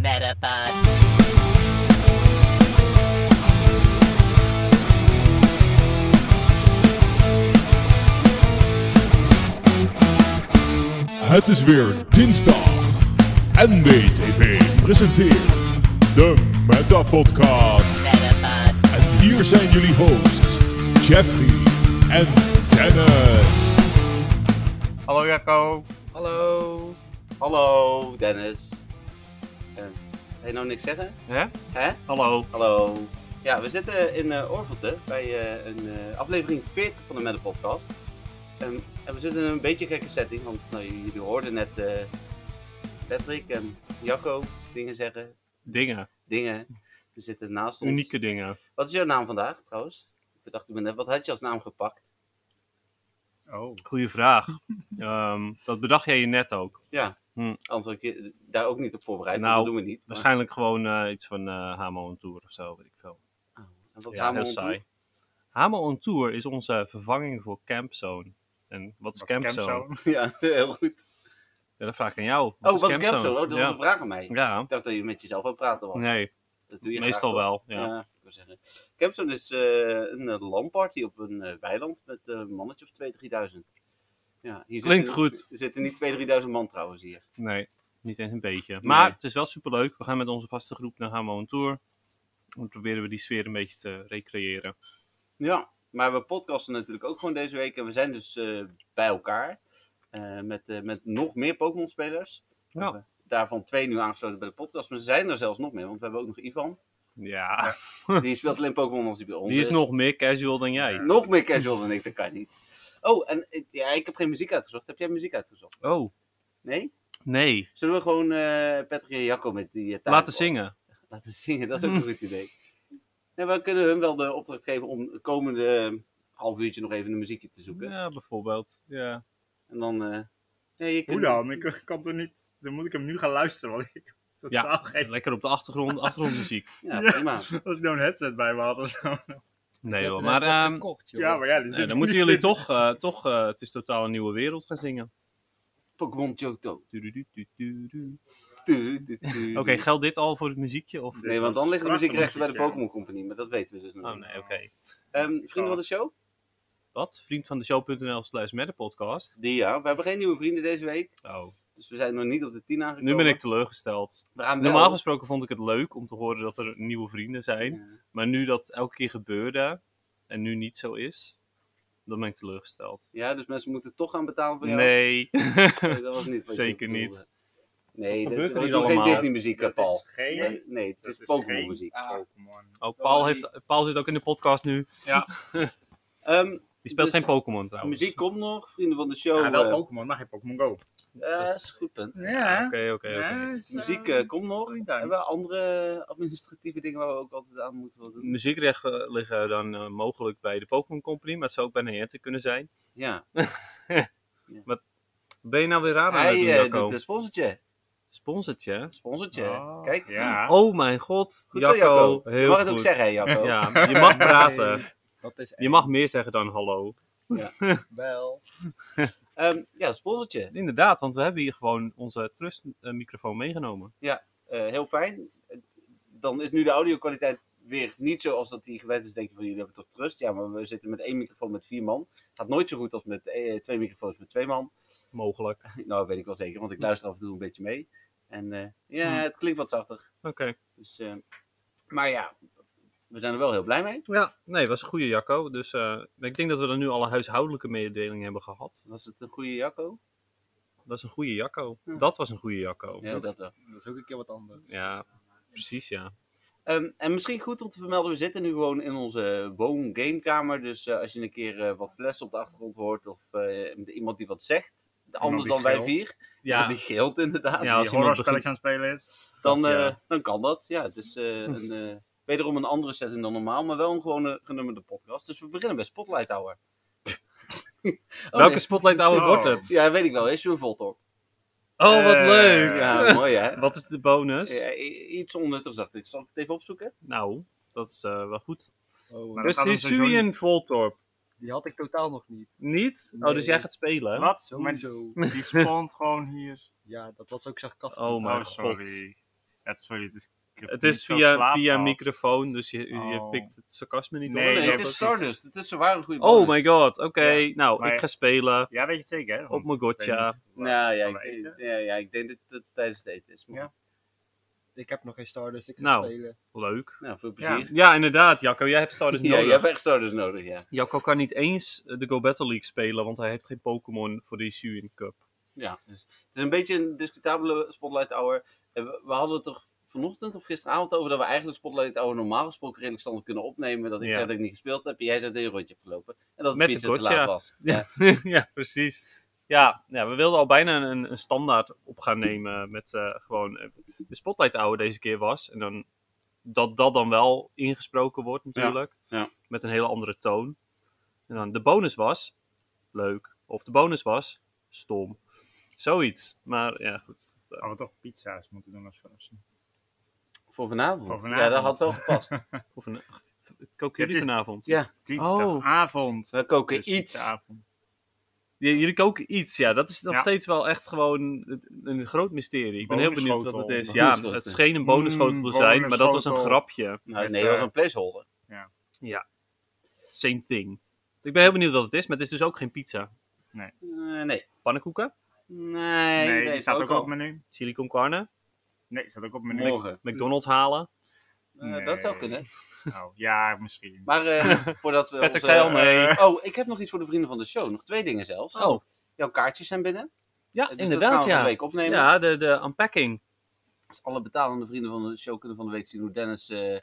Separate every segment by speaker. Speaker 1: Metapod.
Speaker 2: Het is weer dinsdag. NBTV presenteert de Meta Podcast.
Speaker 1: Metapod.
Speaker 2: En hier zijn jullie hosts, Jeffrey en Dennis.
Speaker 3: Hallo Jacco.
Speaker 4: Hallo. Hallo, Dennis. Eh, ga je nou niks zeggen?
Speaker 3: Hè?
Speaker 4: Hè?
Speaker 3: Hallo.
Speaker 4: Hallo. Ja, we zitten in eh Orvelte bij eh, een eh, aflevering 40 van de Metal Podcast. Ehm, en we zitten in een beetje gekke setting, want nou, jullie hoorden net eh, Patrick en Jacco dingen zeggen.
Speaker 3: Dingen.
Speaker 4: Dingen. We zitten naast ons.
Speaker 3: Unieke dingen.
Speaker 4: Wat is jouw naam vandaag trouwens? Ik bedacht me net, wat had je als naam gepakt?
Speaker 5: Oh,
Speaker 3: Goeie vraag. Ehm, dat bedacht jij je net ook.
Speaker 4: Ja,
Speaker 3: Hm.
Speaker 4: anders had ik je daar ook niet op voorbereid,
Speaker 3: Nou,
Speaker 4: want dat doen we niet. Maar-
Speaker 3: Waarschijnlijk gewoon eh, iets van eh Hamo on Tour of zo, weet ik veel.
Speaker 4: Ah, en wat
Speaker 3: ja,
Speaker 4: gaan we
Speaker 3: heel
Speaker 4: ons doen?
Speaker 3: saai. Hamo on Tour is onze vervanging voor Campzone. En wat is Campzone?
Speaker 4: Ja, heel goed.
Speaker 3: Ja, dat vraag ik aan jou.
Speaker 4: Oh, wat is Campzone? Oh, dat was
Speaker 3: ja.
Speaker 4: een vraag aan mij.
Speaker 3: ja,
Speaker 4: Ik dacht dat je met jezelf aan het praten was.
Speaker 3: nee,
Speaker 4: dat doe je
Speaker 3: meestal
Speaker 4: graag,
Speaker 3: wel.
Speaker 4: toch?
Speaker 3: Ja.
Speaker 4: Ja, ik wil zeggen. Campzone is eh, een eh, lamparty op een eh, weiland met eh, een mannetje of 2.000, 3000. Ja, hier
Speaker 3: Klinkt
Speaker 4: zitten,
Speaker 3: goed.
Speaker 4: Er zitten niet 2.000, 3000 man trouwens hier.
Speaker 3: Nee, niet eens een beetje. Maar het is wel superleuk. We gaan met onze vaste groep naar Hamo on Tour. Dan proberen we die sfeer een beetje te recreëren.
Speaker 4: Ja, maar we podcasten natuurlijk ook gewoon deze week. En we zijn dus eh, bij elkaar. eh, met, eh, met nog meer Pokémon-spelers.
Speaker 3: Ja.
Speaker 4: We hebben Daarvan twee nu aangesloten bij de podcast. Maar er zijn er zelfs nog meer. Want we hebben ook nog Ivan.
Speaker 3: Ja.
Speaker 4: Die speelt alleen Pokémon als hij bij ons
Speaker 3: Die is nog meer casual dan jij.
Speaker 4: Nog meer casual dan ik, dat kan niet. Oh, en eh, ja, ik heb geen muziek uitgezocht. Heb jij muziek uitgezocht?
Speaker 3: Oh,
Speaker 4: Nee?
Speaker 3: nee.
Speaker 4: Zullen we gewoon eh Patrick en Jacco met die eh, taart
Speaker 3: Laten zingen.
Speaker 4: Laten zingen, dat is ook een goed idee. Nee, maar we kunnen hun wel de opdracht geven om het komende eh, half uurtje nog even een muziekje te zoeken.
Speaker 3: Ja, bijvoorbeeld. Ja.
Speaker 4: En dan... eh, nee, je kunt-
Speaker 5: Hoe dan? Ik kan toch niet. Dan moet ik hem nu gaan luisteren, want ik heb totaal
Speaker 3: Ja.
Speaker 5: geen.
Speaker 3: Lekker op de achtergrond, achtergrondmuziek.
Speaker 4: Ja,
Speaker 5: Ja.
Speaker 4: prima.
Speaker 5: Als ik nou een headset bij me had of zo.
Speaker 3: Nee hoor, maar ehm,
Speaker 5: Ja, maar ja, die
Speaker 3: nee,
Speaker 5: zit
Speaker 3: dan
Speaker 5: er
Speaker 3: moeten
Speaker 5: niet
Speaker 3: jullie
Speaker 5: in.
Speaker 3: toch, eh, toch eh, het is totaal een nieuwe wereld gaan zingen.
Speaker 4: Pokémon Johto.
Speaker 3: Tudududududu.
Speaker 4: Oké,
Speaker 3: Oké, geldt dit al voor het muziekje? Of?
Speaker 4: Nee, want dan liggen de
Speaker 5: Prachtig
Speaker 4: muziekrechten bij de
Speaker 5: muziekje.
Speaker 4: Pokémon Company, maar dat weten we dus nog
Speaker 3: Oh
Speaker 4: niet.
Speaker 3: nee, oké.
Speaker 4: Ehm, vrienden van de show?
Speaker 3: Wat? Vriend van de show.nl slash met de podcast.
Speaker 4: Die ja. We hebben geen nieuwe vrienden deze week,
Speaker 3: Oh,
Speaker 4: dus we zijn nog niet op de 10 aangekomen.
Speaker 3: nu ben ik teleurgesteld.
Speaker 4: We gaan wel-
Speaker 3: Normaal gesproken vond ik het leuk om te horen dat er nieuwe vrienden zijn.
Speaker 4: Ja.
Speaker 3: Maar nu dat elke keer gebeurde en nu niet zo is, dan ben ik teleurgesteld.
Speaker 4: Ja, dus mensen moeten toch gaan betalen voor jou?
Speaker 3: Nee.
Speaker 4: Nee, dat was niet wat je
Speaker 3: Zeker niet.
Speaker 4: bedoelde. Nee, dat
Speaker 3: gebeurt
Speaker 4: is
Speaker 3: er niet
Speaker 4: nog geen
Speaker 3: allemaal?
Speaker 4: Disney-muziek, hè,
Speaker 5: Dat
Speaker 4: Paul.
Speaker 5: is geen.
Speaker 4: Nee, nee, het
Speaker 5: dat
Speaker 4: is,
Speaker 5: is geen- Ah.
Speaker 4: Pokémon-muziek.
Speaker 5: Pokémon.
Speaker 3: Oh, Paul, heeft, Paul zit ook in de podcast nu.
Speaker 4: Ehm,
Speaker 3: Die speelt
Speaker 4: Dus,
Speaker 3: geen Pokémon trouwens.
Speaker 4: muziek komt nog, vrienden van de show.
Speaker 5: Ja, wel
Speaker 4: eh,
Speaker 5: Pokémon, maar geen Pokémon Go.
Speaker 4: eh,
Speaker 3: Dat
Speaker 4: dat
Speaker 3: is-
Speaker 4: is een goed punt.
Speaker 5: Ja.
Speaker 3: Oké, oké, oké.
Speaker 6: dus,
Speaker 4: Muziek eh, komt nog.
Speaker 5: Goeie tijd.
Speaker 4: Hebben we andere administratieve dingen waar we ook altijd aan moeten wel doen?
Speaker 3: Muziekrechten liggen dan eh, mogelijk bij de Pokémon Company, maar het zou ook bij Niantic kunnen zijn.
Speaker 4: Ja.
Speaker 3: Ben je nou weer raar aan het
Speaker 4: Hij
Speaker 3: doen,
Speaker 4: eh,
Speaker 3: Jacco?
Speaker 4: doet een sponsortje.
Speaker 3: Sponsortje?
Speaker 4: Sponsortje.
Speaker 5: Oh,
Speaker 4: Kijk.
Speaker 5: Ja.
Speaker 3: Oh mijn god,
Speaker 4: Goed
Speaker 3: Jacco.
Speaker 4: zo, Jacco.
Speaker 3: Heel
Speaker 4: je mag
Speaker 3: goed.
Speaker 4: het ook zeggen, hè, Jacco.
Speaker 3: Ja, je mag praten.
Speaker 6: Dat is
Speaker 3: Je mag meer zeggen dan hallo.
Speaker 6: wel.
Speaker 4: Ehm, ja, sponsortje.
Speaker 3: Inderdaad, want we hebben hier gewoon onze trust-microfoon meegenomen.
Speaker 4: Eh, heel fijn. Het- Dan is nu de audio-kwaliteit weer niet zoals dat die gewend is. Denk je van jullie hebben toch trust? Ja, maar we zitten met één microfoon met vier man. Gaat nooit zo goed als met eh, twee microfoons met twee man.
Speaker 3: Mogelijk.
Speaker 4: Nou, weet ik wel zeker, want ik luister af en toe een beetje mee. En eh, ja, het klinkt wat zachtig.
Speaker 3: Oké.
Speaker 4: Dus, eh, maar ja, we zijn er wel heel blij mee.
Speaker 3: Ja, nee, was een goede Jacco. Dus eh, ik denk dat we dan nu alle huishoudelijke mededelingen hebben gehad.
Speaker 4: Was het een goede Jacco?
Speaker 3: Dat is een goede Jacco.
Speaker 4: Ja.
Speaker 3: Dat was een goede Jacco.
Speaker 4: Ja, dat wel.
Speaker 6: Dat is ook een keer wat anders.
Speaker 3: Ja, precies ja.
Speaker 4: Ehm, en misschien goed om te vermelden, we zitten nu gewoon in onze woongamekamer. Dus eh, als je een keer eh, wat flessen op de achtergrond hoort of eh, iemand die wat zegt, anders
Speaker 5: die
Speaker 4: dan wij
Speaker 5: gilt.
Speaker 4: vier,
Speaker 3: Ja,
Speaker 4: die geldt inderdaad,
Speaker 3: ja
Speaker 5: Als
Speaker 3: als
Speaker 5: je
Speaker 3: iemand
Speaker 5: horrorspelletjes
Speaker 3: begint...
Speaker 5: aan het spelen is.
Speaker 4: dan,
Speaker 3: dat, ja.
Speaker 4: eh, dan kan dat. Ja, het is eh, een, eh, wederom een andere setting dan normaal, maar wel een gewone genummerde podcast. Dus we beginnen bij Spotlight Hour. Oh,
Speaker 3: Welke
Speaker 4: nee.
Speaker 3: spotlight hour
Speaker 5: Oh.
Speaker 3: wordt het?
Speaker 4: Ja, weet ik wel. Is je een Voltorb?
Speaker 3: Oh, wat
Speaker 5: Eh,
Speaker 3: leuk!
Speaker 4: Ja, mooi hè?
Speaker 3: Wat is de bonus?
Speaker 4: Ja, i- iets onnuttigs dacht ik. Zal ik het even opzoeken? Nou,
Speaker 3: Dat is eh, wel goed.
Speaker 6: Oh,
Speaker 5: Maar dat
Speaker 3: Dus
Speaker 5: gaat hem
Speaker 3: is
Speaker 5: sowieso
Speaker 3: Julian
Speaker 5: niet.
Speaker 3: Voltorp.
Speaker 6: die had ik totaal nog niet.
Speaker 3: Niet? Oh,
Speaker 6: Nee.
Speaker 3: dus jij gaat spelen? hè?
Speaker 5: Wat? Maar
Speaker 6: Sowieso.
Speaker 5: die spant gewoon hier.
Speaker 6: Ja, dat was ook sarcastisch.
Speaker 3: Oh,
Speaker 5: Oh,
Speaker 3: mijn god.
Speaker 5: sorry. Ja, sorry, het is... ik heb
Speaker 3: Het
Speaker 5: niet
Speaker 3: is
Speaker 5: veel
Speaker 3: via,
Speaker 5: slaap
Speaker 3: via
Speaker 5: gehad.
Speaker 3: microfoon, dus je, je
Speaker 5: Oh.
Speaker 3: pikt het sarcasme niet
Speaker 5: Nee,
Speaker 3: op.
Speaker 4: Oh, Nee,
Speaker 5: je
Speaker 4: het
Speaker 5: hebt
Speaker 4: is
Speaker 5: precies-
Speaker 4: Stardust. Het is een ware goede
Speaker 3: Oh
Speaker 4: bonus.
Speaker 3: my god, oké.
Speaker 5: Ja.
Speaker 3: Nou,
Speaker 5: Maar-
Speaker 3: ik ga spelen.
Speaker 5: Ja, weet je het zeker, hè?
Speaker 3: Op mijn gotcha.
Speaker 4: Nou ja, ik,
Speaker 5: ik...
Speaker 4: denk- ja, ja, ik denk dat het tijdens het eten is. Maar
Speaker 5: Ja.
Speaker 6: Ik heb nog geen Stardust, ik ga
Speaker 3: Nou.
Speaker 6: spelen.
Speaker 3: Leuk.
Speaker 4: Nou, veel
Speaker 5: Ja.
Speaker 4: plezier.
Speaker 3: Ja, inderdaad, Jacco. Jij hebt Stardust
Speaker 4: Ja,
Speaker 3: nodig.
Speaker 4: je hebt echt Stardust nodig, ja.
Speaker 3: Jacco kan niet eens eh, de Go Battle League spelen, want hij heeft geen Pokémon voor de E Suin Cup.
Speaker 4: ja dus, het is een beetje een discutabele Spotlight Hour. En We, we hadden het toch vanochtend of gisteravond over dat we eigenlijk Spotlight Hour normaal gesproken redelijk standaard kunnen opnemen. Dat ik
Speaker 3: Ja.
Speaker 4: zei dat ik niet gespeeld heb en jij zei dat je een rondje hebt gelopen. En dat
Speaker 3: Met
Speaker 4: het
Speaker 3: de
Speaker 4: pizza te
Speaker 3: gotcha.
Speaker 4: laat was. Ja.
Speaker 3: ja, precies. Ja, ja, we wilden al bijna een, een standaard op gaan nemen met eh, gewoon eh, de spotlight ouwe deze keer was. En dan dat dat dan wel ingesproken wordt natuurlijk.
Speaker 4: Ja, ja.
Speaker 3: Met een hele andere toon. En dan de bonus was leuk. Of de bonus was stom. Zoiets. Maar ja, goed.
Speaker 5: Hadden we toch pizza's moeten doen als verrassing.
Speaker 3: Oh.
Speaker 4: Voor vanavond.
Speaker 5: Voor vanavond.
Speaker 4: Ja, dat had wel gepast.
Speaker 3: Of een, koken jullie
Speaker 5: Het is-
Speaker 3: vanavond?
Speaker 4: ja.
Speaker 5: Dinsdagavond.
Speaker 4: We koken
Speaker 5: Dus
Speaker 4: iets.
Speaker 5: dinsdagavond.
Speaker 3: J- Jullie koken iets, ja. Dat is nog
Speaker 5: Ja.
Speaker 3: steeds wel echt gewoon een- een groot mysterie. Ik ben heel benieuwd wat het
Speaker 5: Bonenschotel.
Speaker 3: is. Ja, het scheen een bonenschotel te
Speaker 5: Mm,
Speaker 3: zijn, maar dat was een
Speaker 5: bonenschotel.
Speaker 3: grapje.
Speaker 4: Nou,
Speaker 5: Met,
Speaker 4: nee, dat was
Speaker 5: eh,
Speaker 4: een placeholder.
Speaker 3: Same thing. Ik ben heel benieuwd wat het is, maar het is dus ook geen pizza.
Speaker 4: Eh, nee.
Speaker 3: Pannenkoeken,
Speaker 4: Nee,
Speaker 5: Nee,
Speaker 4: nee,
Speaker 5: die staat ook
Speaker 4: al.
Speaker 5: op menu.
Speaker 3: chili con carne,
Speaker 5: Nee, die staat ook op menu.
Speaker 4: Morgen.
Speaker 3: McDonald's halen.
Speaker 4: Eh, Dat zou
Speaker 5: Nee.
Speaker 4: kunnen.
Speaker 5: Nou, ja, misschien.
Speaker 4: Maar eh, voordat we.
Speaker 3: Patrick
Speaker 4: onze-
Speaker 3: zei al nee.
Speaker 4: Oh, ik heb nog iets voor de vrienden van de show. Nog twee dingen zelfs.
Speaker 3: Oh,
Speaker 4: Jouw kaartjes zijn binnen.
Speaker 3: ja,
Speaker 4: Dus dat
Speaker 3: inderdaad,
Speaker 4: gaan we van de
Speaker 3: ja.
Speaker 4: week opnemen.
Speaker 3: Ja, de, de unpacking.
Speaker 4: Dus alle betalende vrienden van de show kunnen van de week zien hoe Dennis eh,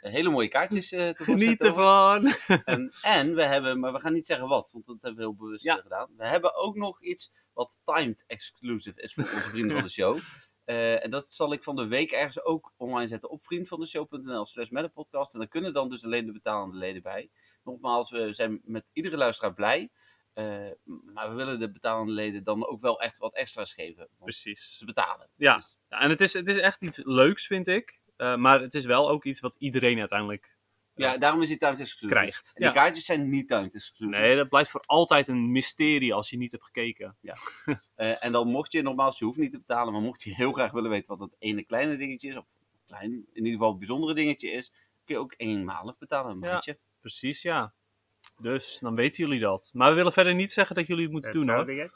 Speaker 4: hele mooie kaartjes eh tevoorschijn
Speaker 3: Geniet
Speaker 4: tovert.
Speaker 3: ervan.
Speaker 4: En, en we hebben, maar we gaan niet zeggen wat, want dat hebben we heel bewust
Speaker 3: Ja.
Speaker 4: eh, gedaan. We hebben ook nog iets wat timed exclusive is voor onze vrienden van de show. Eh, en dat zal ik van de week ergens ook online zetten op vriendvandeshow.nl slash podcast. En daar kunnen dan dus alleen de betalende leden bij. Nogmaals, we zijn met iedere luisteraar blij. Eh, maar we willen de betalende leden dan ook wel echt wat extra's geven. Want
Speaker 3: Precies.
Speaker 4: ze betalen.
Speaker 3: Ja.
Speaker 4: Dus
Speaker 3: Ja, en het is, het is echt iets leuks, vind ik. Eh, maar het is wel ook iets wat iedereen uiteindelijk
Speaker 4: Ja, daarom is die timed exclusive.
Speaker 3: krijgt.
Speaker 4: En
Speaker 3: Ja.
Speaker 4: die kaartjes zijn niet timed exclusive.
Speaker 3: Nee, dat blijft voor altijd een mysterie als je niet hebt gekeken.
Speaker 4: Eh, en dan mocht je, nogmaals, je hoeft niet te betalen, maar mocht je heel graag willen weten wat dat ene kleine dingetje is, of klein, in ieder geval het bijzondere dingetje is, kun je ook eenmalig betalen, een
Speaker 3: Ja.
Speaker 4: maandje.
Speaker 3: Precies, ja. Dus, dan weten jullie dat. Maar we willen verder niet zeggen dat jullie het moeten
Speaker 5: Dat
Speaker 3: doen,
Speaker 5: zou
Speaker 3: hoor.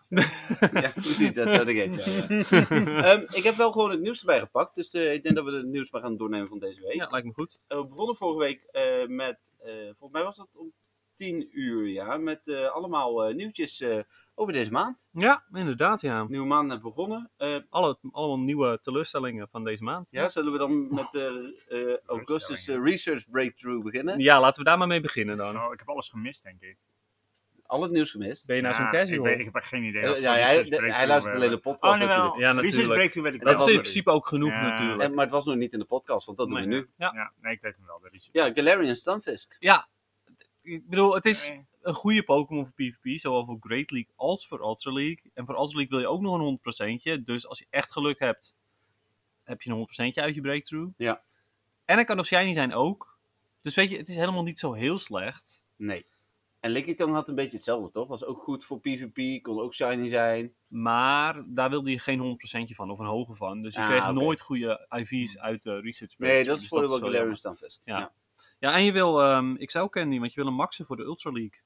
Speaker 5: ik-
Speaker 4: Ja, precies, dat zou ik Ehm, Ik heb wel gewoon het nieuws erbij gepakt, dus eh, ik denk dat we het nieuws maar gaan doornemen van deze week.
Speaker 3: Ja, lijkt me goed.
Speaker 4: Eh, we begonnen vorige week eh, met, eh, volgens mij was dat om tien uur, ja, met eh, allemaal eh, nieuwtjes eh, over deze maand.
Speaker 3: Ja, inderdaad, ja.
Speaker 4: Nieuwe maand net begonnen. Eh,
Speaker 3: Alle, allemaal nieuwe teleurstellingen van deze maand.
Speaker 4: ja, zullen we dan met de eh, Augustus eh, Research Breakthrough beginnen?
Speaker 3: Ja, laten we daar maar mee beginnen dan.
Speaker 5: Nou, ik heb alles gemist, denk ik.
Speaker 4: Al het nieuws gemist.
Speaker 3: Ben je nou
Speaker 5: Ja,
Speaker 3: zo'n
Speaker 5: Ik,
Speaker 3: casual?
Speaker 5: weet, ik heb echt geen idee. wat
Speaker 4: Eh,
Speaker 5: voor
Speaker 4: ja, hij,
Speaker 5: research
Speaker 4: de- hij
Speaker 5: breakthrough
Speaker 4: luistert
Speaker 5: we
Speaker 4: alleen de
Speaker 5: hebben.
Speaker 4: podcast.
Speaker 5: Oh,
Speaker 4: natuurlijk.
Speaker 5: nou
Speaker 3: eh, Ja,
Speaker 5: wel.
Speaker 3: natuurlijk.
Speaker 5: Research breakthrough weet ik
Speaker 4: Dat
Speaker 5: wel.
Speaker 3: Dat is in
Speaker 4: was-
Speaker 3: principe ook genoeg
Speaker 5: Ja.
Speaker 3: natuurlijk.
Speaker 4: En- maar het was nog niet in de podcast, want dat doen
Speaker 3: Nee.
Speaker 4: we nu.
Speaker 3: Ja.
Speaker 5: Ja, nee, ik weet hem wel. De research.
Speaker 4: Ja, Galarian Stunfisk.
Speaker 3: Ik bedoel, het is
Speaker 5: Nee.
Speaker 3: een goede Pokémon voor PvP, zowel voor Great League als voor Ultra League. En voor Ultra League wil je ook nog een 100%tje. Dus als je echt geluk hebt, heb je een 100%tje uit je breakthrough.
Speaker 4: Ja.
Speaker 3: En hij kan nog shiny zijn ook. Dus weet je, het is helemaal niet zo heel slecht.
Speaker 4: Nee. En Lickitung had een beetje hetzelfde, toch? Was ook goed voor PvP, kon ook shiny zijn.
Speaker 3: Maar daar wilde je geen 100%tje van of een hoge van. Dus je
Speaker 4: Ah,
Speaker 3: kreeg
Speaker 4: oké.
Speaker 3: nooit goede IV's uit de research
Speaker 4: Nee,
Speaker 3: page.
Speaker 4: dat is
Speaker 3: Dus
Speaker 4: voor
Speaker 3: wel
Speaker 4: wel Galarian
Speaker 3: jammer.
Speaker 4: Stunfisk.
Speaker 3: Ja. Ja, en je wil ehm XL Candy, want je wil een maxen voor de Ultra League.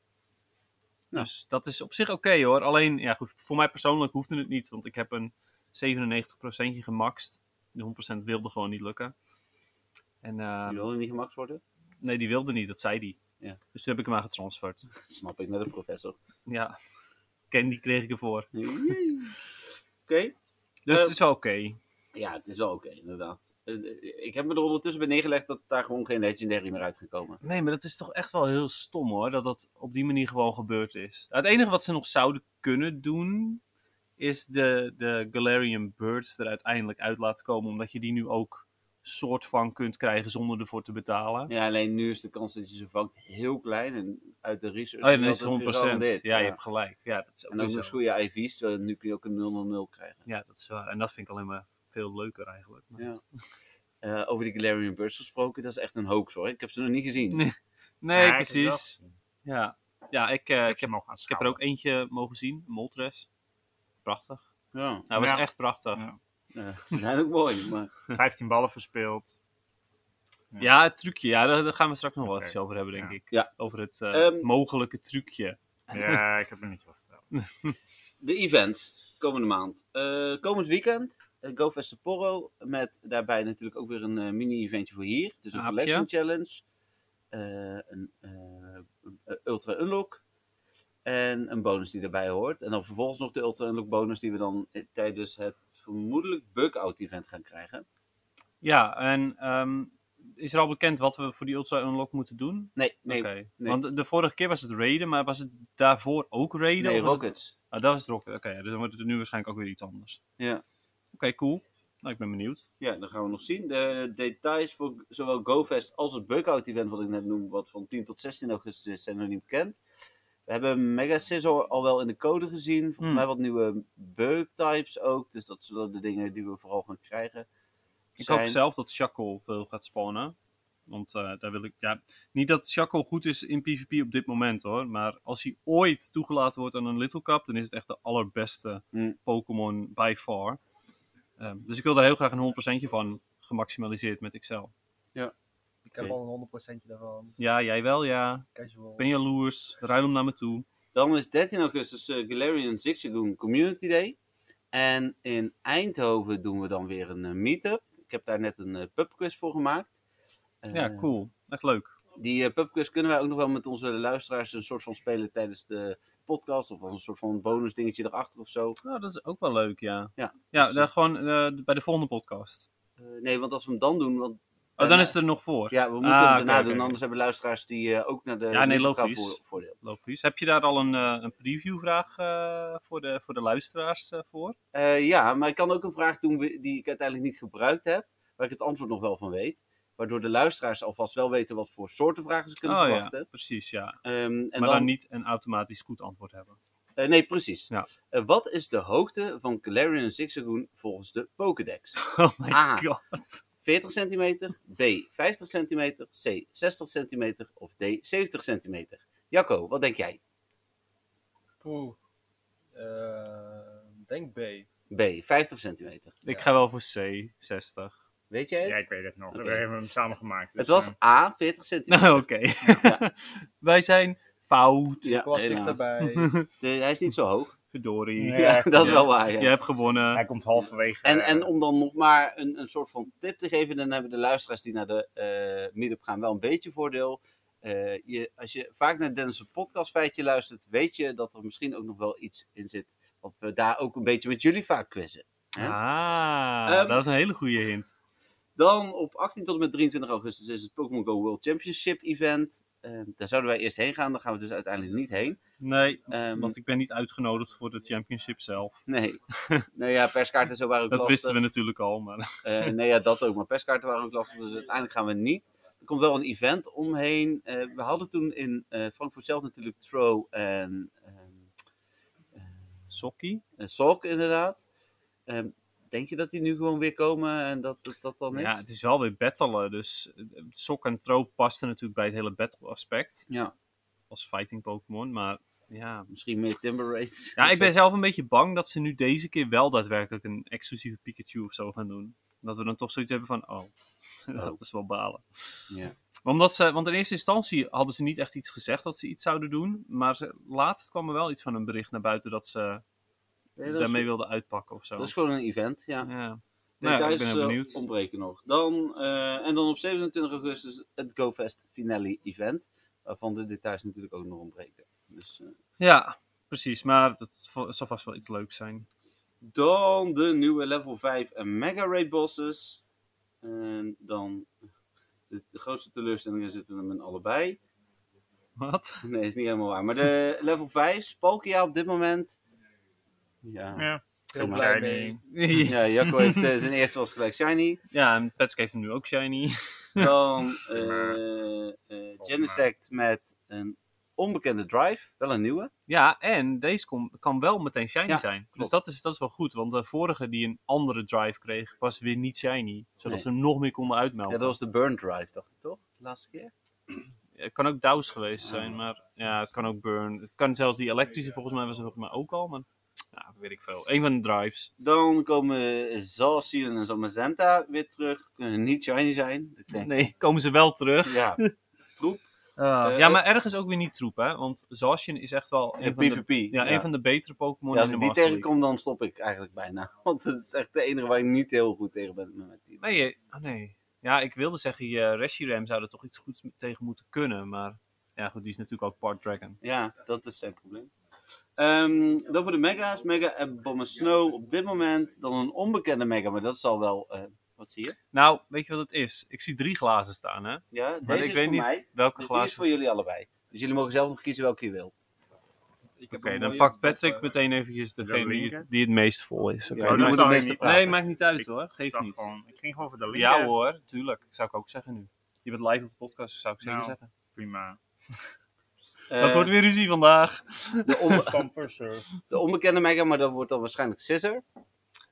Speaker 4: Ja.
Speaker 3: Dus dat is op zich oké hoor. Alleen, ja, goed, voor mij persoonlijk hoefde het niet, want ik heb een 97% gemaxt. De 100% wilde gewoon niet lukken. En eh,
Speaker 4: Die wilde niet gemaakt worden.
Speaker 3: nee, die wilde niet, dat zei die.
Speaker 4: Ja.
Speaker 3: Dus toen heb ik hem maar getransferd.
Speaker 4: Dat snap ik, net een professor.
Speaker 3: Ja, Candy kreeg ik ervoor.
Speaker 4: Jee. Oké.
Speaker 3: Dus
Speaker 4: Eh,
Speaker 3: het is wel oké.
Speaker 4: Ja, het is wel oké, inderdaad. Eh, eh, Ik heb me er ondertussen bij neergelegd dat daar gewoon geen Legendary meer uitgekomen.
Speaker 3: Nee, maar dat is toch echt wel heel stom hoor, dat dat op die manier gewoon gebeurd is. Het enige wat ze nog zouden kunnen doen, is de, de Galarian Birds er uiteindelijk uit laten komen, omdat je die nu ook soort van kunt krijgen zonder ervoor te betalen.
Speaker 4: Ja, alleen nu is de kans dat je ze vangt heel klein. En uit de research
Speaker 3: Oh ja, dan
Speaker 4: dat
Speaker 3: is
Speaker 4: het
Speaker 3: het 100%. Ja,
Speaker 4: gegarandeerd.
Speaker 3: je hebt gelijk. Ja, dat is ook
Speaker 4: En
Speaker 3: weer
Speaker 4: ook nog eens
Speaker 3: zo.
Speaker 4: goede IV's, terwijl nu kun je ook een 000 krijgen.
Speaker 3: Ja, dat is waar. En dat vind ik alleen maar veel leuker eigenlijk. Maar
Speaker 4: Ja.
Speaker 3: dat-
Speaker 4: Eh, over die Galarian Birds gesproken, dat is echt een hoax hoor. Ik heb ze nog niet gezien.
Speaker 3: Nee. Nee,
Speaker 5: Ja, ik heb
Speaker 3: precies.
Speaker 5: wel.
Speaker 3: Ja, ja ik, eh, ik,
Speaker 5: Ik
Speaker 3: heb,
Speaker 5: hem al gaan
Speaker 3: ik heb er ook eentje mogen zien, Moltres. Prachtig.
Speaker 4: Ja.
Speaker 3: Hij was
Speaker 5: Ja.
Speaker 3: echt prachtig.
Speaker 5: Ja.
Speaker 4: Ja, ze zijn ook mooi, maar
Speaker 5: 15 ballen verspeeld.
Speaker 3: Ja, het trucje. Ja, daar, daar gaan we straks nog wel
Speaker 5: Oké.
Speaker 3: even over hebben, denk ik.
Speaker 4: Ja.
Speaker 3: Over het eh,
Speaker 4: Ehm,
Speaker 3: mogelijke trucje.
Speaker 5: Ja, ik heb er niets over verteld.
Speaker 4: de events komende maand. Eh, komend weekend, eh, Go Fest Sapporo, met daarbij natuurlijk ook weer een eh, mini-eventje voor hier. Dus een
Speaker 3: Aapje.
Speaker 4: collection challenge, eh, een eh, ultra unlock en een bonus die daarbij hoort. En dan vervolgens nog de ultra unlock bonus die we dan eh, tijdens het vermoedelijk bug-out event gaan krijgen.
Speaker 3: Ja, en ehm, is er al bekend wat we voor die Ultra Unlock moeten doen?
Speaker 4: Nee, nee,
Speaker 3: Oké.
Speaker 4: nee.
Speaker 3: Want de vorige keer was het raiden, maar was het daarvoor ook raiden?
Speaker 4: nee
Speaker 3: of was het-
Speaker 4: rockets.
Speaker 3: Ah, dat was het rocket. Oké, ja, dus dan wordt het nu waarschijnlijk ook weer iets anders.
Speaker 4: Ja.
Speaker 3: Oké, cool. Nou, ik ben benieuwd.
Speaker 4: Ja, dat gaan we nog zien. De details voor zowel GoFest als het Bugout event wat ik net noemde, wat van 10 tot 16 augustus is, zijn nog niet bekend. We hebben Mega Scissor al wel in de code gezien. Volgens
Speaker 3: Hmm.
Speaker 4: mij wat nieuwe bug types ook. Dus dat zullen de dingen die we vooral gaan krijgen.
Speaker 3: Ik
Speaker 4: zijn.
Speaker 3: hoop zelf dat Shackle veel gaat spawnen. Want eh, daar wil ik. Ja, niet dat Shackle goed is in PvP op dit moment hoor. Maar als hij ooit toegelaten wordt aan een Little Cup, dan is het echt de allerbeste
Speaker 4: Hmm.
Speaker 3: Pokémon by far. Ehm, dus ik wil daar heel graag een 100% van gemaximaliseerd met Excel.
Speaker 6: Ik heb
Speaker 4: Oké.
Speaker 6: al een 100% daarvan.
Speaker 3: Ja, jij wel, ja.
Speaker 6: Casual.
Speaker 3: Ik ben jaloers. Ruil hem naar me toe.
Speaker 4: Dan is 13 augustus eh, Galarian Zigzagoon Community Day. En in Eindhoven doen we dan weer een eh, meetup. Ik heb daar net een eh, pubquiz voor gemaakt.
Speaker 3: Ja,
Speaker 4: Eh,
Speaker 3: cool. Echt leuk.
Speaker 4: Die eh, pubquiz kunnen wij ook nog wel met onze luisteraars een soort van spelen tijdens de podcast. Of als een soort van bonus dingetje erachter of zo.
Speaker 3: Nou, dat is ook wel leuk, ja.
Speaker 4: Ja,
Speaker 3: Ja,
Speaker 4: dus,
Speaker 3: daar gewoon eh, bij de volgende podcast.
Speaker 4: eh, nee, want als we hem dan doen. Want,
Speaker 3: Oh,
Speaker 4: eh,
Speaker 3: dan is het er nog voor.
Speaker 4: Ja, we moeten
Speaker 3: Ah,
Speaker 4: hem
Speaker 3: oké,
Speaker 4: daarna
Speaker 3: oké,
Speaker 4: doen.
Speaker 3: oké.
Speaker 4: Anders hebben luisteraars die eh, ook naar de
Speaker 3: Ja, nee,
Speaker 4: Meetup gaan
Speaker 3: logisch.
Speaker 4: voor- voordeel.
Speaker 3: Logisch. Heb je daar al een, eh, een previewvraag eh, voor, de, voor de luisteraars eh, voor?
Speaker 4: Eh, ja, maar ik kan ook een vraag doen we- die ik uiteindelijk niet gebruikt heb. Waar ik het antwoord nog wel van weet. Waardoor de luisteraars alvast wel weten wat voor soorten vragen ze kunnen
Speaker 3: oh ja,
Speaker 4: verwachten.
Speaker 3: precies, ja.
Speaker 4: Ehm, en
Speaker 3: maar dan... niet een automatisch goed antwoord hebben. Dus nou,
Speaker 4: eh, nee, precies.
Speaker 3: Ja.
Speaker 4: Eh, wat is de hoogte van Galarian Zigzagoon volgens de Pokédex?
Speaker 3: Oh my
Speaker 4: Ah.
Speaker 3: god.
Speaker 4: 40 centimeter, B 50 centimeter, C 60 centimeter of D 70 centimeter. Jacco, wat denk jij?
Speaker 6: Poeh. Eh, denk B.
Speaker 4: B 50 centimeter.
Speaker 3: Ik
Speaker 6: Ja.
Speaker 3: ga wel voor C, 60.
Speaker 4: Weet jij het?
Speaker 5: Ja, ik weet het nog.
Speaker 4: Oké.
Speaker 5: We hebben hem samen gemaakt.
Speaker 4: het
Speaker 5: dus,
Speaker 4: was
Speaker 5: eh,
Speaker 4: A 40 centimeter.
Speaker 3: Nou, oké. Wij zijn fout.
Speaker 4: Ja,
Speaker 6: ik was
Speaker 4: helaas.
Speaker 6: dichterbij.
Speaker 4: De- hij is niet zo hoog.
Speaker 3: Verdorie.
Speaker 5: Nee.
Speaker 4: Ja,
Speaker 5: Ja,
Speaker 4: dat is
Speaker 5: ja.
Speaker 4: wel waar. ja.
Speaker 3: Je hebt gewonnen.
Speaker 5: hij komt halverwege.
Speaker 4: En,
Speaker 5: eh,
Speaker 4: en om dan nog maar een, een soort van tip te geven, dan hebben de luisteraars die naar de eh meetup gaan wel een beetje voordeel. Eh, je, als je vaak naar Dennis' podcast feitje luistert, weet je dat er misschien ook nog wel iets in zit. Wat we daar ook een beetje met jullie vaak quizzen. hè?
Speaker 3: Ah,
Speaker 4: Ehm,
Speaker 3: dat is een hele goede hint.
Speaker 4: Dan op 18 tot en met 23 augustus is het Pokémon Go World Championship event. Ehm, daar zouden wij eerst heen gaan, daar gaan we dus uiteindelijk niet heen.
Speaker 3: Nee,
Speaker 4: Ehm,
Speaker 3: want ik ben niet uitgenodigd voor de championship zelf.
Speaker 4: Nee. nou ja, perskaarten zo waren ook
Speaker 3: Dat
Speaker 4: lastig.
Speaker 3: wisten we natuurlijk al, maar...
Speaker 4: Eh, nee, ja, dat ook. Maar perskaarten waren ook lastig, dus uiteindelijk gaan we niet. Er komt wel een event omheen. Eh, we hadden toen in eh, Frankfurt zelf natuurlijk Throw en ehm
Speaker 3: Sokkie?
Speaker 4: eh, Sork inderdaad. Ehm, denk je dat die nu gewoon weer komen en dat dat, dat dan is?
Speaker 3: Ja, het is wel weer battelen. Dus eh, sok en troop pasten natuurlijk bij het hele battle aspect.
Speaker 4: Ja,
Speaker 3: Als fighting Pokémon. Maar ja.
Speaker 4: misschien meer Timber Raids.
Speaker 3: ja, ik ben zelf een beetje bang dat ze nu deze keer wel daadwerkelijk een exclusieve Pikachu of zo gaan doen. Dat we dan toch zoiets hebben van, oh, dat is wel balen.
Speaker 4: Ja.
Speaker 3: Maar Omdat ze, want in eerste instantie hadden ze niet echt iets gezegd dat ze iets zouden doen. Maar ze, laatst kwam er wel iets van een bericht naar buiten dat ze
Speaker 4: Nee, dat is-
Speaker 3: daarmee wilden uitpakken of zo.
Speaker 4: Dat is gewoon een event, ja.
Speaker 3: ja. Nou, ja, ik
Speaker 4: Details
Speaker 3: ben
Speaker 4: eh,
Speaker 3: heel benieuwd.
Speaker 4: ontbreken nog. Dan, eh, en dan op 27 augustus het GoFest Finale Event. Waarvan de details natuurlijk ook nog ontbreken. Dus, eh,
Speaker 3: Ja, precies. Maar dat vo- zal vast wel iets leuks zijn.
Speaker 4: dan de nieuwe level 5 en Mega Raid bosses. En dan de, de grootste teleurstellingen zitten hem in allebei.
Speaker 3: Wat?
Speaker 4: Nee, is niet helemaal waar. Maar de level 5, Spalkia op dit moment. Ja,
Speaker 5: Ja.
Speaker 6: Heel
Speaker 4: Prima.
Speaker 6: blij mee.
Speaker 4: ja Jacco heeft eh, zijn eerste was gelijk Shiny.
Speaker 3: Ja, en Petsk heeft hem nu ook shiny.
Speaker 4: Dan
Speaker 5: maar.
Speaker 4: eh eh, Genesect met een onbekende drive. Wel een nieuwe.
Speaker 3: Ja, en deze kon- kan wel meteen shiny
Speaker 4: Ja,
Speaker 3: zijn.
Speaker 4: klopt.
Speaker 3: Dus dat is, dat is wel goed, want de vorige die een andere drive kreeg, was weer niet shiny. Zodat
Speaker 4: Nee.
Speaker 3: ze nog meer konden
Speaker 4: Ja,
Speaker 3: uitmelden.
Speaker 4: dat was de burn drive, dacht ik toch? De laatste keer?
Speaker 3: Het kan ook Douse geweest zijn, maar ja, het kan ook Burn. Het kan zelfs die elektrische, volgens mij was het volgens mij ook al. Maar ja, weet ik veel. Een van de drives.
Speaker 4: Dan komen Zalcian en Zamazenta weer terug. Kunnen niet shiny zijn. Ik denk,
Speaker 3: Nee, komen ze wel terug.
Speaker 4: Ja, troep.
Speaker 3: Ah,
Speaker 4: Eh,
Speaker 3: ja, maar ergens ook weer niet troep, hè? Want Zacian is echt wel een,
Speaker 4: En
Speaker 3: van de,
Speaker 4: PvP. Ja,
Speaker 3: ja, een van de betere Pokémon in
Speaker 4: Ja,
Speaker 3: de
Speaker 4: als ik die
Speaker 3: Master League.
Speaker 4: tegenkom, dan stop ik eigenlijk bijna. Want het is echt de enige waar ik niet heel goed tegen ben met mijn team.
Speaker 3: Nee, je- oh nee. Ja, ik wilde zeggen, je eh, Reshiram zou er toch iets goeds tegen moeten kunnen. Maar ja, goed, die is natuurlijk ook part dragon.
Speaker 4: Ja, dat is zijn probleem. Ehm, dan voor de mega's. Mega Abomasnow op dit moment. Dan een onbekende mega, maar dat zal wel... eh, wat zie je?
Speaker 3: Nou, weet je wat het is? Ik zie drie glazen staan, hè?
Speaker 4: Ja, deze
Speaker 3: Maar
Speaker 4: is
Speaker 3: ik weet
Speaker 4: voor
Speaker 3: niet
Speaker 4: mij.
Speaker 3: welke
Speaker 4: Dus die is
Speaker 3: glazen.
Speaker 4: voor jullie allebei. Dus jullie mogen zelf nog kiezen welke je wil.
Speaker 6: Oké,
Speaker 3: Oké, dan pakt Patrick
Speaker 6: eh,
Speaker 3: meteen eventjes degene die,
Speaker 5: linker?
Speaker 3: die het meest vol is. oké?
Speaker 4: Ja, die
Speaker 5: dat
Speaker 4: moet
Speaker 5: zal
Speaker 4: het
Speaker 5: hij
Speaker 4: meeste
Speaker 5: niet.
Speaker 4: praten.
Speaker 3: nee, maakt niet uit
Speaker 5: Ik
Speaker 3: hoor.
Speaker 5: Ik,
Speaker 3: Geeft
Speaker 5: zag
Speaker 3: niet.
Speaker 5: gewoon, ik ging gewoon voor de linker.
Speaker 3: Ja hoor, tuurlijk. Zou ik ook zeggen nu. Je bent live op de podcast, dus zou ik zeker
Speaker 5: Nou.
Speaker 3: zeggen.
Speaker 5: Prima.
Speaker 3: dat
Speaker 4: Eh,
Speaker 3: wordt weer ruzie vandaag.
Speaker 4: de, onbe-
Speaker 5: Pamperser.
Speaker 4: de onbekende mega, maar dat wordt dan waarschijnlijk Scissor.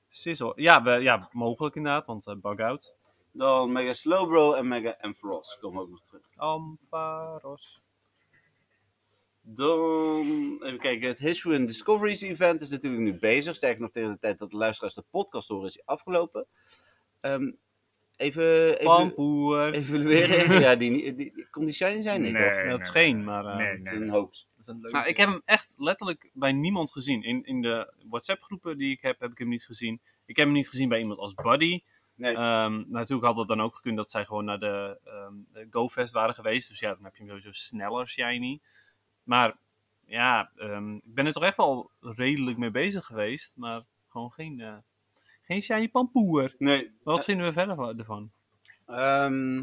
Speaker 3: Sizzle. Ja, we, ja, mogelijk inderdaad, want eh, bug out.
Speaker 4: Dan Mega Slowbro en Mega Ampharos komen ook nog terug.
Speaker 3: Amparos.
Speaker 4: Dan, even kijken, het Hisuian Discoveries event is natuurlijk nu bezig. Sterker nog, tegen de tijd dat de luisteraars de podcast horen is hij afgelopen. Ehm, even, even
Speaker 3: Pampoer.
Speaker 4: evalueren. ja, die, niet- die, die, kon die shiny zijn? Nee, toch?
Speaker 3: dat scheen, maar, eh,
Speaker 5: nee,
Speaker 4: Dat
Speaker 5: nee,
Speaker 4: is een
Speaker 5: nee.
Speaker 4: hoax.
Speaker 6: Dat is een leuke.
Speaker 3: Nou, ik heb hem echt letterlijk bij niemand gezien. In, in de WhatsApp-groepen die ik heb, heb ik hem niet gezien. Ik heb hem niet gezien bij iemand als Buddy.
Speaker 4: Nee.
Speaker 3: Ehm, natuurlijk had het dan ook gekund dat zij gewoon naar de, ehm, de GoFest waren geweest. Dus ja, dan heb je hem sowieso sneller, shiny. Maar ja, ehm, ik ben er toch echt wel redelijk mee bezig geweest. Maar gewoon geen, eh, geen shiny pampoer.
Speaker 4: nee.
Speaker 3: Wat vinden we verder van- ervan?
Speaker 4: Ehm,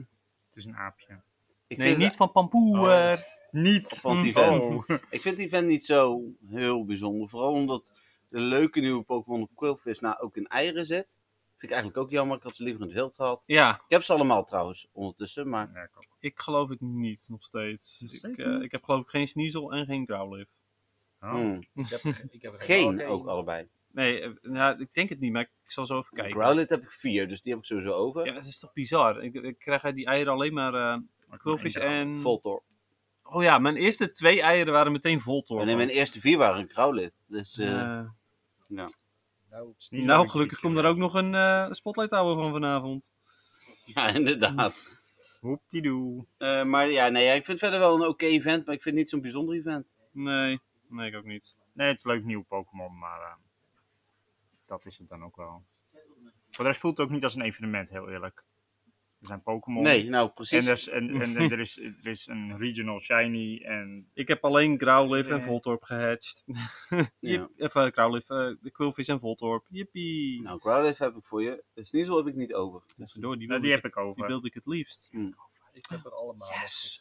Speaker 5: Het is een aapje.
Speaker 4: ik,
Speaker 3: nee,
Speaker 4: vind Oh,
Speaker 3: niet van pampoer.
Speaker 5: Niet!
Speaker 4: van het event.
Speaker 5: Oh.
Speaker 4: ik vind het event niet zo heel bijzonder. Vooral omdat de leuke nieuwe Pokémon op Quillfish nou ook in eieren zit. Vind ik eigenlijk ook jammer. Ik had ze liever in het wild gehad.
Speaker 3: Ja,
Speaker 4: Ik heb ze allemaal trouwens ondertussen, maar
Speaker 5: Ja, ik ook.
Speaker 3: ik geloof het niet nog steeds.
Speaker 5: Nog
Speaker 3: Ik,
Speaker 5: steeds
Speaker 3: eh,
Speaker 5: niet?
Speaker 3: ik heb geloof ik geen Sneasel en geen Growlithe.
Speaker 5: Oh.
Speaker 4: hmm,
Speaker 6: Ik heb, ik heb er
Speaker 4: geen
Speaker 6: oh,
Speaker 4: ook allebei.
Speaker 3: Nee, eh, nou, ik denk het niet, maar ik zal zo even kijken.
Speaker 4: Growlithe heb ik vier, dus die heb ik sowieso over.
Speaker 3: Ja, dat is toch bizar. Ik, ik krijg uit die eieren alleen maar eh,
Speaker 5: Maar
Speaker 3: Quillfish
Speaker 5: ik ben
Speaker 3: en...
Speaker 4: Voltor.
Speaker 3: Oh ja, mijn eerste twee eieren waren meteen Eh, vol
Speaker 4: Maar
Speaker 3: torpen.
Speaker 4: nee, mijn eerste vier waren Growlithe. Dus eh,
Speaker 3: Eh,
Speaker 6: Nou,
Speaker 5: is niet
Speaker 3: nou,
Speaker 5: zo'n
Speaker 3: gelukkig
Speaker 5: kikker.
Speaker 3: komt er ook nog een eh, spotlight hour van vanavond.
Speaker 4: ja, inderdaad.
Speaker 5: Hoeptiedoe.
Speaker 4: Eh, maar ja, nee, ja, ik vind het verder wel een oké event, maar ik vind het niet zo'n bijzonder event.
Speaker 3: Nee, nee, ik ook niet.
Speaker 5: Nee, het is leuk nieuw Pokémon, maar eh, dat is het dan ook wel. Voor de rest voelt het ook niet als een evenement, heel eerlijk. Er zijn Pokémon.
Speaker 4: Nee, nou
Speaker 5: En,
Speaker 4: precies.
Speaker 5: er is, en, en er, is, er is een regional shiny en
Speaker 3: Ik heb alleen Growlithe en
Speaker 5: Nee.
Speaker 3: Voltorb gehatcht.
Speaker 4: Ja.
Speaker 3: Jip- Even Growlithe, eh, de Quillfish en Voltorb. Jippie.
Speaker 4: Nou, Growlithe heb ik voor je. Sneasel heb ik niet over.
Speaker 3: Dus door, die,
Speaker 5: nou,
Speaker 3: wilde
Speaker 5: die heb
Speaker 3: ik,
Speaker 5: ik over.
Speaker 3: die wilde ik het liefst.
Speaker 6: ik heb er allemaal.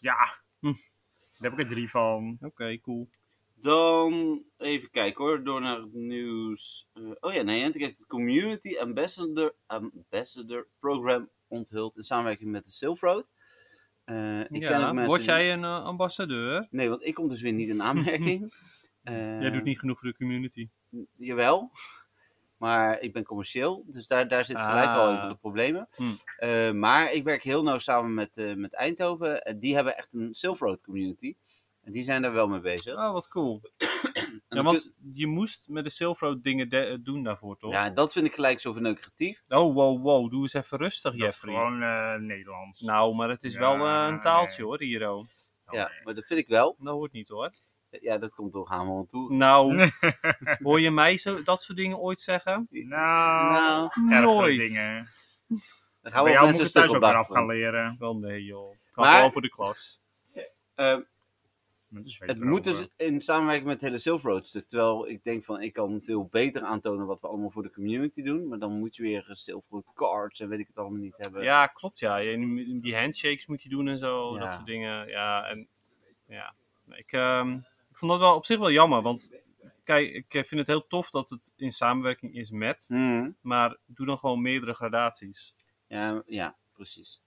Speaker 5: Ja,
Speaker 3: Hm.
Speaker 5: daar heb ik er drie van.
Speaker 3: Oké, cool.
Speaker 4: Dan even kijken hoor, door naar het nieuws. Eh, oh ja, nee, Niantic heeft het Community Ambassador, Ambassador Program onthuld in samenwerking met de Silk Road. Eh, ik ken ook
Speaker 3: Ja,
Speaker 4: mensen
Speaker 3: word
Speaker 4: die-
Speaker 3: jij een eh, ambassadeur?
Speaker 4: Nee, want ik kom dus weer niet in aanmerking. Eh,
Speaker 3: Jij doet niet genoeg voor de community.
Speaker 4: Jawel. Maar ik ben commercieel, dus daar, daar zit gelijk
Speaker 3: Ah.
Speaker 4: al een van de problemen.
Speaker 3: Hm.
Speaker 4: Eh, maar ik werk heel nauw samen met, eh, met Eindhoven. En die hebben echt een Silk Road community. En die zijn daar wel mee bezig.
Speaker 3: Oh, wat cool.
Speaker 4: En
Speaker 3: Ja,
Speaker 4: dan
Speaker 3: want je moest met de Silk Road dingen de- eh, doen daarvoor, toch?
Speaker 4: Ja, dat vind ik gelijk zo verneukeratief.
Speaker 3: Oh, wow, wow. Doe eens even rustig,
Speaker 5: Dat is
Speaker 3: Jeffrey.
Speaker 5: gewoon eh, Nederlands.
Speaker 3: Nou, maar het is
Speaker 5: Ja,
Speaker 3: wel eh, een taaltje
Speaker 5: nee.
Speaker 3: hoor, Hiro.
Speaker 5: Oh,
Speaker 4: Ja,
Speaker 5: nee.
Speaker 4: maar dat vind ik wel.
Speaker 3: Dat hoort niet hoor.
Speaker 4: Ja, dat komt door Hamerhand toe.
Speaker 3: Nou, hoor je mij zo, dat soort dingen ooit zeggen?
Speaker 5: Nou,
Speaker 4: Nou,
Speaker 5: ergere
Speaker 3: nooit.
Speaker 5: dingen.
Speaker 4: dan gaan we
Speaker 5: Bij jou
Speaker 4: ook
Speaker 5: moet
Speaker 4: mensen een
Speaker 5: ik het thuis
Speaker 4: stuk
Speaker 5: ook
Speaker 4: op
Speaker 5: weer af gaan
Speaker 4: wachten.
Speaker 5: leren.
Speaker 3: Wel nee joh. Ik
Speaker 4: Maar-
Speaker 3: maar... wel voor de klas.
Speaker 4: Eh,
Speaker 5: Met een zweep
Speaker 4: het moet
Speaker 5: erover.
Speaker 4: dus in samenwerking met het hele Silk Road stuk. Terwijl ik denk van, ik kan veel beter aantonen wat we allemaal voor de community doen. Maar dan moet je weer eh, Silk Road cards en weet ik het allemaal niet hebben.
Speaker 3: Ja, klopt ja. Je- Die handshakes moet je doen en zo,
Speaker 4: Eh, Ja.
Speaker 3: dat soort dingen. Ja, en ja. Ik, ehm, ik vond dat wel op zich wel jammer, want kijk, ik eh, vind het heel tof dat het in samenwerking is met,
Speaker 4: Hmm.
Speaker 3: maar doe dan gewoon meerdere gradaties.
Speaker 4: Ja, ja precies.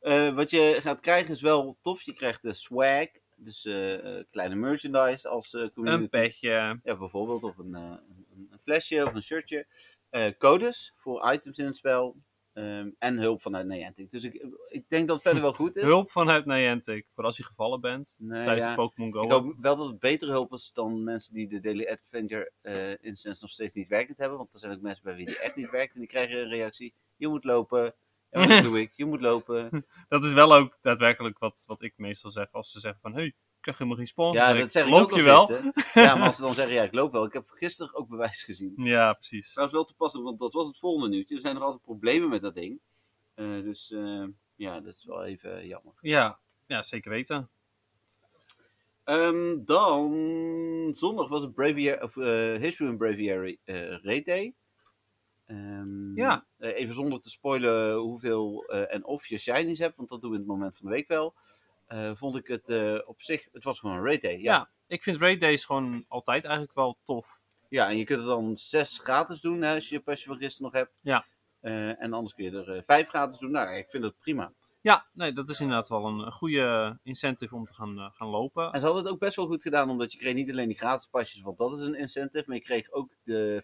Speaker 4: Eh, wat je gaat krijgen is wel tof. Je krijgt de swag, dus eh, eh, kleine merchandise als eh, community.
Speaker 3: Een petje.
Speaker 4: Ja, bijvoorbeeld of een, eh, een, een flesje of een shirtje. Eh, codes voor items in het spel. Eh, Ehm, en hulp vanuit Niantic. Dus ik, ik denk dat het verder wel goed is.
Speaker 3: Hulp vanuit Niantic, voor als je gevallen bent
Speaker 4: Nee,
Speaker 3: tijdens
Speaker 4: Dus- Nou ja.
Speaker 3: de Pokémon Go.
Speaker 4: Ik hoop wel dat het betere hulp is dan mensen die de Daily Adventure eh, Instance nog steeds niet werkend hebben. Want er zijn ook mensen bij wie die app niet werkt en die krijgen een reactie. Je moet lopen. Ja, maar dat doe ik. Je moet lopen.
Speaker 3: Dat is wel ook daadwerkelijk wat, wat ik meestal zeg als ze zeggen van, hey, ik krijg helemaal geen sponsor.
Speaker 4: Ja,
Speaker 3: Zeg
Speaker 4: dat
Speaker 3: ik,
Speaker 4: zeg ik
Speaker 3: loop
Speaker 4: ook
Speaker 3: je
Speaker 4: wel.
Speaker 3: wel?
Speaker 4: Ja, maar als ze dan zeggen, ja, ik loop wel. Ik heb gisteren ook bewijs gezien.
Speaker 3: Ja, precies.
Speaker 4: Trouwens wel toepasselijk, want dat was het volgende nieuwtje. Er zijn nog altijd problemen met dat ding. Eh, dus eh, ja, dat is wel even jammer.
Speaker 3: Ja, ja zeker weten.
Speaker 4: Ehm, dan, zondag was het Braviary, of, eh, History in Braviary eh Raid Day. Ehm,
Speaker 3: Ja.
Speaker 4: eh, even zonder te spoilen hoeveel eh, en of je shinies hebt, want dat doen we in het moment van de week wel. eh, vond ik het eh, op zich, het was gewoon een Raid Day. Ja.
Speaker 3: Ja.
Speaker 4: ja.
Speaker 3: ik vind Raid Days gewoon altijd eigenlijk wel tof.
Speaker 4: en je kunt er dan zes gratis doen hè, als je pasje van gisteren nog hebt.
Speaker 3: Ja.
Speaker 4: Eh, en anders kun je er eh, vijf gratis doen. Nou, ik vind dat prima.
Speaker 3: Ja, nee, dat is inderdaad wel een, een goede incentive om te gaan, eh, gaan lopen.
Speaker 4: En ze hadden het ook best wel goed gedaan, omdat je kreeg niet alleen die gratis pasjes, want dat is een incentive, maar je kreeg ook de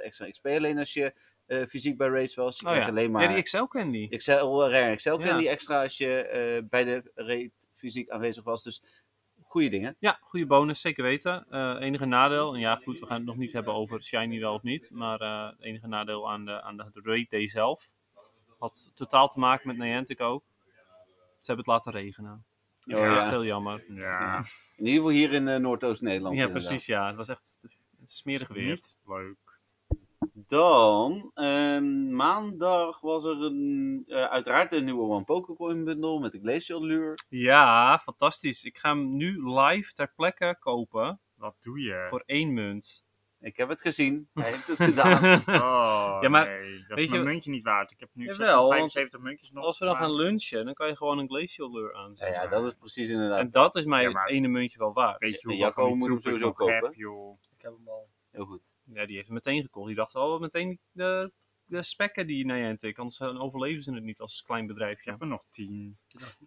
Speaker 4: 50% extra XP alleen als je eh, fysiek bij raids was. Je
Speaker 3: Oh
Speaker 4: kreeg
Speaker 3: ja,
Speaker 4: alleen
Speaker 3: ja
Speaker 4: maar
Speaker 3: die Excel Candy.
Speaker 4: XL, rare XL
Speaker 3: Ja.
Speaker 4: candy extra als je eh, bij de raid fysiek aanwezig was. Dus goede dingen.
Speaker 3: Ja, goede bonus, zeker weten. Eh, enige nadeel, en ja goed, we gaan het nog niet hebben over Shiny wel of niet, maar eh, het enige nadeel aan de, aan de Raid Day zelf had totaal te maken met Niantic ook. Ze hebben het laten regenen.
Speaker 4: Oh, ja.
Speaker 3: Veel jammer.
Speaker 5: Ja,
Speaker 4: In ieder geval hier in eh, Noordoost-Nederland.
Speaker 3: Ja,
Speaker 4: inderdaad.
Speaker 3: precies, ja. Het was echt smerig weer.
Speaker 5: niet leuk.
Speaker 4: Dan, ehm, maandag was er een, eh, uiteraard een nieuwe One Pokécoin bundle met de Glacial Lure.
Speaker 3: Ja, fantastisch. Ik ga hem nu live ter plekke kopen
Speaker 5: Wat doe je?
Speaker 3: voor één munt.
Speaker 4: Ik heb het gezien. Hij heeft het gedaan.
Speaker 5: Oh,
Speaker 3: Ja, maar,
Speaker 5: nee,
Speaker 3: weet
Speaker 5: dat is mijn
Speaker 3: je-
Speaker 5: muntje niet waard. Ik heb nu
Speaker 3: Jawel,
Speaker 5: 675 muntjes nog.
Speaker 3: Als we dan
Speaker 5: maar-
Speaker 3: gaan lunchen, dan kan je gewoon een glacial lure
Speaker 4: ja,
Speaker 3: aanzetten.
Speaker 4: ja, dat is precies inderdaad.
Speaker 3: En dat is mij
Speaker 5: Ja, maar-
Speaker 3: het ene muntje wel waard.
Speaker 5: Weet je hoe
Speaker 4: Jacco
Speaker 5: Jacco
Speaker 4: moet
Speaker 5: moet
Speaker 4: hem
Speaker 5: hem sowieso
Speaker 4: sowieso
Speaker 5: kopen. Heb,
Speaker 4: kopen.
Speaker 5: joh.
Speaker 6: Ik heb hem al.
Speaker 4: Heel goed.
Speaker 3: Ja, die heeft hem meteen gekocht. Die dacht al wel meteen de, de spekken die Niantic. Anders eh, overleven ze het niet als klein
Speaker 5: Ik
Speaker 3: bedrijfje.
Speaker 5: heb er nog 10.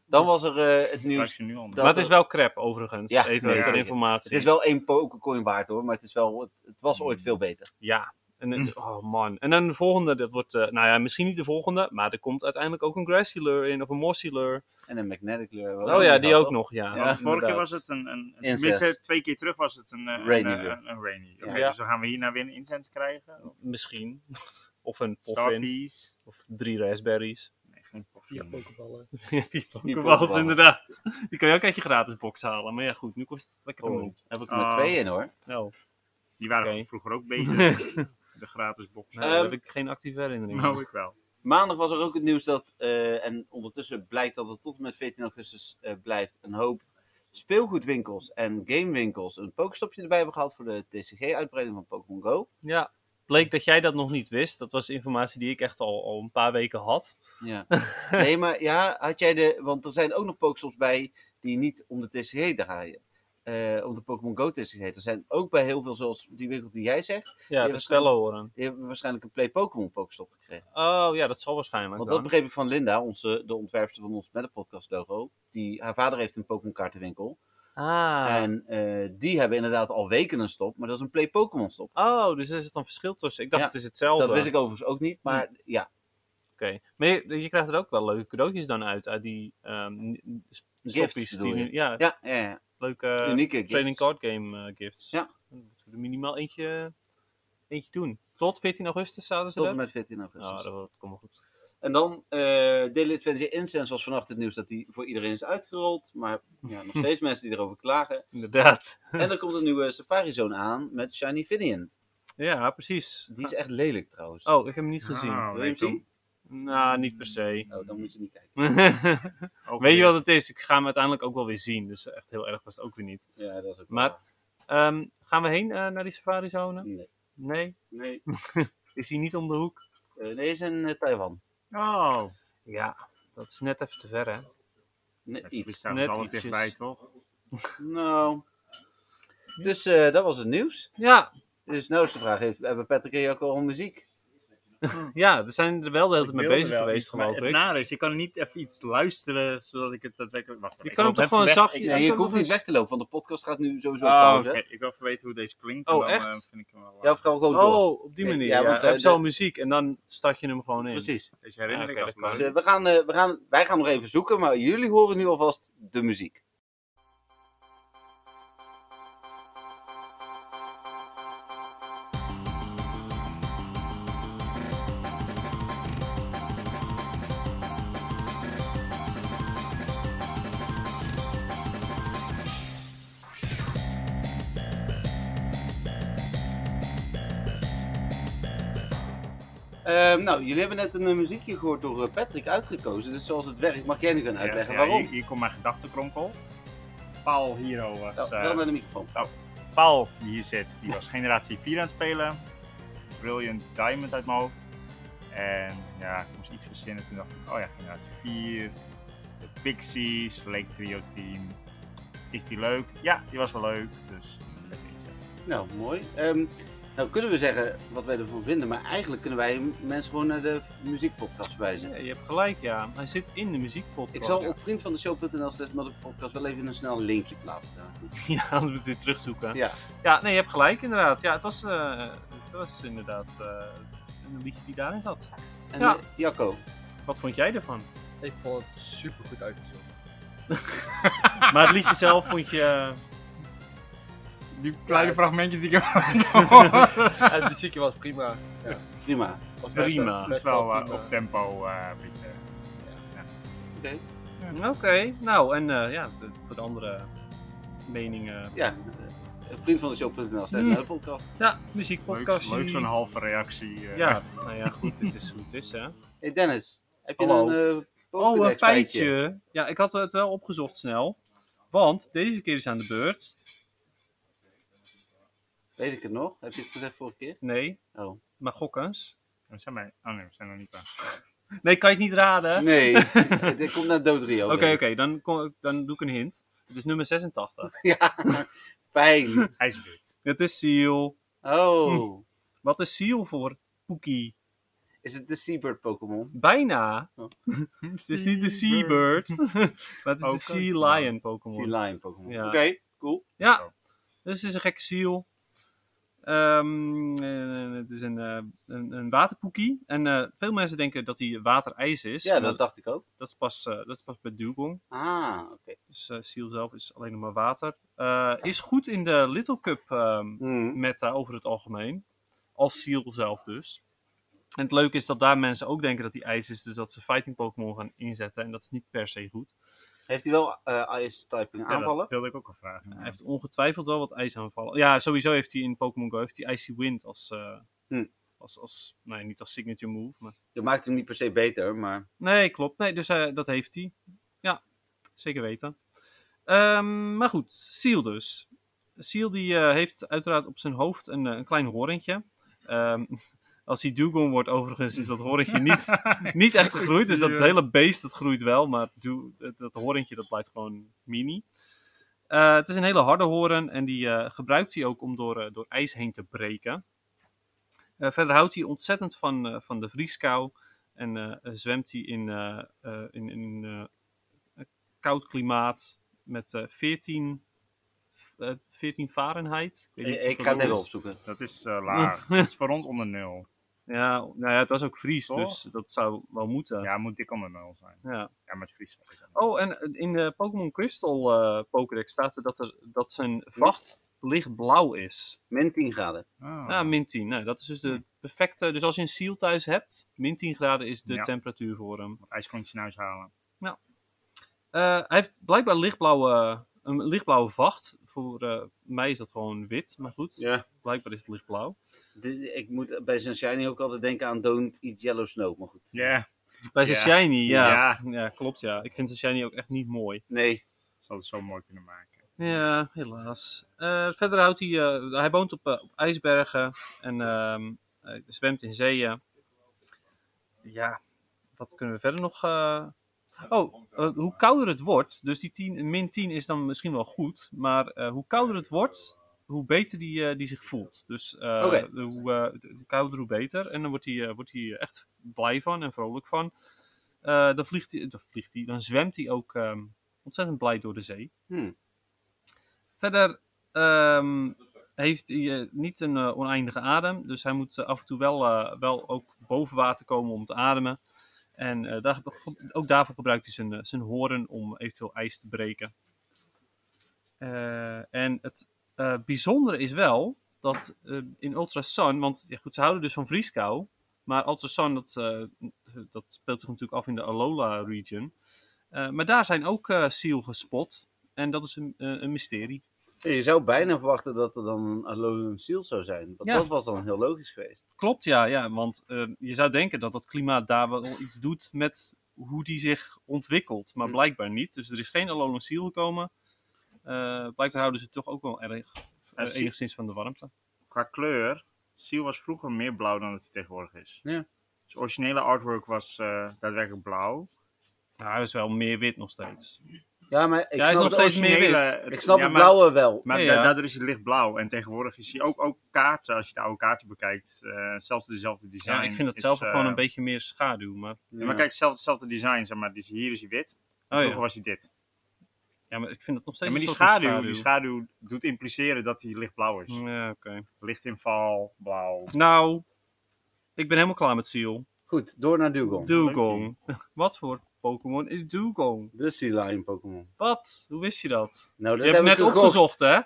Speaker 4: Dan was er eh, het
Speaker 5: Nieuws.
Speaker 4: nieuws.
Speaker 5: je nu al.
Speaker 4: Dat-
Speaker 3: Maar het is wel crap, overigens.
Speaker 4: Ja,
Speaker 3: Even
Speaker 4: nee,
Speaker 3: ter
Speaker 4: zeker.
Speaker 3: informatie.
Speaker 4: Het is wel één Pokécoin waard hoor, maar het, is wel, het, het was ooit veel beter.
Speaker 3: Ja. En,
Speaker 4: Mm.
Speaker 3: dan- oh man. En dan de volgende, dat wordt, eh, nou ja, misschien niet de volgende, maar er komt uiteindelijk ook een grassy lure in, of een mossy lure.
Speaker 4: En een Magnetic eh, Lure. wel.
Speaker 3: Oh ja,
Speaker 4: Dat
Speaker 3: die ook
Speaker 4: toch?
Speaker 3: nog, ja.
Speaker 4: Ja.
Speaker 5: Vorige keer was
Speaker 3: inderdaad.
Speaker 5: het een, een, een
Speaker 4: Incest.
Speaker 5: tenminste twee keer terug was het een, eh, een,
Speaker 4: Rainy
Speaker 5: eh,
Speaker 4: weer.
Speaker 5: een, een rainy. Oké,
Speaker 3: Ja.
Speaker 5: dus dan gaan we hierna weer een incense krijgen.
Speaker 3: Misschien. Of een poffin.
Speaker 5: Starpiece.
Speaker 3: Of drie raspberries.
Speaker 5: Nee, geen
Speaker 6: Vier
Speaker 5: poffin.
Speaker 6: pokeballen.
Speaker 3: Die
Speaker 4: pokeballs.
Speaker 3: pokeballs, inderdaad. Die kan je ook uit je gratis box halen. Maar ja, goed, nu kost het lekker een
Speaker 4: Oh,
Speaker 3: miljoen.
Speaker 4: Heb ik er
Speaker 5: Ah.
Speaker 4: maar twee in hoor.
Speaker 3: Nou,
Speaker 5: Die waren
Speaker 3: Oké.
Speaker 5: vroeger ook beter. de gratis box.
Speaker 4: Ehm,
Speaker 3: nou, daar heb ik geen actieve herinnering. aan.
Speaker 5: Nou, ik wel.
Speaker 4: Maandag was er ook het nieuws dat, eh, en ondertussen blijkt dat het tot en met 14 augustus eh, blijft, een hoop speelgoedwinkels en gamewinkels een pokestopje erbij hebben gehad voor de TCG-uitbreiding van Pokémon Go.
Speaker 3: Ja, bleek dat jij dat nog niet wist. Dat was informatie die ik echt al, al een paar weken had.
Speaker 4: Ja. nee, maar ja, had jij de. Want er zijn ook nog Pokestops bij die niet om de TCG draaien. Eh, om de Pokémon Go TCG. Er zijn ook bij heel veel, zoals die winkel die jij zegt,
Speaker 3: Ja, de
Speaker 4: was-
Speaker 3: spellen horen.
Speaker 4: die hebben waarschijnlijk een Play Pokémon Pokestop gekregen.
Speaker 3: Oh ja, dat zal waarschijnlijk
Speaker 4: Want dat
Speaker 3: dan.
Speaker 4: begreep ik van Linda, onze, de ontwerpster van ons met de podcast logo. Die, haar vader heeft een Pokémon kaartenwinkel.
Speaker 3: Ah.
Speaker 4: En eh, die hebben inderdaad al weken een stop, maar dat is een Play Pokémon stop.
Speaker 3: Oh, dus er zit dan verschil tussen. Ik dacht,
Speaker 4: Ja,
Speaker 3: het is hetzelfde.
Speaker 4: Dat wist ik overigens ook niet,
Speaker 3: Hm.
Speaker 4: maar ja.
Speaker 3: Oké. Maar je, je krijgt er ook wel leuke cadeautjes dan uit. Uit die ehm s- stoppies.
Speaker 4: bedoel
Speaker 3: Die, nu- Eh,
Speaker 4: je?
Speaker 3: ja,
Speaker 4: Ja, ja, ja.
Speaker 3: leuke
Speaker 4: unieke gifts.
Speaker 3: trading card game eh, gifts.
Speaker 4: Ja.
Speaker 3: Dan moeten we er minimaal eentje, eentje doen. Tot 14 augustus zaten ze
Speaker 4: Tot
Speaker 3: er.
Speaker 4: en met 14 augustus.
Speaker 3: Oh, dat wordt- komt wel goed.
Speaker 4: En dan, eh Daily Adventure Incense was vannacht het nieuws dat die voor iedereen is uitgerold. Maar ja, nog steeds mensen die erover klagen.
Speaker 3: Inderdaad.
Speaker 4: En er komt een nieuwe Safari Zone aan met Shiny Finian.
Speaker 3: Ja, precies.
Speaker 4: Die is echt lelijk trouwens.
Speaker 3: Ah. Oh, ik heb hem niet gezien.
Speaker 5: Nou,
Speaker 4: Wil je hem
Speaker 5: weet je
Speaker 4: zien?
Speaker 3: Nou, niet per se.
Speaker 4: Oh, dan moet je niet kijken.
Speaker 5: Ook
Speaker 3: Weet je
Speaker 5: weer.
Speaker 3: wat het is? Ik ga hem uiteindelijk ook wel weer zien. Dus echt heel erg was het ook weer niet.
Speaker 4: Ja, dat is ook wel
Speaker 3: Maar-
Speaker 4: waar.
Speaker 3: Ehm, gaan we heen eh, naar die safari-zone?
Speaker 4: Nee.
Speaker 3: Nee?
Speaker 4: Nee,
Speaker 3: Is hij niet om de hoek?
Speaker 4: Eh, nee, is in eh, Taiwan.
Speaker 5: Oh,
Speaker 3: Ja, dat is net even te ver, hè?
Speaker 4: Nee,
Speaker 5: het
Speaker 4: iets.
Speaker 5: is trouwens
Speaker 3: Net
Speaker 5: alles
Speaker 3: ietsjes.
Speaker 5: dus dichtbij, toch?
Speaker 4: Nou. Dus eh, dat was het nieuws.
Speaker 3: Ja,
Speaker 4: Dus nou is de vraag, heeft, hebben Patrick en Jacco al muziek?
Speaker 3: Ja, er zijn er wel de hele tijd mee
Speaker 5: wilde
Speaker 3: bezig
Speaker 5: wel
Speaker 3: geweest,
Speaker 5: iets, maar
Speaker 3: geloof ik.
Speaker 5: Het nare is, je kan niet even iets luisteren zodat ik het daadwerkelijk... Wacht,
Speaker 3: je
Speaker 5: ik
Speaker 3: kan hem
Speaker 5: loop
Speaker 3: toch
Speaker 5: even
Speaker 3: gewoon
Speaker 5: weg.
Speaker 3: zachtjes...
Speaker 4: Ik, nee,
Speaker 3: je
Speaker 4: ik
Speaker 3: kan
Speaker 4: hoef
Speaker 3: toch
Speaker 4: niet
Speaker 3: eens-
Speaker 4: weg te lopen, want de podcast gaat nu sowieso op
Speaker 5: Oh,
Speaker 4: pauze.
Speaker 5: oké. Ik wil even weten hoe deze klinkt. en
Speaker 3: Oh,
Speaker 5: dan,
Speaker 3: echt?
Speaker 5: eh, vind ik hem wel
Speaker 4: Ja,
Speaker 5: leuk.
Speaker 4: of gaan we gewoon door?
Speaker 3: Oh, op die
Speaker 4: Nee,
Speaker 3: manier.
Speaker 4: ja,
Speaker 3: Ja,
Speaker 4: want,
Speaker 3: want,
Speaker 4: eh,
Speaker 3: heb
Speaker 4: de-
Speaker 3: al muziek en dan start je hem gewoon in.
Speaker 4: Preries.
Speaker 5: Deze herinner ik
Speaker 3: Ah, oké, dat
Speaker 5: als
Speaker 3: kan.
Speaker 5: maar.
Speaker 4: Dus, eh, we gaan, eh, we gaan, wij gaan nog even zoeken, maar jullie horen nu alvast de muziek. Ehm, nou, jullie hebben net een eh, muziekje gehoord door eh, Patrick uitgekozen. Dus zoals het werkt, mag jij nu gaan
Speaker 5: Ja,
Speaker 4: uitleggen
Speaker 5: ja,
Speaker 4: waarom.
Speaker 5: Hier, hier komt mijn gedachtenkronkel. Paul Hero was...
Speaker 4: Nou,
Speaker 5: eh,
Speaker 4: wel naar de microfoon.
Speaker 5: Paul die hier zit, die was generatie 4 aan het spelen. Brilliant Diamond uit mijn hoofd. En ja, ik moest iets verzinnen. Toen dacht ik, oh ja, generatie 4. De Pixies, Lake Trio Team. Is die leuk? Ja, die was wel leuk. Dus met deze.
Speaker 4: Nou, mooi. Ehm, nou kunnen we zeggen wat wij ervan vinden, maar eigenlijk kunnen wij m- mensen gewoon naar de muziekpodcast wijzen.
Speaker 3: Ja, je hebt gelijk, ja. Hij zit in de muziekpodcast.
Speaker 4: Ik zal op vriendvandeshow.nl slash podcast wel even een snel linkje plaatsen.
Speaker 3: Ja, anders moeten we het terugzoeken.
Speaker 4: Ja.
Speaker 3: Ja, nee, je hebt gelijk inderdaad. Ja, het was, eh, het was inderdaad eh, een liedje die daarin zat.
Speaker 4: En
Speaker 3: Ja.
Speaker 4: eh, Jacco,
Speaker 3: Wat vond jij ervan?
Speaker 6: Ik vond het super goed uitgezocht.
Speaker 3: Maar het liedje zelf vond je... eh,
Speaker 5: Die
Speaker 6: kleine
Speaker 5: fragmentjes die ik
Speaker 6: En het muziekje was prima.
Speaker 4: prima.
Speaker 6: Was best-
Speaker 3: Prima.
Speaker 5: Dat is
Speaker 6: best
Speaker 5: wel eh,
Speaker 6: prima.
Speaker 5: op tempo eh, een beetje.
Speaker 4: Oké.
Speaker 3: Oké, nou, en eh, ja, de- voor de andere meningen...
Speaker 4: Ja. eh, Vriendvandeshow.nl
Speaker 3: Mm.
Speaker 4: slash naar de podcast.
Speaker 3: Ja,
Speaker 5: Leuk,
Speaker 3: muziekpodcast.
Speaker 5: leuk zo'n halve reactie. eh.
Speaker 3: Ja, nou ja, goed, dit is hoe het is, hè.
Speaker 4: Hey Dennis, heb je
Speaker 3: Hallo.
Speaker 4: een eh
Speaker 3: Oh, een
Speaker 4: Pokédex
Speaker 3: feitje. Ja, ik had het wel opgezocht snel. Want deze keer is aan de beurt.
Speaker 4: Weet ik het nog? Heb je het gezegd vorige keer?
Speaker 3: Nee,
Speaker 4: Oh.
Speaker 3: maar gokkens.
Speaker 5: We zijn bij... Oh nee, we zijn nog niet bij.
Speaker 3: Nee, kan je het niet raden?
Speaker 4: Nee, dit komt naar dood Rio.
Speaker 3: Oké, oké, dan, kom- dan doe ik een hint. Het is nummer 86.
Speaker 4: Ja, fijn.
Speaker 5: IJsbeurt.
Speaker 3: Het is Seal.
Speaker 4: Oh,
Speaker 3: Wat is Seal voor Poekie?
Speaker 4: is het de Seabird Pokémon?
Speaker 3: Bijna.
Speaker 4: Oh.
Speaker 5: Het
Speaker 3: Het is niet de Seabird, maar het is de
Speaker 5: Oh, kut,
Speaker 3: Sea
Speaker 5: man.
Speaker 3: Lion
Speaker 4: Sea
Speaker 3: Pokémon.
Speaker 4: Lion Pokémon.
Speaker 3: Ja.
Speaker 4: Oké, cool.
Speaker 3: Ja, dus het is een gekke Seal. Ehm, eh, het is een, eh, een, een waterpoekie. En eh, veel mensen denken dat hij waterijs is.
Speaker 4: Ja,
Speaker 3: maar
Speaker 4: dat dacht ik ook.
Speaker 3: dat is pas, eh, dat is pas bij Dugong.
Speaker 4: Ah, oké.
Speaker 3: Dus eh Seal zelf is alleen nog maar water. Eh, is goed in de Little Cup ehm,
Speaker 4: Hmm.
Speaker 3: meta over het algemeen. Als Seal zelf dus. En het leuke is dat daar mensen ook denken dat hij ijs is. Dus dat ze fighting Pokémon gaan inzetten. En dat is niet per se goed.
Speaker 4: Heeft hij wel eh IS-typing
Speaker 5: Ja, dat
Speaker 4: aanvallen?
Speaker 5: wilde ik ook al vragen.
Speaker 3: Hij heeft ongetwijfeld wel wat ijs aanvallen. Ja, sowieso heeft hij in Pokémon Go heeft hij Icy Wind als... eh,
Speaker 4: Hm.
Speaker 3: als, als nee, niet als signature move. Maar...
Speaker 4: Dat maakt hem niet per se beter, maar...
Speaker 3: Nee, klopt. Nee, dus eh, dat heeft hij. Ja, zeker weten. Ehm, maar goed, Seal dus. Seal die eh, heeft uiteraard op zijn hoofd een, eh, een klein horentje. Ehm, als hij Dugong wordt overigens, is dat horentje niet, niet echt gegroeid. Dus dat hele beest dat groeit wel, maar Du- dat, dat horentje dat blijft gewoon mini. Eh, het is een hele harde horen en die eh, gebruikt hij ook om door, eh, door ijs heen te breken. Eh, verder houdt hij ontzettend van, eh, van de vrieskou. En eh, eh, zwemt hij in, eh, eh, in, in eh, een koud klimaat met eh 14, eh, 14 Fahrenheit. weet
Speaker 4: Ik,
Speaker 3: niet
Speaker 4: ik
Speaker 3: hoeveel
Speaker 4: ga het
Speaker 3: dat
Speaker 4: even
Speaker 3: is.
Speaker 4: opzoeken.
Speaker 5: Dat is eh, laag. dat is voor ons onder nul.
Speaker 3: Ja, nou ja, het was ook Fries,
Speaker 5: Toch?
Speaker 3: dus dat zou wel moeten. Ja.
Speaker 5: Ja, moet dik onder nul zijn. Ja, met Fries.
Speaker 3: Oh, en in de Pokémon Crystal eh Pokédex staat er dat, er dat zijn vacht lichtblauw is.
Speaker 4: Min 10 graden.
Speaker 5: Oh.
Speaker 3: Ja, min 10. Nou, dat is dus de perfecte... Dus als je een seal thuis hebt, min 10 graden is de
Speaker 5: Ja.
Speaker 3: temperatuur voor hem.
Speaker 5: ijsklontjes naar huis halen.
Speaker 3: Eh, hij heeft blijkbaar lichtblauwe, een lichtblauwe vacht. Voor eh, mij is dat gewoon wit, maar goed.
Speaker 4: Ja.
Speaker 3: Blijkbaar is het lichtblauw.
Speaker 4: ik moet bij Sunshine ook altijd denken aan Don't Eat Yellow Snow, maar goed.
Speaker 5: Ja,
Speaker 3: Bij zijn
Speaker 5: Ja.
Speaker 3: shiny, ja.
Speaker 5: Ja.
Speaker 3: ja. klopt ja. Ik vind zijn shiny ook echt niet mooi.
Speaker 4: Nee.
Speaker 5: zal het zo mooi kunnen maken.
Speaker 3: Ja, helaas. Eh, verder houdt hij... eh, hij woont op, eh, op ijsbergen en ehm, hij zwemt in zeeën. Ja, wat kunnen we verder nog... eh, Oh, eh, hoe kouder het wordt, dus die 10, min 10 is dan misschien wel goed, maar eh, hoe kouder het wordt, hoe beter die, eh, die zich voelt. Dus eh,
Speaker 4: Oké.
Speaker 3: de- hoe, eh, hoe kouder, hoe beter. En dan wordt hij eh, wordt hij echt blij van en vrolijk van. Eh, dan, vliegt hij, dan, vliegt hij, dan zwemt hij ook ehm, ontzettend blij door de zee.
Speaker 4: Hmm.
Speaker 3: Verder ehm, heeft hij eh, niet een eh, oneindige adem. Dus hij moet eh, af en toe wel, eh, wel ook boven water komen om te ademen. En eh, daar, ook daarvoor gebruikt hij zijn, eh, zijn horen om eventueel ijs te breken. Eh, en het eh, bijzondere is wel dat eh, in Ultra Sun, want ja, goed, ze houden dus van vrieskou. Maar Ultra Sun, dat, eh, dat speelt zich natuurlijk af in de Alola region. Eh, maar daar zijn ook eh seal gespot. En dat is een, eh, een mysterie.
Speaker 4: Je zou bijna verwachten dat er dan een Alolan Seal zou zijn. Want
Speaker 3: Ja.
Speaker 4: dat was dan heel logisch geweest.
Speaker 3: Klopt, ja, ja want eh, je zou denken dat dat klimaat daar wel iets doet met hoe die zich ontwikkelt. Maar
Speaker 4: Hm.
Speaker 3: blijkbaar niet. Dus er is geen Alolan seal gekomen. Eh, blijkbaar houden ze toch ook wel erg,
Speaker 5: Ja,
Speaker 3: eh,
Speaker 5: zie-
Speaker 3: enigszins van de warmte.
Speaker 5: Qua kleur, Seal was vroeger meer blauw dan het tegenwoordig is.
Speaker 4: Ja.
Speaker 5: Dus originele artwork was eh, daadwerkelijk blauw.
Speaker 3: Nou, hij is wel meer wit nog steeds.
Speaker 4: Ja, maar ik
Speaker 3: Ja, hij is
Speaker 4: snap,
Speaker 3: nog
Speaker 4: het,
Speaker 3: steeds meer
Speaker 5: originele-
Speaker 3: wit.
Speaker 5: het-
Speaker 4: ik snap
Speaker 5: ja,
Speaker 4: het
Speaker 5: maar-
Speaker 4: blauwe wel.
Speaker 5: Maar
Speaker 3: Ja,
Speaker 5: da-
Speaker 3: ja.
Speaker 5: daardoor is hij lichtblauw. En tegenwoordig is hij ook, ook kaarten, als je de oude kaarten bekijkt, eh, zelfs dezelfde design.
Speaker 3: Ja, ik vind het
Speaker 5: is,
Speaker 3: zelf
Speaker 5: eh,
Speaker 3: gewoon een beetje meer schaduw. Maar,
Speaker 5: ja, maar kijk, zelf, hetzelfde design, zeg maar. Dus hier is hij wit.
Speaker 3: oh,
Speaker 5: en vroeger
Speaker 3: ja.
Speaker 5: was hij dit.
Speaker 3: ja, maar ik vind het nog
Speaker 5: Ja,
Speaker 3: steeds
Speaker 5: maar die
Speaker 3: een soort van
Speaker 5: schaduw, die schaduw doet impliceren dat hij lichtblauw is.
Speaker 3: Ja, oké.
Speaker 5: Lichtinval, blauw.
Speaker 3: Nou, ik ben helemaal klaar met Seal.
Speaker 4: Goed, door naar Dugong.
Speaker 3: Dugong. Wat voor Pokémon is Dugong?
Speaker 4: de Sea Lion Pokémon.
Speaker 3: Wat? Hoe wist je dat?
Speaker 4: Nou, dat
Speaker 3: je hebt
Speaker 4: heb
Speaker 3: net
Speaker 4: ik gegokt.
Speaker 3: opgezocht, hè?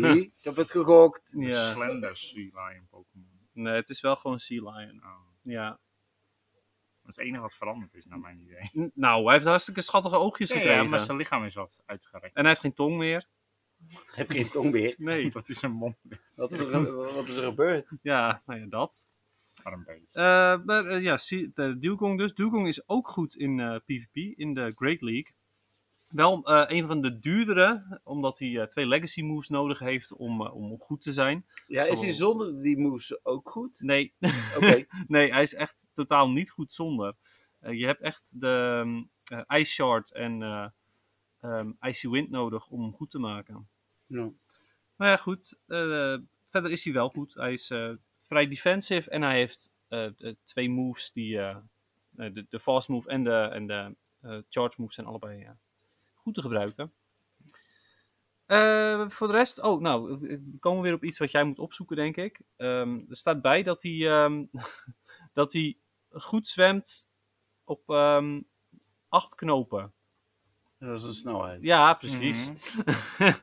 Speaker 4: Nee, ik heb het gegokt.
Speaker 5: Een
Speaker 3: Ja.
Speaker 5: slender sea lion Pokémon.
Speaker 3: Nee, het is wel gewoon Sea Lion.
Speaker 5: Oh,
Speaker 3: Ja.
Speaker 5: dat is het enige wat veranderd is, naar mijn idee.
Speaker 3: N- Nou, hij heeft hartstikke schattige oogjes
Speaker 5: Ja,
Speaker 3: gekregen.
Speaker 5: ja, maar zijn lichaam is wat uitgerekt.
Speaker 3: En hij heeft geen tong meer.
Speaker 4: Heb geen tong meer.
Speaker 3: Nee.
Speaker 5: Dat is een mond.
Speaker 4: Wat is er, ge- wat is er gebeurd?
Speaker 3: ja, nou ja, dat.
Speaker 5: Maar een beest.
Speaker 3: Eh, maar eh, ja, zie- de Dugong dus. Dugong is ook goed in eh, PvP, in de Great League. Wel eh, een van de duurdere, omdat hij eh, twee legacy moves nodig heeft om, eh, om goed te zijn.
Speaker 4: Ja, is hij
Speaker 3: Zo.
Speaker 4: zonder die moves ook goed?
Speaker 3: Nee,
Speaker 4: Oké.
Speaker 3: nee, hij is echt totaal niet goed zonder. Eh, je hebt echt de ehm, eh, Ice Shard en eh, ehm, Icy Wind nodig om hem goed te maken.
Speaker 4: Nou,
Speaker 3: Maar ja, goed. eh, verder is hij wel goed. Hij is eh, vrij defensive en hij heeft eh, de twee moves die... eh, eh, de, de fast move en de, en de eh, charge move zijn allebei eh, goed te gebruiken. Eh, voor de rest, oh, nou, we komen weer op iets wat jij moet opzoeken, denk ik. Ehm, er staat bij dat hij, ehm, dat hij goed zwemt op ehm, acht knopen.
Speaker 4: Dat is een snelheid.
Speaker 3: Ja, precies.
Speaker 5: Mhm.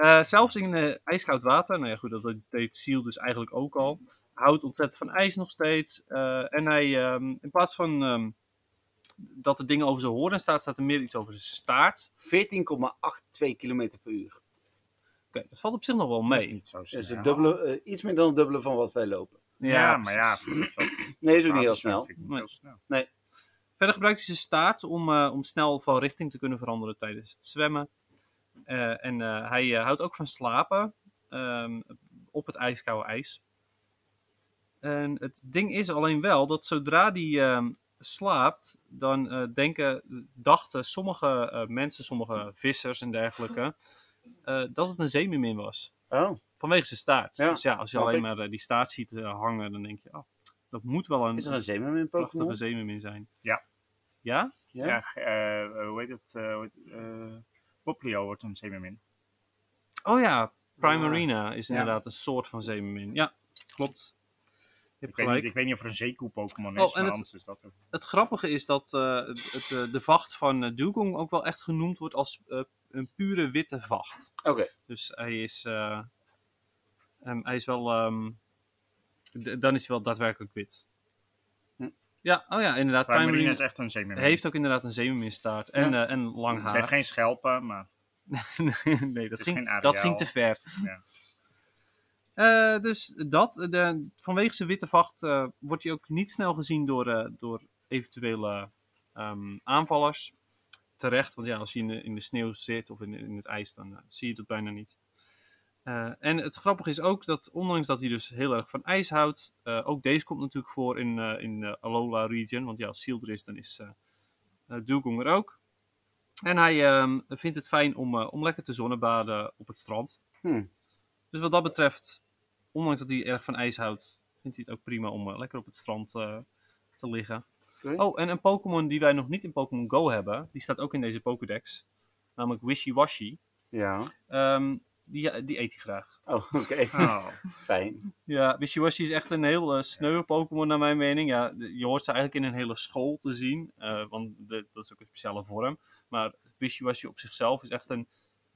Speaker 3: Eh, zelfs in eh, ijskoud water, nou ja, goed, dat deed Seal dus eigenlijk ook al. Hij houdt ontzettend van ijs nog steeds. Eh, en hij, ehm, in plaats van ehm, dat er dingen over zijn horen staat, staat er meer iets over zijn staart.
Speaker 4: 14,82 km per uur.
Speaker 3: Oké, dat valt op zich nog wel
Speaker 5: Dat is
Speaker 3: mee.
Speaker 5: niet zo
Speaker 4: Dat
Speaker 5: snel.
Speaker 4: is het dubbele, eh, iets meer dan het dubbele van wat wij lopen.
Speaker 5: Ja, maar ja,
Speaker 3: precies.
Speaker 5: voor iets wat
Speaker 4: Nee, is ook niet heel
Speaker 5: water
Speaker 4: snel.
Speaker 5: vind ik niet
Speaker 3: Nee.
Speaker 5: heel snel.
Speaker 3: Verder gebruikt hij zijn staart om, eh, om snel van richting te kunnen veranderen tijdens het zwemmen. Eh, en eh, hij eh, houdt ook van slapen ehm, op het ijskoude ijs. En het ding is alleen wel dat zodra hij ehm, slaapt, dan eh, denken, dachten sommige eh, mensen, sommige vissers en dergelijke, eh, dat het een zeemermin was.
Speaker 4: Oh,
Speaker 3: Vanwege zijn staart.
Speaker 4: Ja,
Speaker 3: dus ja, als je
Speaker 4: snap
Speaker 3: alleen
Speaker 4: ik.
Speaker 3: maar eh, die staart ziet eh, hangen, dan denk je, oh, dat moet wel een,
Speaker 4: is er een zeemermin
Speaker 3: prachtige
Speaker 4: Pokémon?
Speaker 3: zeemermin zijn.
Speaker 5: Ja.
Speaker 3: Ja?
Speaker 4: Ja?
Speaker 5: Ja, ge- eh, eh, hoe heet het? eh, hoe heet- eh, Poplio wordt een zeemermin.
Speaker 3: Oh ja,
Speaker 4: Ja.
Speaker 3: Primarina is
Speaker 4: Ja.
Speaker 3: inderdaad een soort van zeemermin. Ja, klopt. Je hebt
Speaker 5: Ik weet, niet,
Speaker 3: gelijk.
Speaker 5: ik weet niet of er een zeekoe-Pokémon
Speaker 3: Oh, en
Speaker 5: is, maar
Speaker 3: het-
Speaker 5: anders is dat ook.
Speaker 3: Het grappige is dat eh, het, het, eh, de vacht van eh, Dugong ook wel echt genoemd wordt als eh, een pure witte vacht.
Speaker 4: Oké.
Speaker 3: Dus hij is, eh, hem- hij is wel, ehm, d- dan is hij wel daadwerkelijk wit.
Speaker 4: Hm.
Speaker 3: Ja, oh ja, inderdaad.
Speaker 5: Primarina
Speaker 3: Primarina
Speaker 5: is echt een zeemermin.
Speaker 3: heeft ook inderdaad een zeemerminstaart en, eh, en lang
Speaker 5: Ze heeft
Speaker 3: haar.
Speaker 5: geen schelpen, maar
Speaker 3: nee, dat
Speaker 5: is
Speaker 3: ging,
Speaker 5: geen
Speaker 3: dat
Speaker 5: areaal.
Speaker 3: ging te ver.
Speaker 5: Ja.
Speaker 3: Eh, dus dat, de, vanwege zijn witte vacht eh, wordt hij ook niet snel gezien door, eh, door eventuele ehm, aanvallers. Terecht, want ja, als je in de, in de sneeuw zit of in, in het ijs, dan eh, zie je dat bijna niet. Eh, en het grappige is ook dat, ondanks dat hij dus heel erg van ijs houdt, eh, ook deze komt natuurlijk voor in, eh, in de Alola region. Want ja, als Seal er is, dan is eh eh, Dugong er ook. En hij ehm, vindt het fijn om, eh, om lekker te zonnebaden op het strand. Dus wat dat betreft, ondanks dat hij erg van ijs houdt, vindt hij het ook prima om eh, lekker op het strand eh, te liggen.
Speaker 4: Oké.
Speaker 3: Oh, en een Pokémon die wij nog niet in Pokémon Go hebben, die staat ook in deze Pokédex, namelijk Wishy Washy.
Speaker 4: Ja.
Speaker 3: Ehm, die, die eet hij graag.
Speaker 4: Oh, oké.
Speaker 5: Oh,
Speaker 4: Fijn.
Speaker 3: Ja, Wishy Washy is echt een heel eh sneu Pokémon naar mijn mening. Ja, de- je hoort ze eigenlijk in een hele school te zien, eh, want de- dat is ook een speciale vorm. Maar Wishy Washy op zichzelf is echt een...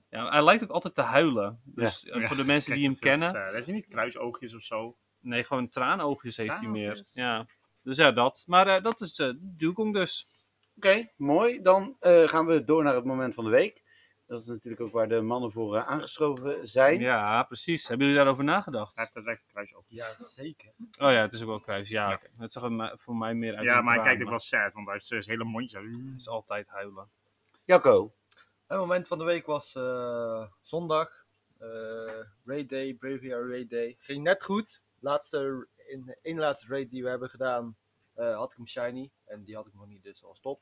Speaker 3: Ja, hij lijkt ook altijd te huilen. Dus eh,
Speaker 5: Ja,
Speaker 3: voor de mensen
Speaker 5: kijk,
Speaker 3: die hem
Speaker 5: dat is,
Speaker 3: kennen...
Speaker 5: eh, heb je niet kruisoogjes of zo?
Speaker 3: Nee, gewoon traanoogjes heeft hij meer.
Speaker 5: Traanoogjes.
Speaker 3: Ja. Dus ja, dat. Maar eh, dat is eh Dugong dus.
Speaker 4: Oké, mooi. Dan eh, gaan we door naar het moment van de week. Dat is natuurlijk ook waar de mannen voor eh, aangeschoven zijn.
Speaker 3: Ja, precies. Hebben jullie daarover
Speaker 5: Hij
Speaker 3: nagedacht?
Speaker 5: heeft daadwerkelijk kruisoogjes.
Speaker 6: Ja, zeker.
Speaker 3: Oh ja, het is ook wel kruis. Ja, oké. het zag er ma- voor mij meer uit.
Speaker 5: Ja,
Speaker 3: een
Speaker 5: maar hij
Speaker 3: traan,
Speaker 5: kijkt ook wel sad, want hij heeft eh, zijn hele mondje. zo-
Speaker 3: Het is altijd huilen.
Speaker 4: Jacco.
Speaker 6: Het moment van de week was eh, zondag. eh raid Day, Bravia Raid Day. Ging net goed. Laatste, in één laatste raid die we hebben gedaan, eh, had ik hem shiny. En die had ik nog niet, dus al stop.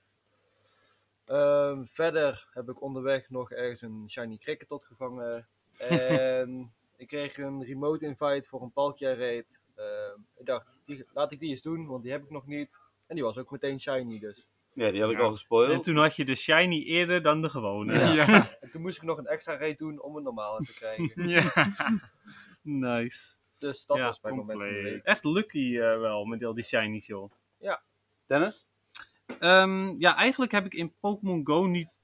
Speaker 6: Ehm, verder heb ik onderweg nog ergens een shiny cricket opgevangen. En ik kreeg een remote invite voor een palkja raid. Ehm, ik dacht, die, laat ik die eens doen, want die heb ik nog niet. En die was ook meteen shiny dus.
Speaker 4: Ja, die had ik
Speaker 5: Ja.
Speaker 4: al gespoild.
Speaker 3: En toen had je de shiny eerder dan de gewone.
Speaker 5: Ja.
Speaker 6: En toen moest ik nog een extra raid doen om een normale te krijgen.
Speaker 5: ja.
Speaker 3: Nice.
Speaker 6: Dus dat
Speaker 3: Ja,
Speaker 6: was mijn moment van de
Speaker 5: compleet.
Speaker 6: week.
Speaker 3: Echt lucky eh, wel met al die shinies, joh.
Speaker 4: Dennis?
Speaker 3: Ehm, ja, eigenlijk heb ik in Pokémon Go niet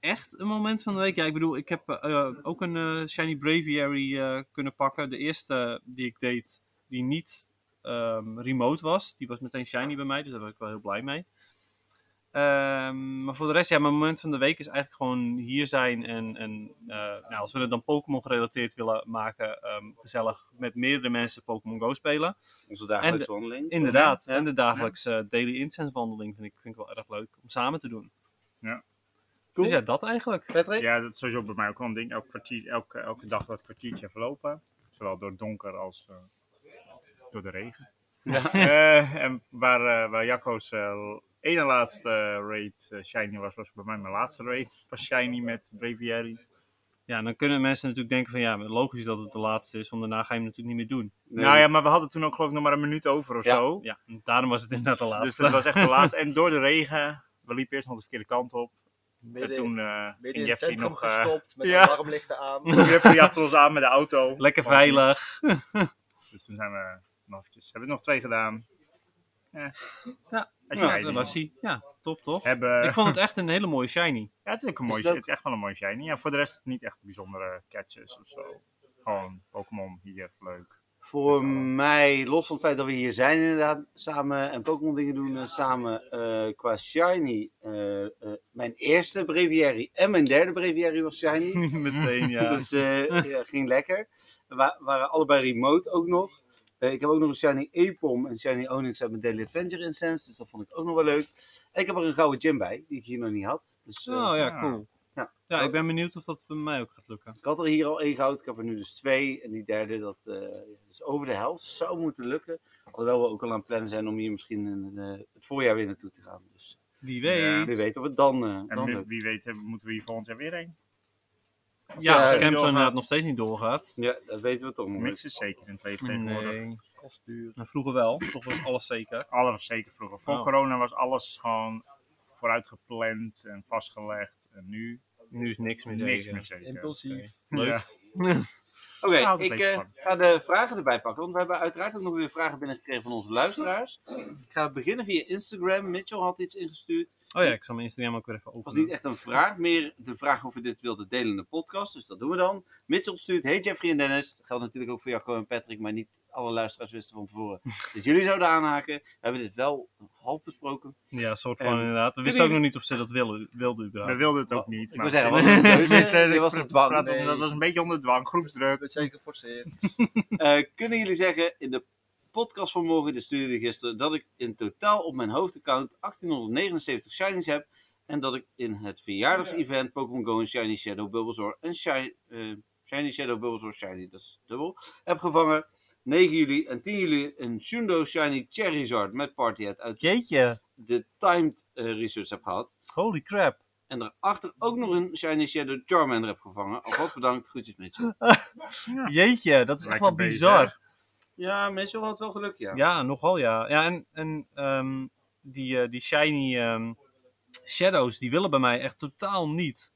Speaker 3: echt een moment van de week. Ja, ik bedoel, ik heb eh, ook een eh, Shiny Braviary eh, kunnen pakken. De eerste eh, die ik deed, die niet ehm, remote was, die was meteen Shiny bij mij. Dus daar was ik wel heel blij mee. Ehm, maar voor de rest, ja, mijn moment van de week is eigenlijk gewoon hier zijn. En, en eh, nou, als we het dan Pokémon gerelateerd willen maken, ehm, gezellig met meerdere mensen Pokémon Go spelen.
Speaker 4: Onze dagelijkse
Speaker 3: En
Speaker 4: wandeling.
Speaker 3: Inderdaad.
Speaker 4: Ja.
Speaker 3: En de dagelijkse daily incense wandeling vind ik, vind ik wel erg leuk om samen te doen.
Speaker 5: Ja.
Speaker 3: Dus ja, dat eigenlijk.
Speaker 4: Patrick?
Speaker 5: ja, dat is sowieso bij mij ook wel een ding. Elk kwartier, elke, elke dag dat kwartiertje verlopen. Zowel door het donker als eh, door de regen. Eh, en waar, eh, waar Jacco's eh, ene laatste raid eh, shiny was, was bij mij mijn laatste raid. Was shiny met Braviary.
Speaker 3: Ja, dan kunnen mensen natuurlijk denken van ja, logisch dat het de laatste is, want daarna ga je hem natuurlijk niet meer doen.
Speaker 4: Nee.
Speaker 5: Nou ja, maar we hadden toen ook geloof ik nog maar een minuut over of
Speaker 4: Ja.
Speaker 5: zo.
Speaker 3: Ja, en daarom was het inderdaad de laatste.
Speaker 5: Dus dat was echt de laatste. En door de regen, we liepen eerst nog de verkeerde kant op. en
Speaker 6: Midden,
Speaker 5: toen eh
Speaker 6: midden
Speaker 5: ging
Speaker 6: in het
Speaker 5: Jeffrey
Speaker 6: centrum
Speaker 5: nog... eh
Speaker 6: gestopt met
Speaker 5: ja.
Speaker 6: alarmlichten aan.
Speaker 5: Jeffrey achter ons aan met de auto.
Speaker 3: Lekker
Speaker 5: Want-
Speaker 3: veilig.
Speaker 5: Dus toen zijn we nog eventjes... Hebben we nog twee gedaan. Eh.
Speaker 3: Ja,
Speaker 5: Als
Speaker 3: Ja,
Speaker 5: jij
Speaker 3: dat
Speaker 5: die Eh,
Speaker 3: was hij. Ja, top toch?
Speaker 5: Hebben...
Speaker 3: Ik vond het echt een hele mooie shiny.
Speaker 5: Ja, het is, ook een
Speaker 4: Is
Speaker 5: mooi,
Speaker 4: dat-
Speaker 5: het is echt wel een mooi shiny. Ja, voor de rest niet echt bijzondere catches of zo. Gewoon Pokémon hier, leuk.
Speaker 4: Voor
Speaker 5: Met z'n
Speaker 3: eh,
Speaker 5: allen.
Speaker 4: mij, los van het feit dat we hier zijn inderdaad, samen en Pokémon dingen doen eh, samen eh, qua Shiny. eh, eh, mijn eerste Breviary en mijn derde Breviary was Shiny.
Speaker 3: Meteen, ja.
Speaker 4: Dus eh, ja, ging lekker. We wa- waren allebei remote ook nog. Eh, ik heb ook nog een Shiny Epom en Shiny Onyx uit mijn Daily Adventure Incense. Dus dat vond ik ook nog wel leuk. En ik heb er een gouden gem bij, die ik hier nog niet had. Dus eh,
Speaker 3: oh ja,
Speaker 5: ja.
Speaker 3: cool.
Speaker 4: Ja.
Speaker 3: Ja, ik ben benieuwd of dat bij mij ook gaat lukken.
Speaker 4: ik had er hier al één goud. Ik heb er nu dus twee. En die derde, dat eh, is over de helft. Zou moeten lukken. Alhoewel we ook al aan het plannen zijn om hier misschien in eh, het voorjaar weer naartoe te gaan. Dus
Speaker 3: Wie weet.
Speaker 4: wie weet of het dan, eh,
Speaker 5: En
Speaker 4: dan
Speaker 5: wie-
Speaker 4: lukt.
Speaker 5: wie weet eh, moeten we hier volgend jaar weer heen.
Speaker 3: Ja,
Speaker 4: Ja,
Speaker 3: als
Speaker 4: ja,
Speaker 3: Campbell
Speaker 5: doorgaat.
Speaker 3: inderdaad nog steeds niet doorgaat.
Speaker 4: Ja, dat weten we toch nog. niet.
Speaker 5: Niks is zeker in twee tegenwoordig.
Speaker 3: Nee.
Speaker 6: Kost duur.
Speaker 3: Nou, Vroeger wel, toch was alles zeker.
Speaker 5: Alles was zeker vroeger. Voor
Speaker 3: Oh.
Speaker 5: corona was alles gewoon vooruit gepland en vastgelegd. En nu
Speaker 3: Nu is niks meer
Speaker 5: niks
Speaker 3: zeker.
Speaker 5: meer zeker.
Speaker 6: Impulsief.
Speaker 3: Leuk.
Speaker 5: Ja.
Speaker 4: Oké,
Speaker 5: Ja, altijd
Speaker 4: ik
Speaker 5: leuk
Speaker 4: eh,
Speaker 5: van.
Speaker 4: ga de vragen erbij pakken. Want we hebben uiteraard ook nog weer vragen binnengekregen van onze luisteraars. Ik ga beginnen via Instagram. Mitchell had iets ingestuurd.
Speaker 3: Oh ja, ik zal mijn Instagram ook weer even
Speaker 4: Het was
Speaker 3: openen.
Speaker 4: niet echt een vraag, meer de vraag of we dit wilden delen in de podcast. Dus dat doen we dan. Mitchell stuurt, hey Jeffrey en Dennis. Dat geldt natuurlijk ook voor Jacco en Patrick, maar niet alle luisteraars wisten van tevoren dat jullie zouden aanhaken. We hebben dit wel half besproken.
Speaker 3: Ja, een soort van
Speaker 4: Ehm,
Speaker 3: inderdaad. We wisten
Speaker 4: kunnen
Speaker 3: ook nog niet of ze dat wilden, wilden
Speaker 5: We
Speaker 3: überhaupt.
Speaker 5: wilden het ook
Speaker 4: Wel,
Speaker 5: niet.
Speaker 4: ik wou
Speaker 5: maar-
Speaker 4: zeggen, was het een keuze?
Speaker 5: Tenminste,
Speaker 4: Dit
Speaker 5: ik
Speaker 4: was
Speaker 5: pra-
Speaker 4: het dwang.
Speaker 5: praat onder-
Speaker 6: Nee.
Speaker 5: Dat was een beetje onder dwang,
Speaker 6: Ik
Speaker 5: groepsdruk.
Speaker 6: ben zeker geforceerd.
Speaker 4: Eh, kunnen jullie zeggen in de podcast van morgen, de stuurde gisteren, dat ik in totaal op mijn hoofdaccount 1879 shinies heb en dat ik in het verjaardagsevent Pokémon Go een Shiny Shadow Bulbasaur en Shiny, Shiny Shadow Bulbasaur Shiny, dat is dubbel, heb gevangen. 9 juli en 10 juli een Shundo Shiny Charizard met Party Hat uit
Speaker 3: Jeetje,
Speaker 4: de Timed eh, Research heb gehad.
Speaker 3: holy crap.
Speaker 4: En daarachter ook nog een Shiny Shadow Charmander heb gevangen. Alvast bedankt, groetjes Mitchell.
Speaker 3: Jeetje, dat is echt
Speaker 5: Lekker
Speaker 3: wel bizar.
Speaker 4: Ja, Mitchell had wel geluk, ja.
Speaker 3: Ja, nogal ja. Ja, en, en ehm, die, eh, die shiny ehm, shadows, die willen bij mij echt totaal niet.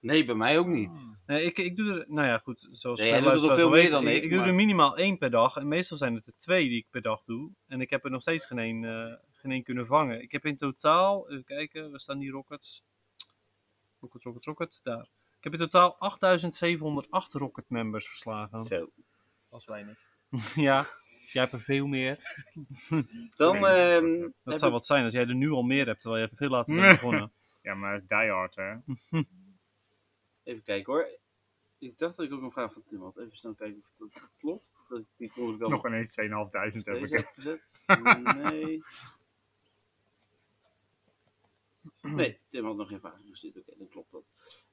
Speaker 4: Nee, bij mij ook niet.
Speaker 3: Nee, ik, ik doe er, nou ja, goed, zoals
Speaker 4: Nee,
Speaker 3: de
Speaker 4: jij doet er
Speaker 3: luisteraars
Speaker 4: veel
Speaker 3: al
Speaker 4: meer
Speaker 3: weten,
Speaker 4: dan ik,
Speaker 3: Ik doe er
Speaker 4: maar-
Speaker 3: minimaal één per dag. En meestal zijn het er twee die ik per dag doe. En ik heb er nog steeds geen één, eh, geen één kunnen vangen. Ik heb in totaal, even kijken, waar staan die rockets? Rocket, rocket, rocket, daar. Ik heb in totaal 8708 rocket members verslagen.
Speaker 4: Zo.
Speaker 6: Als weinig.
Speaker 3: ja, jij hebt er veel meer.
Speaker 4: Dan
Speaker 5: Nee, dat is
Speaker 4: ehm,
Speaker 5: goed,
Speaker 4: heb
Speaker 3: Dat zou
Speaker 4: ik-
Speaker 3: wat zijn als jij er nu al meer hebt, terwijl je veel later bent begonnen.
Speaker 5: Ja, maar dat is die hard, hè?
Speaker 4: Even kijken hoor. Ik dacht dat ik ook een vraag van Tim had. Even snel kijken of dat klopt. Dat ik die kon ik wel
Speaker 5: Nog ineens 2500 heb
Speaker 4: Deze
Speaker 5: ik.
Speaker 4: heb ik gezet. Nee. Nee, Tim had nog geen vragen gezet. Oké, dan klopt dat.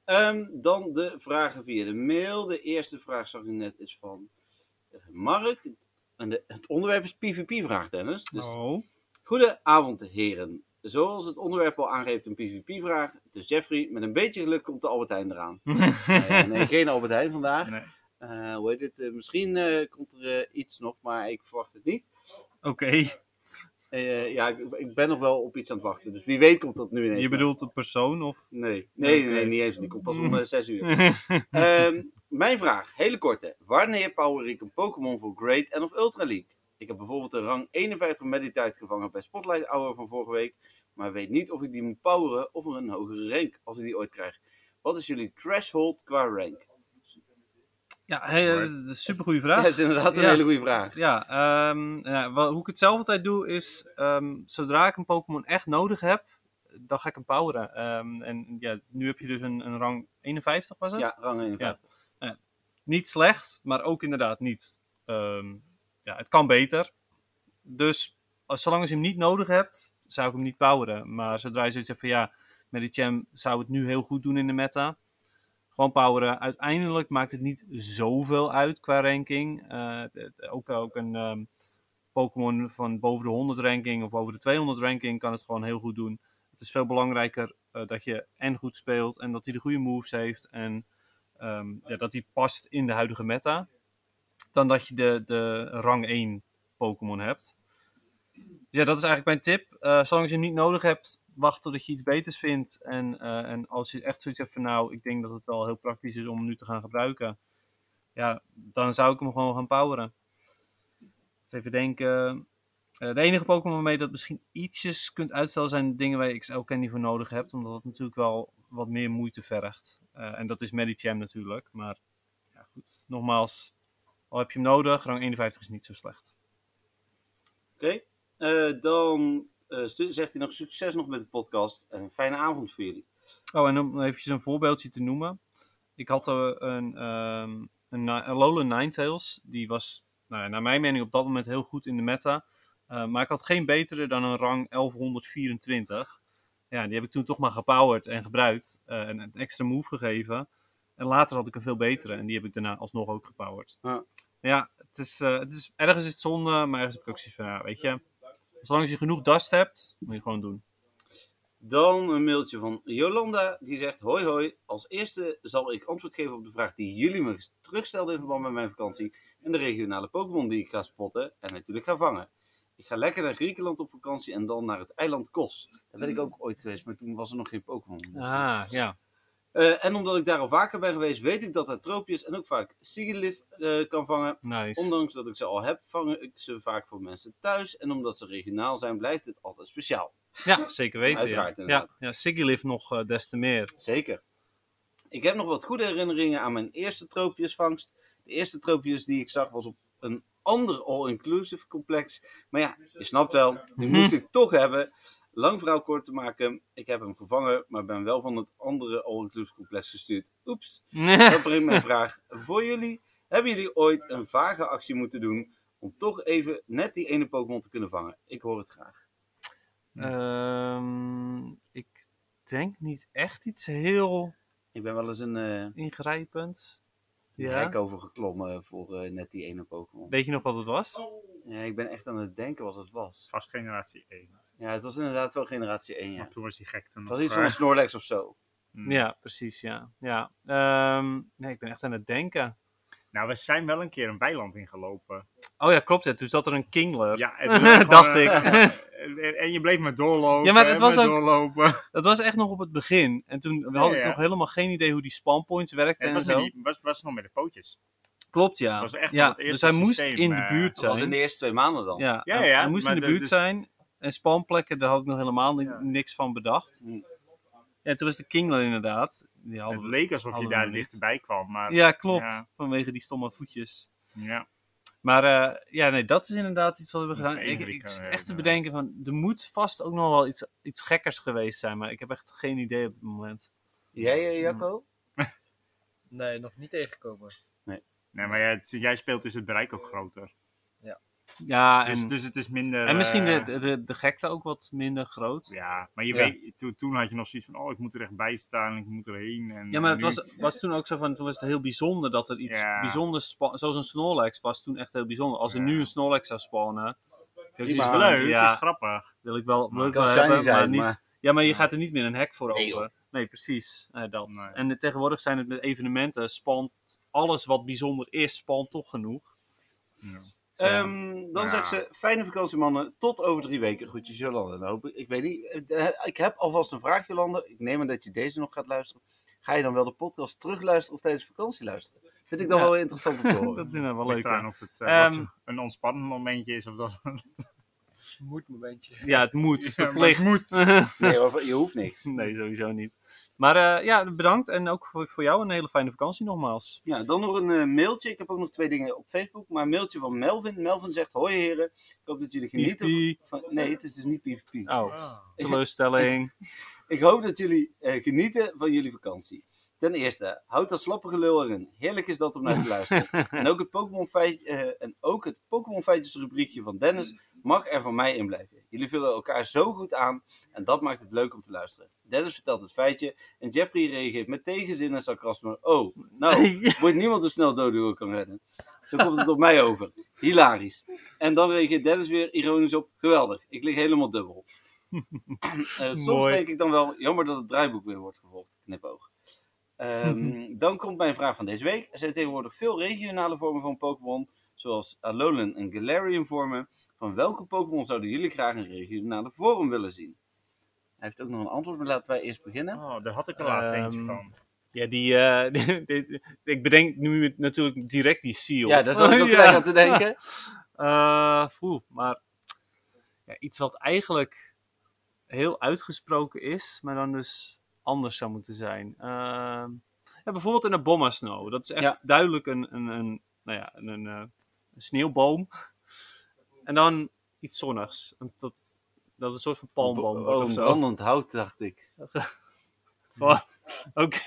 Speaker 4: Ehm, dan de vragen via de mail. De eerste vraag zag ik net is van eh, Mark. En de, het onderwerp is PvP-vraag, Dennis. Dus
Speaker 3: Oh.
Speaker 4: Goedenavond, heren. Zoals het onderwerp al aangeeft, een PvP-vraag. Dus Jeffrey, met een beetje geluk komt de Albert Heijn eraan. nee, nee, geen Albert Heijn vandaag.
Speaker 5: Nee.
Speaker 4: Eh, hoe heet het? Eh, misschien eh, komt er eh, iets nog, maar ik verwacht het niet.
Speaker 3: Oké,
Speaker 4: Eh, ja, ik, ik ben nog wel op iets aan het wachten. Dus wie weet komt dat nu ineens.
Speaker 3: je bedoelt een persoon of...
Speaker 4: Nee, nee, nee, nee, niet eens. Die komt pas om eh, 6 uur. Ehm, mijn vraag, hele korte. Wanneer power ik een Pokémon voor Great en of Ultra League? Ik heb bijvoorbeeld een rang 51 Meditite gevangen bij Spotlight Hour van vorige week. Maar weet niet of ik die moet poweren of een hogere rank als ik die ooit krijg. Wat is jullie threshold qua rank?
Speaker 3: Ja, hey, dat is een supergoeie vraag.
Speaker 4: Dat is inderdaad een
Speaker 3: Ja.
Speaker 4: hele goede vraag.
Speaker 3: Ja, ehm, ja, wel, hoe ik het zelf altijd doe is, ehm, zodra ik een Pokémon echt nodig heb, dan ga ik hem poweren. Ehm, en ja, nu heb je dus een, een rang 51 was het?
Speaker 4: Ja, rang 51.
Speaker 3: Niet slecht, maar ook inderdaad niet. ehm, ja, het kan beter. Dus als, zolang als je hem niet nodig hebt, zou ik hem niet poweren. Maar zodra je zoiets hebt van ja, met die champ zou het nu heel goed doen in de meta. Gewoon poweren. Uiteindelijk maakt het niet zoveel uit qua ranking. Eh, het- het- ook, ook een ehm, Pokémon van boven de 100 ranking of boven de 200 ranking kan het gewoon heel goed doen. Het is veel belangrijker eh, dat je en goed speelt en dat hij de goede moves heeft. En ehm, ja, dat die past in de huidige meta. Dan dat je de, de rang 1 Pokémon hebt. Dus ja, dat is eigenlijk mijn tip. Eh, zolang je hem niet nodig hebt, wacht totdat je iets beters vindt. En, eh, en als je echt zoiets hebt van nou, ik denk dat het wel heel praktisch is om hem nu te gaan gebruiken. Ja, dan zou ik hem gewoon gaan poweren. Dus even denken. Eh, de enige Pokémon waarmee je dat misschien ietsjes kunt uitstellen zijn dingen waar je XL Candy voor nodig hebt. Omdat dat natuurlijk wel wat meer moeite vergt. Eh, en dat is Medicham natuurlijk. Maar ja, goed. Nogmaals, al heb je hem nodig, rang 51 is niet zo slecht.
Speaker 4: Oké, Eh, dan eh, stu- zegt hij nog succes nog met de podcast. En een fijne avond voor jullie.
Speaker 3: Oh, en om eventjes een voorbeeldje te noemen. Ik had eh, een, ehm een, Ni- een Alolan Ninetales. Die was, nou ja, naar mijn mening, op dat moment heel goed in de meta. Eh, maar ik had geen betere dan een rang 1124. Ja, die heb ik toen toch maar gepowerd en gebruikt. eh, en een extra move gegeven. En later had ik een veel betere. En die heb ik daarna alsnog ook gepowerd.
Speaker 4: Ja.
Speaker 3: Ja, het is, eh, het is, ergens is het zonde, maar ergens heb ik ook zoiets van, ja, weet je. Zolang je genoeg dust hebt, moet je gewoon doen.
Speaker 4: Dan een mailtje van Jolanda, die zegt: Hoi, hoi. Als eerste zal ik antwoord geven op de vraag die jullie me terugstelden in verband met mijn vakantie. En de regionale Pokémon die ik ga spotten en natuurlijk ga vangen. Ik ga lekker naar Griekenland op vakantie en dan naar het eiland Kos. Daar ben ik ook ooit geweest, maar toen was er nog geen Pokémon. Dus,
Speaker 3: Hmm. Ah, ja.
Speaker 4: eh, en omdat ik daar al vaker ben geweest, weet ik dat daar troopjes en ook vaak Sigilif eh, kan vangen.
Speaker 3: Nice.
Speaker 4: Ondanks dat ik ze al heb, vang ik ze vaak voor mensen thuis. En omdat ze regionaal zijn, blijft het altijd speciaal.
Speaker 3: Ja, zeker weten. Ja.
Speaker 4: Uiteraard,
Speaker 3: Ja,
Speaker 4: inderdaad.
Speaker 3: ja, Siggy leeft nog eh, des te meer.
Speaker 4: Zeker. Ik heb nog wat goede herinneringen aan mijn eerste troopjesvangst. De eerste troopjes die ik zag was op een ander all-inclusive complex. Maar ja, je snapt wel, die moest ik toch hebben. Lang verhaal kort te maken, ik heb hem gevangen, maar ben wel van het andere all-inclusive complex gestuurd. Oeps. Dat brengt mijn vraag voor jullie. Hebben jullie ooit een vage actie moeten doen om toch even net die ene Pokémon te kunnen vangen? Ik hoor het graag.
Speaker 3: Ehm, ik denk niet echt iets heel
Speaker 4: Ik ben wel eens een, eh
Speaker 3: ingrijpends.
Speaker 4: een
Speaker 3: Ja.
Speaker 4: hek over geklommen voor eh, net die ene Pokémon.
Speaker 5: Oh.
Speaker 3: Weet je nog wat het was?
Speaker 4: Ja, ik ben echt aan het denken wat het was.
Speaker 5: Vast generatie 1.
Speaker 4: Ja, het was inderdaad wel generatie 1, ja.
Speaker 5: Want
Speaker 4: Het
Speaker 5: toen was hij gek. Toen
Speaker 4: was
Speaker 5: nog,
Speaker 4: iets van een
Speaker 5: eh,
Speaker 4: Snorlax of zo.
Speaker 5: mm.
Speaker 3: Ja, precies, ja. ja. Ehm, nee, ik ben echt aan het denken.
Speaker 5: Nou, we zijn wel een keer een weiland ingelopen.
Speaker 3: Oh ja, klopt het. Toen zat er een Kingler.
Speaker 5: Ja, het was gewoon,
Speaker 3: Dacht
Speaker 5: eh,
Speaker 3: ik.
Speaker 5: en- en je bleef maar doorlopen.
Speaker 3: Ja, maar het
Speaker 5: en
Speaker 3: was ook-
Speaker 5: doorlopen.
Speaker 3: Dat was echt nog op het begin. En toen had ik
Speaker 5: ja.
Speaker 3: nog helemaal geen idee hoe die spawnpoints werkten
Speaker 5: Het
Speaker 3: en
Speaker 5: was,
Speaker 3: zo.
Speaker 5: met die, was, was nog met de pootjes.
Speaker 3: Klopt, ja.
Speaker 5: was echt
Speaker 3: ja.
Speaker 5: nog het
Speaker 3: Dus
Speaker 5: eerste
Speaker 3: hij moest
Speaker 5: systeem,
Speaker 3: in de
Speaker 5: eh,
Speaker 3: buurt
Speaker 4: Dat was in
Speaker 3: zijn.
Speaker 4: de eerste twee maanden dan.
Speaker 3: Ja,
Speaker 5: Ja,
Speaker 3: hij-
Speaker 5: ja,
Speaker 3: hij moest in de
Speaker 5: maar dat-
Speaker 3: buurt
Speaker 5: dus-
Speaker 3: zijn. En spanplekken, daar had ik nog helemaal ni-
Speaker 5: Ja. Mm.
Speaker 3: niks van bedacht.
Speaker 4: Hm.
Speaker 3: Ja, toen was de Kingler inderdaad. Die hadden
Speaker 5: Het
Speaker 3: we-
Speaker 5: leek alsof je
Speaker 3: hadden we
Speaker 5: daar
Speaker 3: niet.
Speaker 5: dichterbij kwam. Maar ja.
Speaker 3: Ja, klopt.
Speaker 5: Ja.
Speaker 3: Vanwege die stomme voetjes.
Speaker 5: Ja,
Speaker 3: Maar eh, ja, nee, dat is inderdaad iets wat we hebben
Speaker 5: Iets
Speaker 3: gedaan. Ik, ik
Speaker 5: ingewikkelder,
Speaker 3: zit echt te
Speaker 5: ja.
Speaker 3: bedenken van, er moet vast ook nog wel iets, iets gekkers geweest zijn. Maar ik heb echt geen idee op het moment.
Speaker 4: Jij,
Speaker 5: Mm.
Speaker 4: eh, Jacco?
Speaker 6: Nee, nog niet tegengekomen.
Speaker 5: nee, maar jij, het- jij speelt is het bereik ook groter.
Speaker 3: Ja, en,
Speaker 5: Dus, dus het is minder...
Speaker 3: en misschien
Speaker 5: eh,
Speaker 3: de, de, de gekte ook wat minder groot.
Speaker 5: Ja, maar je
Speaker 3: Ja.
Speaker 5: weet, toen, toen had je nog zoiets van, oh, ik moet er echt bij staan, ik moet erheen. En,
Speaker 3: Ja, maar het
Speaker 5: nu-
Speaker 3: was, was toen ook zo van, toen was het heel bijzonder dat er iets
Speaker 5: Ja.
Speaker 3: bijzonders spa- Zoals een Snorlax was toen echt heel bijzonder. Als er
Speaker 5: Ja.
Speaker 3: nu een Snorlax zou spawnen,
Speaker 5: Het is
Speaker 4: maar-
Speaker 5: leuk, het
Speaker 3: ja,
Speaker 5: is grappig.
Speaker 3: wil ik wel, wil ik
Speaker 4: Kan
Speaker 3: wel
Speaker 4: shiny
Speaker 3: hebben, maar
Speaker 4: zijn,
Speaker 3: niet...
Speaker 4: maar-
Speaker 3: Ja, maar je gaat er niet meer een hek voor
Speaker 4: Nee,
Speaker 3: open. Nee, precies. Eh, dat.
Speaker 5: Nee.
Speaker 3: En eh, tegenwoordig zijn het met evenementen, spant alles wat bijzonder is, spant toch genoeg.
Speaker 5: Ja.
Speaker 4: Ehm, dan
Speaker 5: Ja.
Speaker 4: zeg ik ze, fijne vakantie mannen, tot over drie weken. Groetjes Jolande, dan hoop ik, ik weet niet, eh, ik heb alvast een vraag Jolande, ik neem aan dat je deze nog gaat luisteren. Ga je dan wel de podcast terugluisteren of tijdens vakantie luisteren? Vind ik dan
Speaker 3: Ja.
Speaker 4: wel interessant om te horen.
Speaker 3: dat is inderdaad wel
Speaker 5: Ligt
Speaker 3: leuk. hè?
Speaker 5: eraan of het eh, wat
Speaker 3: Ehm,
Speaker 5: een ontspannend momentje is of dat.
Speaker 6: Moet momentje.
Speaker 3: Ja, het moet.
Speaker 5: Ja, maar
Speaker 3: verplicht.
Speaker 5: het
Speaker 4: Nee hoor, je hoeft niks.
Speaker 3: nee, sowieso niet. Maar eh, ja, bedankt. En ook voor, voor jou een hele fijne vakantie nogmaals.
Speaker 4: Ja, dan nog een eh, mailtje. Ik heb ook nog twee dingen op Facebook. Maar een mailtje van Melvin. Melvin zegt: Hoi heren, ik hoop dat jullie genieten.
Speaker 3: Piep,
Speaker 4: Van... Nee, het is dus niet PvP.
Speaker 5: Ah.
Speaker 3: Oh, teleurstelling.
Speaker 4: Ik hoop dat jullie eh, genieten van jullie vakantie. Ten eerste, houd dat slappe gelul erin. Heerlijk is dat om naar te luisteren. en ook het Pokémon feit- eh, en ook het Pokémon feitjes rubriekje van Dennis mag er van mij in blijven. Jullie vullen elkaar zo goed aan en dat maakt het leuk om te luisteren. Dennis vertelt het feitje en Jeffrey reageert met tegenzin en sarcasme. Oh, nou, wordt niemand zo snel dood hoe ik kan redden. Zo komt het op mij over. Hilarisch. En dan reageert Dennis weer ironisch op. Geweldig, ik lig helemaal dubbel. Eh, soms
Speaker 3: Mooi.
Speaker 4: denk ik dan wel, jammer dat het draaiboek weer wordt gevolgd. Knipoog. Ehm, dan komt mijn vraag van deze week. Er zijn tegenwoordig veel regionale vormen van Pokémon, zoals Alolan en Galarian vormen. Van welke Pokémon zouden jullie graag een regionale vorm willen zien? Hij heeft ook nog een antwoord, maar laten wij eerst beginnen.
Speaker 5: Oh, daar had ik er laatst eentje
Speaker 3: Ehm,
Speaker 5: van.
Speaker 3: Ja, die, eh, die- die- ik bedenk nu natuurlijk direct die seal. Oh,
Speaker 4: Ja, daar zat ik ook gelijk aan te denken.
Speaker 3: Eh, poeh, maar ja, iets wat eigenlijk heel uitgesproken is, maar dan dus anders zou moeten zijn. Ehm, ja, bijvoorbeeld in de Bomma Snow. Dat is echt
Speaker 4: Ja.
Speaker 3: duidelijk een, een, een, nou ja, een, een, eh, een sneeuwboom. En dan iets zonnigs. Een- Dat, dat een soort van palmboom wordt
Speaker 4: Oh,
Speaker 3: of zo.
Speaker 4: brandend hout, dacht ik.
Speaker 3: Gewoon- Oké,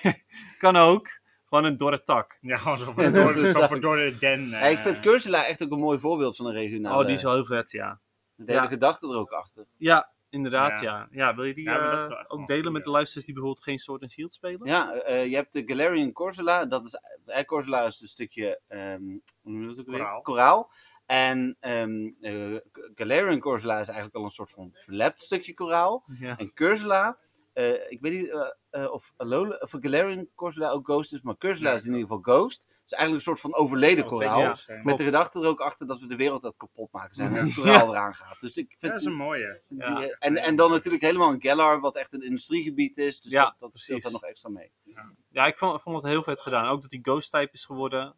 Speaker 3: kan ook. Gewoon een dorre tak.
Speaker 5: Ja, gewoon zo voor door de, zo voor door de den. eh.
Speaker 4: Ja, ik vind Cursula echt ook een mooi voorbeeld van een regionale. eh,
Speaker 3: oh, die is wel heel vet, ja.
Speaker 4: Met de hele
Speaker 3: ja.
Speaker 4: gedachte er ook achter.
Speaker 3: Ja, inderdaad,
Speaker 5: Ja.
Speaker 3: ja. Ja, wil je die
Speaker 5: Ja, maar dat is
Speaker 3: eh,
Speaker 5: wel echt wel
Speaker 3: ook
Speaker 5: een
Speaker 3: delen
Speaker 5: goeie.
Speaker 3: met de luisteraars die bijvoorbeeld geen Sword and Shield spelen?
Speaker 4: Ja, eh, je hebt de Galarian Corsola. Dat is, eh, Corsola is een stukje ehm, hoe noem je dat ook weer?
Speaker 5: Koraal.
Speaker 4: koraal. En ehm eh, Galarian Corsola is eigenlijk al een soort van verlept stukje koraal.
Speaker 3: Ja.
Speaker 4: En Cursula, eh, ik weet niet eh, eh, of, Alola, of Galarian Corsola ook ghost is, maar Cursula
Speaker 5: Ja,
Speaker 4: is in ieder geval ghost. Het is eigenlijk een soort van overleden
Speaker 5: Zou het
Speaker 4: koraal.
Speaker 5: twee keer zijn.
Speaker 4: Met de
Speaker 3: Klopt.
Speaker 4: gedachte er ook achter dat we de wereld dat kapot maken zijn.
Speaker 5: Ja.
Speaker 4: En het koraal eraan gaat. Dus ik vind
Speaker 5: Dat is een mooie.
Speaker 4: die-
Speaker 3: Ja.
Speaker 4: en, en dan natuurlijk helemaal een Gellar, wat echt een industriegebied is. Dus
Speaker 3: Ja,
Speaker 4: dat, dat speelt daar
Speaker 3: precies.
Speaker 4: nog extra mee.
Speaker 3: Ja, ik vond, vond het heel vet gedaan. Ook dat die ghost-type is geworden.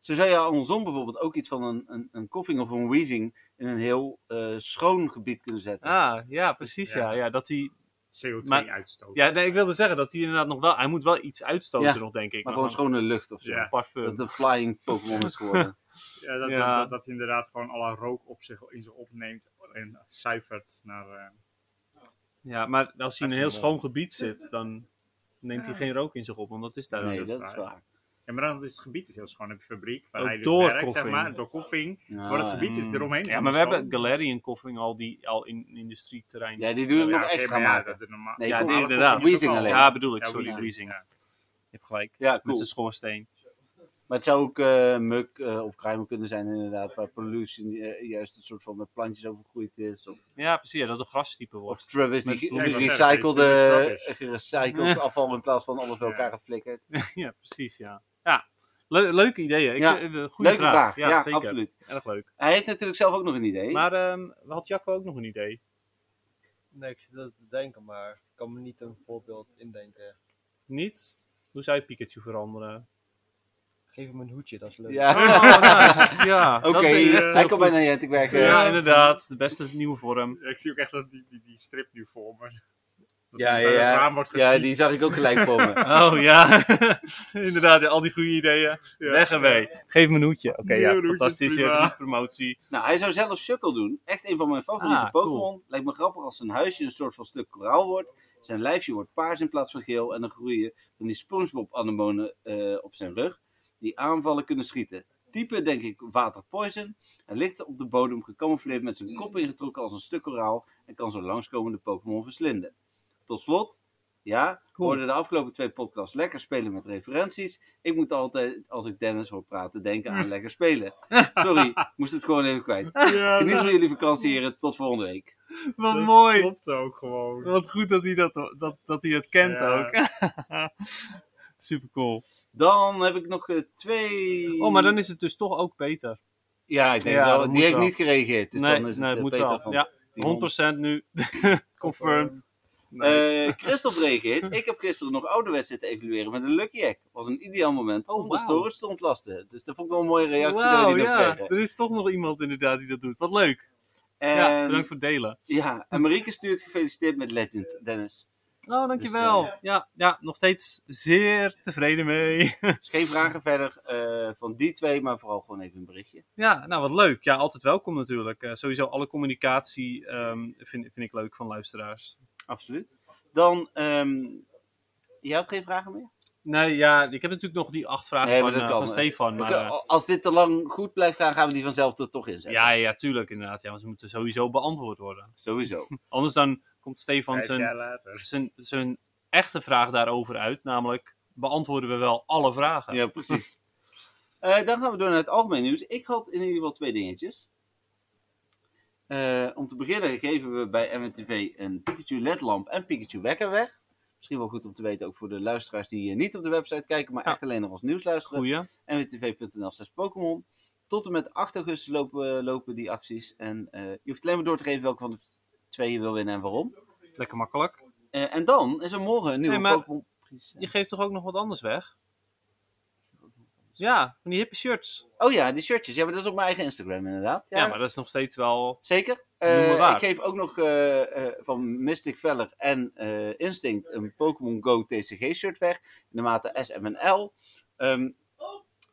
Speaker 4: Zo zou je andersom bijvoorbeeld ook iets van een, een, een koffing of een wheezing in een heel eh, schoon gebied kunnen zetten.
Speaker 3: Ah, ja, precies,
Speaker 5: Ja.
Speaker 3: ja. ja. dat die... Maar-
Speaker 5: CO2-uitstoot.
Speaker 3: Ja, nee, ik wilde zeggen dat hij inderdaad nog wel... Hij moet wel iets uitstoten
Speaker 4: Ja,
Speaker 3: nog, denk ik.
Speaker 4: maar gewoon
Speaker 3: dan-
Speaker 4: schone lucht of zo.
Speaker 5: Ja.
Speaker 3: parfum.
Speaker 4: Dat een flying Pokémon is geworden.
Speaker 5: Ja, dat,
Speaker 3: Ja.
Speaker 5: Dat, dat, dat hij inderdaad gewoon alle rook op zich, in zich opneemt en zuivert naar... eh,
Speaker 3: Ja, maar als hij in een heel
Speaker 5: Echt een
Speaker 3: schoon gebied zit, dan neemt hij geen rook in zich op. Want dat is daar
Speaker 4: Nee,
Speaker 3: ook.
Speaker 4: dat is
Speaker 5: waar.
Speaker 4: waar.
Speaker 5: Ja, maar dan is het gebied is heel schoon. Dan heb je fabriek waar
Speaker 3: Ook
Speaker 5: hij dus
Speaker 3: door
Speaker 5: werkt, zeg
Speaker 3: koffing.
Speaker 5: maar. Door koffing.
Speaker 4: Ja,
Speaker 5: maar het gebied is
Speaker 3: Mm.
Speaker 5: eromheen.
Speaker 3: Ja,
Speaker 5: helemaal
Speaker 3: maar we
Speaker 5: schoon.
Speaker 3: hebben Galarian Koffing al, die, al in in industrieterrein.
Speaker 4: Ja, die doen het
Speaker 5: Ja,
Speaker 4: nog
Speaker 5: oké,
Speaker 4: extra
Speaker 5: maar ja,
Speaker 4: maken.
Speaker 5: dat is normaal.
Speaker 4: Nee,
Speaker 3: Ja,
Speaker 4: kom,
Speaker 3: die-
Speaker 5: Normale
Speaker 3: inderdaad.
Speaker 5: koffie is ook
Speaker 4: Wheezing
Speaker 5: al-
Speaker 4: alleen.
Speaker 3: Ja, bedoel ik.
Speaker 5: Ja,
Speaker 3: Sorry,
Speaker 5: wheezing,
Speaker 3: wheezing.
Speaker 5: ja.
Speaker 3: Je hebt gelijk.
Speaker 4: Ja,
Speaker 3: Met
Speaker 4: cool.
Speaker 3: zijn schoorsteen.
Speaker 4: Maar het zou ook eh muk eh, of kruimel kunnen zijn inderdaad, waar pollution eh, juist een soort van met plantjes overgroeid is. Of,
Speaker 3: Ja, precies. Ja, dat het een grastype
Speaker 4: of
Speaker 3: wordt.
Speaker 4: Trub is die
Speaker 3: Met-
Speaker 4: ge-
Speaker 5: ja, ik wou zeggen,
Speaker 4: gerecycled,
Speaker 5: het is-
Speaker 4: eh,
Speaker 5: het is
Speaker 4: gerecycled afval in plaats van alles bij elkaar geflikkerd.
Speaker 3: ja, precies, ja. Ja, le- leuke ideeën. Ik,
Speaker 4: Ja.
Speaker 3: eh, goede
Speaker 4: Leuke vraag, ja,
Speaker 3: zeker.
Speaker 4: absoluut.
Speaker 3: Erg leuk.
Speaker 4: Hij heeft natuurlijk zelf ook nog een idee.
Speaker 3: Maar ehm, had Jacco ook nog een idee?
Speaker 6: Nee, ik zit dat te denken, maar ik kan me niet een voorbeeld indenken.
Speaker 3: Niet? Hoe zou je Pikachu veranderen?
Speaker 6: Geef hem een hoedje, dat is leuk.
Speaker 4: ja.
Speaker 3: Oh, nice. Ja,
Speaker 4: Oké,
Speaker 3: dat is echt heel
Speaker 4: hij komt
Speaker 3: goed.
Speaker 4: bijna eh, aan het werken.
Speaker 3: Ja,
Speaker 4: Ja,
Speaker 3: inderdaad. De beste nieuwe vorm.
Speaker 5: Ik zie ook echt dat die, die, die strip nu voor me. Dat
Speaker 4: ja,
Speaker 5: die bij dat raam
Speaker 4: ja.
Speaker 5: wordt
Speaker 4: ja,
Speaker 5: gekiekt.
Speaker 4: die zag ik ook gelijk voor me.
Speaker 3: Oh ja, inderdaad. ja, al die goede ideeën.
Speaker 5: Ja.
Speaker 3: Weg ermee. Geef me een hoedje. Oké,
Speaker 5: Nee,
Speaker 3: ja,
Speaker 5: een hoedje is prima.
Speaker 3: fantastische promotie.
Speaker 4: Nou, hij zou zelf Sukkel doen. Echt een van mijn favoriete
Speaker 3: Ah, cool.
Speaker 4: Pokémon. Lijkt me grappig als zijn huisje een soort van stuk koraal wordt. Zijn lijfje wordt paars in plaats van geel. En dan groeien van die Spongebob anemonen eh, op zijn rug. Die aanvallen kunnen schieten. Type denk ik waterpoison. Hij ligt op de bodem gecamoufleerd met zijn kop ingetrokken als een stuk koraal. En kan zo langskomende Pokémon verslinden. Tot slot. Ja, we
Speaker 3: Cool.
Speaker 4: hoorden de afgelopen twee podcasts lekker spelen met referenties. Ik moet altijd, als ik Dennis hoor praten, denken
Speaker 3: Hm.
Speaker 4: aan lekker spelen. Sorry, moest het gewoon even kwijt.
Speaker 5: Ja,
Speaker 4: Geniet
Speaker 5: dat
Speaker 4: van jullie vakantie, heren. Tot volgende week.
Speaker 3: Wat
Speaker 5: dat
Speaker 3: mooi.
Speaker 5: klopt ook gewoon.
Speaker 3: Wat goed dat hij dat, dat, dat, hij dat kent
Speaker 5: Ja.
Speaker 3: ook. Super cool.
Speaker 4: Dan heb ik nog eh, twee...
Speaker 3: Oh, maar dan is het dus toch ook beter.
Speaker 4: Ja, ik denk
Speaker 3: Ja,
Speaker 4: wel.
Speaker 3: dat
Speaker 4: Die
Speaker 3: moet
Speaker 4: heeft
Speaker 3: wel.
Speaker 4: niet gereageerd. Dus
Speaker 3: nee,
Speaker 4: dan is
Speaker 3: nee,
Speaker 4: het,
Speaker 3: het
Speaker 4: eh,
Speaker 3: moet
Speaker 4: Peter
Speaker 3: wel.
Speaker 4: van
Speaker 3: Ja,
Speaker 4: 1000.
Speaker 3: 100% nu. Confirmed. Nice.
Speaker 4: Eh Christophe reageert. Ik heb gisteren nog ouderwets zitten evalueren met een Lucky Hack. Was een ideaal moment om de
Speaker 3: Oh, wauw.
Speaker 4: storage te ontlasten. Dus dat vond ik wel een mooie reactie dat we
Speaker 3: Wauw,
Speaker 4: die nog
Speaker 3: ja.
Speaker 4: kregen.
Speaker 3: Er is toch nog iemand inderdaad die dat doet. Wat leuk.
Speaker 4: En,
Speaker 3: Ja,
Speaker 4: ja,
Speaker 3: bedankt voor het delen.
Speaker 4: en Marieke stuurt gefeliciteerd met Legend, Dennis.
Speaker 3: Oh, dankjewel.
Speaker 4: Dus,
Speaker 3: ja, ja, nog steeds zeer tevreden mee.
Speaker 4: Dus geen vragen verder eh, van die twee, maar vooral gewoon even een berichtje.
Speaker 3: ja, nou wat leuk. Ja, altijd welkom natuurlijk. Eh, sowieso alle communicatie ehm, vind, vind ik leuk van luisteraars.
Speaker 4: Absoluut. Dan, ehm jij had geen vragen meer?
Speaker 3: Nee, ja, ik heb natuurlijk nog die acht vragen
Speaker 4: Nee, maar
Speaker 3: van,
Speaker 4: dat
Speaker 3: eh,
Speaker 4: kan,
Speaker 3: van
Speaker 4: eh.
Speaker 3: Stefan. Maar,
Speaker 4: Oké,
Speaker 3: eh,
Speaker 4: als dit te lang goed blijft gaan, gaan we die vanzelf er toch inzetten.
Speaker 3: ja, ja, tuurlijk inderdaad. Ja, want ze moeten sowieso beantwoord worden.
Speaker 4: Sowieso.
Speaker 3: Anders dan komt Stefan
Speaker 5: Vijf jaar
Speaker 3: zijn,
Speaker 5: later.
Speaker 3: zijn, zijn echte vraag daarover uit. Namelijk, beantwoorden we wel alle vragen?
Speaker 4: ja, precies. Eh, dan gaan we door naar het algemeen nieuws. Ik had in ieder geval twee dingetjes. Eh, om te beginnen geven we bij MNTV een Pikachu LED-lamp en Pikachu Wekker weg. Misschien wel goed om te weten, ook voor de luisteraars die eh, niet op de website kijken, maar
Speaker 3: Ja.
Speaker 4: echt alleen nog ons nieuws luisteren.
Speaker 3: Goeie.
Speaker 4: nwtv.nl slash Pokémon. Tot en met 8 augustus lopen, lopen die acties. En eh, je hoeft alleen maar door te geven welke van de twee je wil winnen en waarom.
Speaker 3: Lekker makkelijk.
Speaker 4: Eh, en dan is er morgen een nieuwe
Speaker 3: Nee, maar
Speaker 4: Pokémon Princess.
Speaker 3: Je geeft toch ook nog wat anders weg? Ja, van die hippe shirts.
Speaker 4: Oh ja, die shirtjes. Ja, maar dat is op mijn eigen Instagram inderdaad.
Speaker 3: Ja, maar dat is nog steeds wel...
Speaker 4: Zeker.
Speaker 3: Noem maar
Speaker 4: Eh,
Speaker 3: waar.
Speaker 4: ik geef ook nog eh, eh, van Mystic Veller en eh, Instinct een Pokémon Go TCG-shirt weg. In de mate S, M en L. Ehm,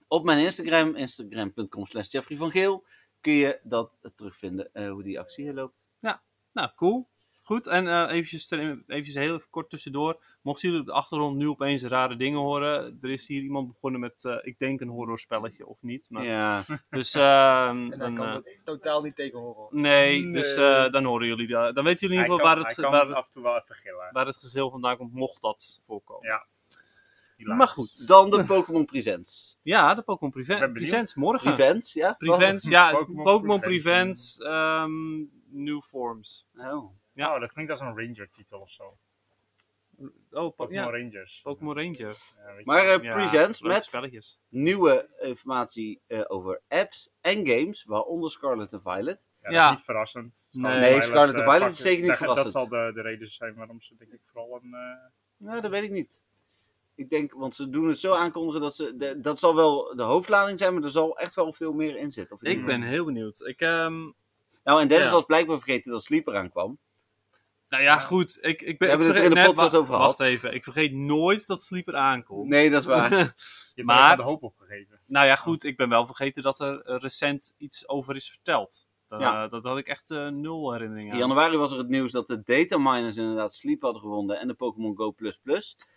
Speaker 4: op mijn Instagram, instagram.com slash Jeffrey van Geel, kun je dat terugvinden, eh, hoe die actie hier loopt.
Speaker 3: Nou, cool. Goed, en eh eventjes, ter- eventjes heel even kort tussendoor. Mochten jullie op de achtergrond nu opeens rare dingen horen. Er is hier iemand begonnen met, eh, ik denk, een horrorspelletje of niet. Maar,
Speaker 4: Ja,
Speaker 3: Dus, ehm
Speaker 6: En hij
Speaker 3: dan,
Speaker 6: kan
Speaker 3: eh,
Speaker 6: er totaal niet tegen horen.
Speaker 3: nee, dus
Speaker 6: Nee.
Speaker 3: eh, dan horen jullie dat. Dan weten jullie in
Speaker 5: Hij
Speaker 3: ieder geval
Speaker 5: kan,
Speaker 3: waar
Speaker 5: hij
Speaker 3: het,
Speaker 5: kan
Speaker 3: waar, het-
Speaker 5: af en toe wel even gillen.
Speaker 3: waar het gegil vandaan komt, mocht dat voorkomen.
Speaker 5: Ja, Helaas.
Speaker 3: Maar goed.
Speaker 4: dan de Pokémon Presents.
Speaker 3: Ja, de Pokémon
Speaker 5: Ik ben
Speaker 3: Prevent.
Speaker 5: benieuwd.
Speaker 3: Presents morgen.
Speaker 4: Prevents, ja?
Speaker 3: Prevents, ja,
Speaker 5: Oh, Pokémon
Speaker 3: Pokémon
Speaker 5: Prevents.
Speaker 3: Prevents, ehm, New Forms.
Speaker 4: Oh.
Speaker 3: Ja.
Speaker 5: Oh, dat klinkt als een Ranger-titel of zo.
Speaker 3: Oh, po-
Speaker 5: Pokémon
Speaker 3: ja,
Speaker 5: Rangers.
Speaker 3: Pokémon Ranger.
Speaker 5: Ja, weet je.
Speaker 4: Maar eh,
Speaker 3: Ja,
Speaker 4: Presents
Speaker 3: leuke
Speaker 4: met
Speaker 3: spelletjes.
Speaker 4: nieuwe informatie eh, over apps en games, waaronder Scarlet en Violet.
Speaker 5: Ja, dat
Speaker 3: Ja.
Speaker 5: is niet verrassend.
Speaker 3: Nee,
Speaker 5: Violet,
Speaker 4: Scarlet
Speaker 5: eh,
Speaker 4: Violet is
Speaker 5: pakken-
Speaker 4: zeker niet
Speaker 5: dat-
Speaker 4: verrassend.
Speaker 5: Dat zal de, de reden zijn waarom ze denk ik vooral een... eh,
Speaker 4: Nou, dat weet ik niet. Ik denk, want ze doen het zo aankondigen dat ze. de- dat zal wel de hoofdlading zijn, maar er zal echt wel veel meer in zitten.
Speaker 5: Mm.
Speaker 4: Of
Speaker 3: Ik
Speaker 4: niet?
Speaker 3: ben heel benieuwd. Ik, ehm,
Speaker 4: Nou, en Dennis
Speaker 3: Ja.
Speaker 4: was blijkbaar vergeten dat Sleeper aankwam.
Speaker 3: nou ja, goed. Ik, ik ben,
Speaker 4: We
Speaker 3: ik
Speaker 4: hebben het
Speaker 3: vergeet-
Speaker 4: er in de
Speaker 3: nee,
Speaker 4: podcast
Speaker 3: wa-
Speaker 4: over gehad.
Speaker 3: Wacht even. Ik vergeet nooit dat Sleeper aankomt.
Speaker 4: Nee, dat is waar.
Speaker 5: je hebt
Speaker 3: Maar-
Speaker 5: maar... de hoop opgegeven.
Speaker 3: Nou ja, goed. Ik ben wel vergeten dat er eh, recent iets over is verteld. Dan,
Speaker 4: Ja.
Speaker 3: eh, dat had ik echt eh, nul herinneringen
Speaker 4: In
Speaker 3: aan.
Speaker 4: januari was er het nieuws dat de data miners inderdaad Sleep hadden gewonnen en de Pokémon Go.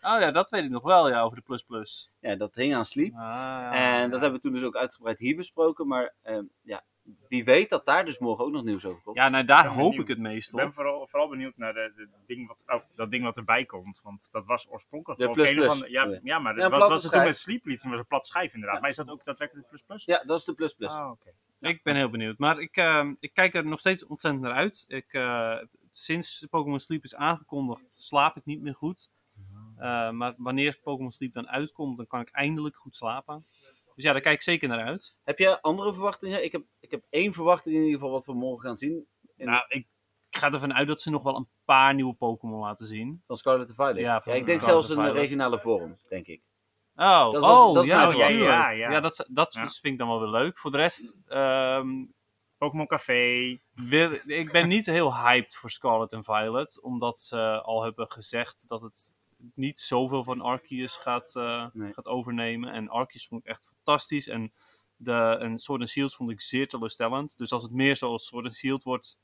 Speaker 3: Oh ja, dat weet ik nog wel, ja, over de plus plus.
Speaker 4: Ja, dat hing aan Sleep.
Speaker 3: Ah, ja.
Speaker 4: en dat hebben we toen dus ook uitgebreid hier besproken. Maar ehm, ja, Wie weet dat daar dus morgen ook nog nieuws over komt.
Speaker 3: Ja, nou daar
Speaker 5: ben
Speaker 3: hoop
Speaker 5: benieuwd.
Speaker 3: ik het
Speaker 5: Ik
Speaker 3: meest
Speaker 5: ben
Speaker 3: op.
Speaker 5: vooral, vooral benieuwd naar de, de ding wat, oh, dat ding wat erbij komt. Want dat was oorspronkelijk
Speaker 4: De
Speaker 5: gewoon
Speaker 4: plus
Speaker 5: een
Speaker 4: plus.
Speaker 5: van ja, ja,
Speaker 4: Ja,
Speaker 5: maar dat
Speaker 4: een
Speaker 5: was,
Speaker 4: platte
Speaker 5: was het toen
Speaker 4: schijf.
Speaker 5: met Sleep Leads, en was een plat schijf inderdaad.
Speaker 4: Ja.
Speaker 5: Maar is dat ook daadwerkelijk plus plus?
Speaker 4: Ja, dat is de plus plus.
Speaker 3: Oh.
Speaker 5: Ah, oké.
Speaker 3: Ik ben heel benieuwd. Maar ik, eh, ik kijk er nog steeds ontzettend naar uit. Ik, eh, sinds Pokémon Sleep is aangekondigd, slaap ik niet meer goed.
Speaker 5: Ah.
Speaker 3: Eh, maar wanneer Pokémon Sleep dan uitkomt, dan kan ik eindelijk goed slapen. Dus ja, daar kijk ik zeker naar uit.
Speaker 4: Heb jij andere verwachtingen? Ik heb, ik heb één verwachting in ieder geval wat we morgen gaan zien In-
Speaker 3: Nou, ik, ik ga ervan uit dat ze nog wel een paar nieuwe Pokémon laten zien.
Speaker 4: van Scarlet en Violet.
Speaker 3: Ja,
Speaker 4: Ja,
Speaker 3: van
Speaker 4: ik denk
Speaker 3: Scarlet
Speaker 4: zelfs een
Speaker 3: Violet.
Speaker 4: regionale vorm, denk ik.
Speaker 3: Oh,
Speaker 4: Dat was-
Speaker 3: oh
Speaker 4: dat is
Speaker 3: ja,
Speaker 4: mijn
Speaker 3: natuurlijk.
Speaker 5: verwachting.
Speaker 3: Ja,
Speaker 5: Ja, ja.
Speaker 3: dat, dat
Speaker 5: Ja.
Speaker 3: vind ik dan wel weer leuk. Voor de rest, ehm,
Speaker 5: Pokémon Café.
Speaker 3: wil- ik ben niet heel hyped voor Scarlet en Violet. Omdat ze al hebben gezegd dat het niet zoveel van Arceus gaat, eh,
Speaker 4: Nee.
Speaker 3: gaat overnemen. En Arceus vond ik echt fantastisch. En, de, en Sword and Shield vond ik zeer teleurstellend. Dus als het meer zoals Sword and Shield wordt,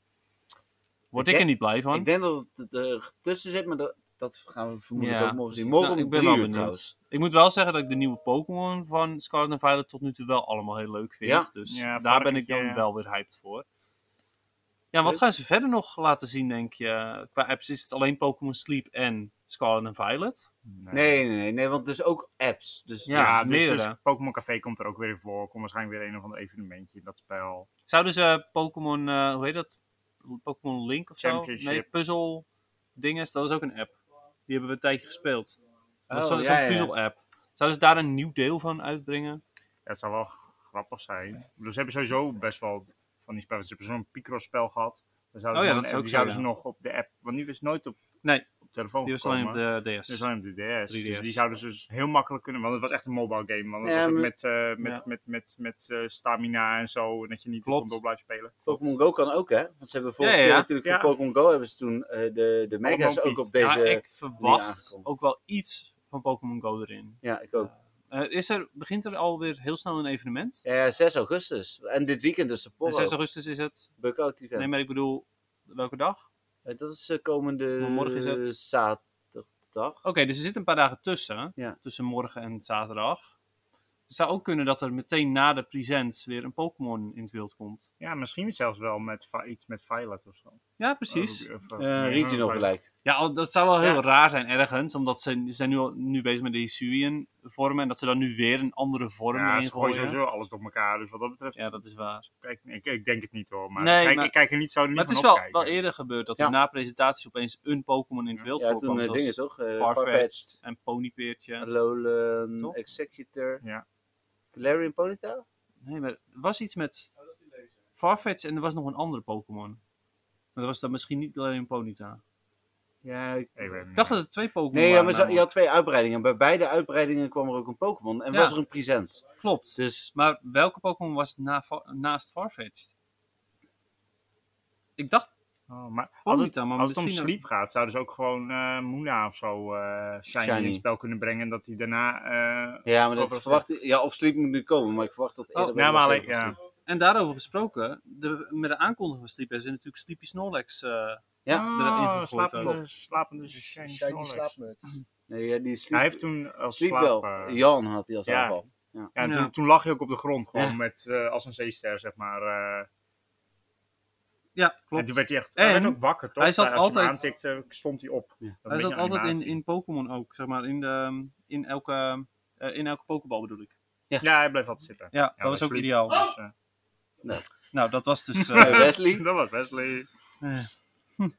Speaker 3: word
Speaker 4: Ik
Speaker 3: ik er
Speaker 4: denk-
Speaker 3: niet blij van.
Speaker 4: Ik denk dat het er tussen zit, maar dat, dat gaan we vermoedelijk ook morgen zien.
Speaker 3: precies.
Speaker 4: Morgen
Speaker 3: Nou,
Speaker 4: om
Speaker 3: ik ben
Speaker 4: drie
Speaker 3: wel
Speaker 4: uur
Speaker 3: benieuwd.
Speaker 4: trouwens.
Speaker 3: Ik moet wel zeggen dat ik de nieuwe Pokémon van Scarlet en Violet tot nu toe wel allemaal heel leuk vind.
Speaker 4: Ja.
Speaker 3: Dus
Speaker 5: Ja,
Speaker 3: daar ben ik
Speaker 5: varkentje,
Speaker 3: dan
Speaker 5: ja.
Speaker 3: wel weer hyped voor. Ja, wat
Speaker 4: Leuk.
Speaker 3: gaan ze verder nog laten zien, denk je? Qua apps is het alleen Pokémon Sleep en Scarlet en Violet.
Speaker 4: Nee, nee, nee, nee, want dus ook apps. Dus,
Speaker 3: Ja.
Speaker 5: Ja, dus,
Speaker 3: meerdere.
Speaker 5: dus Pokémon Café komt er ook weer in voor. Komt waarschijnlijk weer een of ander evenementje in dat spel.
Speaker 3: Zouden ze Pokémon, eh, hoe heet dat? Pokémon Link of zo?
Speaker 5: Championship.
Speaker 3: Nee, puzzel dinges. Dat was ook een app. Die hebben we een tijdje gespeeld. Dat was
Speaker 4: Oh,
Speaker 3: zo-
Speaker 4: ja,
Speaker 3: zo'n
Speaker 4: ja, ja.
Speaker 3: puzzel-app. Zouden ze daar een nieuw deel van uitbrengen?
Speaker 5: Ja, het zou wel g- grappig zijn. Dus ze hebben sowieso best wel van die spellen. Ze hebben zo'n Picross-spel gehad. Daar zouden
Speaker 3: Oh ja,
Speaker 5: ze
Speaker 3: dat
Speaker 5: nog-
Speaker 3: is ook
Speaker 5: die
Speaker 3: zo,
Speaker 5: zouden
Speaker 3: ja.
Speaker 5: ze nog op de app. Want nu is het nooit op,
Speaker 3: Nee,
Speaker 5: op telefoon.
Speaker 3: die was
Speaker 5: gekomen.
Speaker 3: alleen op de DS.
Speaker 5: Dus alleen op de
Speaker 3: 3DS.
Speaker 5: DS. Dus die zouden ze dus heel makkelijk kunnen. Want het was echt een mobile game. Want het
Speaker 4: Ja,
Speaker 5: was ook
Speaker 4: maar-
Speaker 5: met, eh, met,
Speaker 3: Ja.
Speaker 5: met, met, met, eh, stamina en zo. En dat je niet
Speaker 3: Klopt.
Speaker 5: kon door blijven spelen.
Speaker 4: Pokémon Go kan ook, hè? Want ze hebben vorige
Speaker 3: Ja, ja,
Speaker 4: keer
Speaker 3: ja.
Speaker 4: natuurlijk
Speaker 5: Ja.
Speaker 4: voor Pokémon Go hebben ze toen eh, de, de mega's
Speaker 5: Allemaal
Speaker 4: ook
Speaker 5: piece.
Speaker 4: op deze...
Speaker 3: ja, ik verwacht
Speaker 4: aangekondigd.
Speaker 3: ook wel iets van Pokémon Go erin.
Speaker 4: ook.
Speaker 3: Eh, is er, begint er alweer heel snel een evenement?
Speaker 4: Ja, 6 augustus. En dit weekend dus
Speaker 3: En
Speaker 4: Sapporo.
Speaker 3: 6 augustus is het.
Speaker 4: Bugout event.
Speaker 3: Nee, maar ik bedoel, welke dag?
Speaker 4: Eh, Dat is eh, komende
Speaker 3: Maar morgen is het-
Speaker 4: zaterdag.
Speaker 3: Oké, dus er zitten een paar dagen tussen.
Speaker 4: Ja.
Speaker 3: Tussen morgen en zaterdag. Het zou ook kunnen dat er meteen na de presents weer een Pokémon in het wild komt.
Speaker 5: Ja, misschien zelfs wel met vi- iets met Violet of zo.
Speaker 3: Ja, precies.
Speaker 5: Of- of-
Speaker 4: Eh
Speaker 5: of- ja,
Speaker 4: regional
Speaker 5: Violet.
Speaker 4: gelijk.
Speaker 3: Ja, al- dat zou wel heel
Speaker 5: Oh, Ja.
Speaker 3: raar zijn ergens. Omdat ze, ze zijn nu, al- nu bezig met de Hisuian vormen. En dat ze dan nu weer een andere vorm
Speaker 5: Ja,
Speaker 3: erin
Speaker 5: ze gooien
Speaker 3: gooien.
Speaker 5: sowieso alles door elkaar. Dus wat dat betreft,
Speaker 3: Ja, dat is waar.
Speaker 5: kijk, ik, ik denk het niet hoor. Maar,
Speaker 3: Nee,
Speaker 5: kijk,
Speaker 3: maar-
Speaker 5: ik kijk er niet zo niet
Speaker 3: Maar het
Speaker 5: van
Speaker 3: is wel,
Speaker 5: opkijken.
Speaker 3: wel eerder gebeurd dat
Speaker 4: Ja.
Speaker 3: er na presentaties opeens een Pokémon in het wild
Speaker 4: Ja,
Speaker 3: voorkwam.
Speaker 4: toen eh,
Speaker 3: zoals
Speaker 4: dingen toch? eh,
Speaker 3: Farfetch'd.
Speaker 4: Farfetch'd.
Speaker 3: En Ponypeertje.
Speaker 4: Alolan,
Speaker 3: Toch?
Speaker 4: Executor.
Speaker 5: Ja.
Speaker 4: Larry en Polita?
Speaker 3: Nee, maar er was iets met
Speaker 5: Oh,
Speaker 3: Farfetch en er was nog een andere Pokémon. Maar dat was dan misschien niet alleen Ponyta.
Speaker 4: Ja, ik...
Speaker 5: Ik weet het
Speaker 3: Ik
Speaker 5: niet.
Speaker 3: dacht dat er twee Pokémon
Speaker 4: Nee, ja,
Speaker 3: waren.
Speaker 4: maar zo- je had twee uitbreidingen. Bij beide uitbreidingen kwam er ook een Pokémon. En
Speaker 3: Ja.
Speaker 4: was er een presents.
Speaker 3: namelijk. Klopt.
Speaker 4: Dus
Speaker 3: Maar welke Pokémon was het na, Fa- naast Farfetch'd? Ik dacht
Speaker 5: Oh, maar als het,
Speaker 3: Ponyta, maar
Speaker 5: als het om
Speaker 3: misschien-
Speaker 5: sleep gaat, zouden ze ook gewoon eh Moona of zo eh shiny,
Speaker 4: Shiny.
Speaker 5: in het spel kunnen brengen. Dat hij daarna... eh
Speaker 4: ja, maar dat
Speaker 5: Overal
Speaker 4: verwacht Ja, of Sleep moet nu komen, maar ik verwacht dat eerder.
Speaker 3: Oh,
Speaker 4: bij
Speaker 5: nou, maar
Speaker 4: de
Speaker 5: alleen,
Speaker 4: Sleep
Speaker 5: ja.
Speaker 4: was
Speaker 3: En daarover gesproken, de, met de aankondiging van Sleepy is er natuurlijk Sleepy Snorlax. eh,
Speaker 4: Ja,
Speaker 5: Ah,
Speaker 3: erin gegooid
Speaker 5: slapende,
Speaker 3: ook.
Speaker 5: slapende
Speaker 6: Shiny
Speaker 5: shiny Snorlax.
Speaker 6: slaapmuts.
Speaker 4: die. Nee, ja, die
Speaker 5: Hij
Speaker 4: Sleep,
Speaker 5: heeft toen als
Speaker 4: Sleep
Speaker 5: slaap...
Speaker 4: wel.
Speaker 5: eh,
Speaker 4: Jan had hij als
Speaker 5: ja.
Speaker 4: aanval.
Speaker 5: ja, en
Speaker 3: Ja.
Speaker 5: Toen, toen lag hij ook op de grond, gewoon
Speaker 4: Ja.
Speaker 5: met, eh, als een zeester, zeg maar. eh.
Speaker 3: ja,
Speaker 5: en
Speaker 3: klopt.
Speaker 5: toen werd hij echt
Speaker 3: En
Speaker 5: hij werd ook wakker, toch?
Speaker 3: hij zat
Speaker 5: als je hem
Speaker 3: altijd-
Speaker 5: aantikte, stond hij op.
Speaker 4: Ja.
Speaker 5: Dat
Speaker 3: Hij
Speaker 5: beetje
Speaker 3: zat altijd in,
Speaker 5: animatie.
Speaker 3: in Pokémon ook, zeg maar. In, de, ehm, in elke, eh, in elke Pokéball bedoel ik.
Speaker 5: Ja, hij bleef altijd zitten.
Speaker 3: Ja, dat
Speaker 5: bij
Speaker 3: was ook
Speaker 5: Sleep.
Speaker 3: ideaal.
Speaker 5: Dus, eh,
Speaker 3: Nou, dat was dus... eh,
Speaker 4: Eh, Wesley?
Speaker 5: dat was Wesley.
Speaker 3: eh, hm.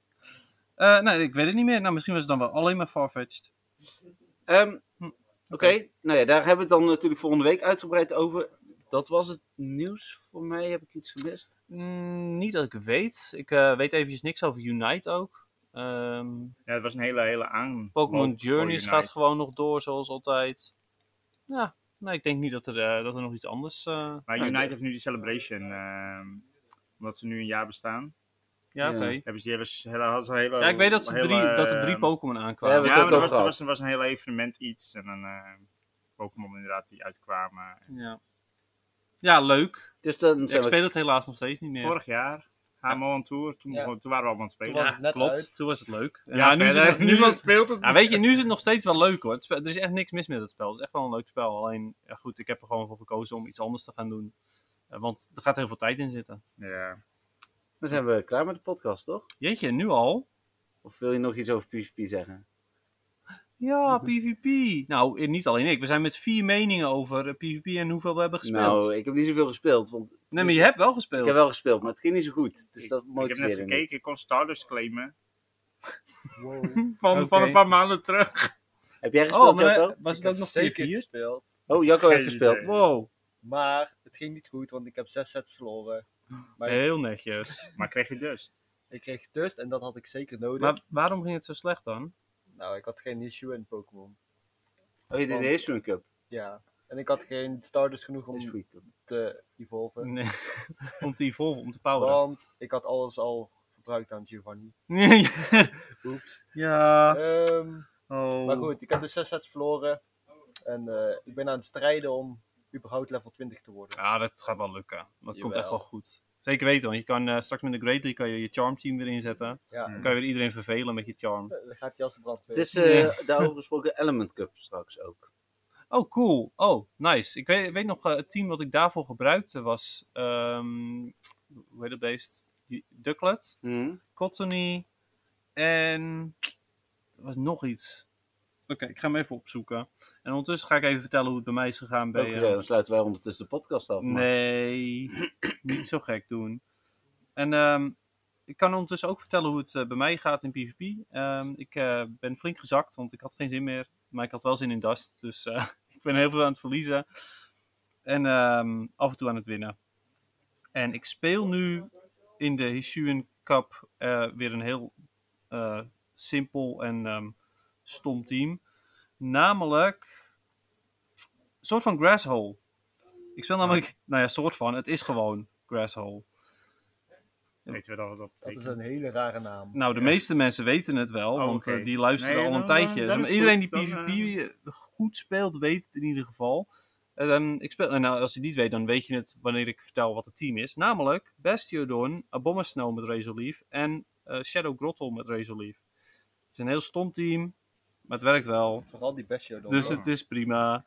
Speaker 3: Eh, nee, ik weet het niet meer. Nou, misschien was het dan wel alleen maar Farfetch'd.
Speaker 4: Ehm,
Speaker 3: Hm,
Speaker 4: Oké, nou ja, daar hebben we het dan natuurlijk volgende week uitgebreid over. Dat was het nieuws voor mij. Heb ik iets gemist?
Speaker 3: Mm, niet dat ik het weet. Ik eh, weet eventjes niks over Unite ook. Ehm,
Speaker 5: Ja, het was een hele, hele aan.
Speaker 3: Pokémon Journeys gaat gewoon nog door, zoals altijd. Ja, nee, ik denk niet dat er, eh, dat er nog iets anders... eh,
Speaker 5: Maar
Speaker 4: Ja,
Speaker 5: Unite
Speaker 4: de-
Speaker 5: heeft nu die celebration. ehm, omdat ze nu een jaar bestaan.
Speaker 3: ja,
Speaker 4: Ja.
Speaker 3: oké.
Speaker 5: Hebben ze die hele, s- hele, hadden ze een hele
Speaker 3: Ja, ik weet dat, ze
Speaker 5: hele,
Speaker 3: drie, dat er drie
Speaker 5: ehm,
Speaker 3: Pokémon
Speaker 4: Ja,
Speaker 3: aankwamen.
Speaker 4: we- hebben
Speaker 5: Ja,
Speaker 4: het
Speaker 5: maar
Speaker 4: ook
Speaker 5: er
Speaker 4: over
Speaker 5: was, er,
Speaker 4: gehad.
Speaker 5: was, er was een heel evenement iets. En een eh, Pokémon inderdaad die uitkwamen.
Speaker 3: Ja. ja, leuk.
Speaker 4: Dus dan
Speaker 3: Ja, ik
Speaker 4: zijn we...
Speaker 3: speel het helaas nog steeds niet meer.
Speaker 5: Vorig jaar, HMO aan Tour, toen,
Speaker 6: Ja.
Speaker 5: begon- toen waren we allemaal aan het
Speaker 6: Toen
Speaker 5: spelen.
Speaker 6: was
Speaker 3: Ja,
Speaker 6: het net
Speaker 3: klopt.
Speaker 6: uit.
Speaker 3: Toen was het leuk. Ja,
Speaker 5: Ja,
Speaker 3: nu is
Speaker 5: verder,
Speaker 3: het, nu is
Speaker 5: niemand
Speaker 3: het,
Speaker 5: speelt het.
Speaker 3: nou, weet je, nu is het nog steeds wel leuk hoor. Het spe- er is echt niks mis met het spel. Het is echt wel een leuk spel. Alleen, ja, goed, ik heb er gewoon voor gekozen om iets anders te gaan doen. Eh, Eh, want er gaat heel veel tijd in zitten.
Speaker 5: Ja.
Speaker 4: Dan zijn we klaar met de podcast, toch?
Speaker 3: Jeetje, nu al?
Speaker 4: Of wil je nog iets over PvP zeggen?
Speaker 3: Ja,
Speaker 6: Mhm.
Speaker 3: PvP. Nou, eh, niet alleen ik. We zijn met vier meningen over eh, PvP en hoeveel we hebben gespeeld.
Speaker 4: Nou, ik heb niet zoveel gespeeld, want
Speaker 3: nee, maar je hebt wel gespeeld.
Speaker 4: ik heb wel gespeeld, maar het ging niet zo goed. Dus
Speaker 5: Ik-
Speaker 4: dat
Speaker 5: Ik heb net
Speaker 4: motiveerde niet.
Speaker 5: gekeken, ik kon Stardust claimen.
Speaker 3: van, van
Speaker 6: Oké.
Speaker 3: een paar maanden terug.
Speaker 4: Heb jij gespeeld,
Speaker 3: oh, maar
Speaker 4: Jacco?
Speaker 3: was
Speaker 6: Ik
Speaker 3: het ook
Speaker 6: heb
Speaker 3: nog
Speaker 6: zeker
Speaker 3: 4-4?
Speaker 6: gespeeld.
Speaker 4: Oh, Jacco heeft
Speaker 5: Geen
Speaker 4: gespeeld.
Speaker 5: idee.
Speaker 3: Wow,
Speaker 6: Maar het ging niet goed, want ik heb zes sets verloren. Maar
Speaker 3: heel netjes.
Speaker 5: Maar kreeg je Dust.
Speaker 6: ik kreeg dust en dat had ik zeker nodig.
Speaker 3: Maar waarom ging het zo slecht dan?
Speaker 6: Nou, ik had geen issue in Pokémon.
Speaker 4: Oh, je deed de History Cup.
Speaker 6: Ja. En ik had geen starters genoeg om
Speaker 4: History Cup.
Speaker 6: te evolven.
Speaker 3: Nee, om te evolve, om te poweren.
Speaker 6: Want ik had alles al verbruikt aan Giovanni.
Speaker 3: Nee.
Speaker 6: Oeps.
Speaker 3: ja.
Speaker 6: Ehm,
Speaker 3: Oh.
Speaker 6: maar goed, ik heb dus zes sets verloren. En eh, ik ben aan het strijden om überhaupt level 20 te worden.
Speaker 3: Ja, Ah, dat gaat wel lukken. Dat komt
Speaker 6: Jawel.
Speaker 3: echt wel goed. Zeker weten, want je kan eh, straks met de Great League kan je, je charm team weer inzetten.
Speaker 6: Ja,
Speaker 5: Hmm.
Speaker 3: Dan kan je weer iedereen vervelen met je charm.
Speaker 6: eh, dan gaat hij als de brandweer.
Speaker 4: Het is eh, daarover gesproken Element Cup straks ook.
Speaker 3: Oh, cool. Oh, nice. Ik weet, weet nog, eh, het team wat ik daarvoor gebruikte was... ehm, hoe heet dat beest? Die- Ducklet,
Speaker 4: Hm?
Speaker 3: Cottony en... Er was nog iets. Oké, ik ga hem even opzoeken. En ondertussen ga ik even vertellen hoe het bij mij is gegaan bij...
Speaker 4: Ook
Speaker 3: eh,
Speaker 4: gezellig. Dan sluiten wij ondertussen de podcast af. maar-
Speaker 3: Nee, niet zo gek doen. En ehm, ik kan ondertussen ook vertellen hoe het eh, bij mij gaat in PvP. Ehm, ik eh, ben flink gezakt, want ik had geen zin meer. Maar ik had wel zin in Dust, dus eh, ik ben heel veel aan het verliezen. En ehm, af en toe aan het winnen. En ik speel nu in de Hisuian Cup eh, weer een heel eh, simpel en ehm, stom team. Namelijk, een soort van Grasshole. Ik speel namelijk, nou ja, soort van, het is gewoon Grasshole.
Speaker 5: Weten we dat wat dat
Speaker 6: Dat
Speaker 5: betekent?
Speaker 6: is een hele rare naam.
Speaker 3: Nou, de
Speaker 5: Ja.
Speaker 3: meeste mensen weten het wel,
Speaker 5: Oh,
Speaker 3: want eh,
Speaker 5: oké.
Speaker 3: die luisteren
Speaker 5: Nee,
Speaker 3: al een
Speaker 5: dan- eh, dan-
Speaker 3: tijdje.
Speaker 5: dan
Speaker 3: Zeg
Speaker 5: is
Speaker 3: maar,
Speaker 5: het
Speaker 3: iedereen
Speaker 5: goed.
Speaker 3: die
Speaker 5: Dan, eh,
Speaker 3: PvP goed speelt, weet het in ieder geval. Ehm, ik speel, en nou, als je het niet weet, dan weet je het wanneer ik vertel wat het team is. Namelijk Bastiodon, Abomasnow met Resolve en eh, Shadow Grottle met Resolve. Het is een heel stom team, maar het werkt wel.
Speaker 6: Vooral die Bestiodon.
Speaker 3: Dus
Speaker 5: Ja.
Speaker 3: het is prima.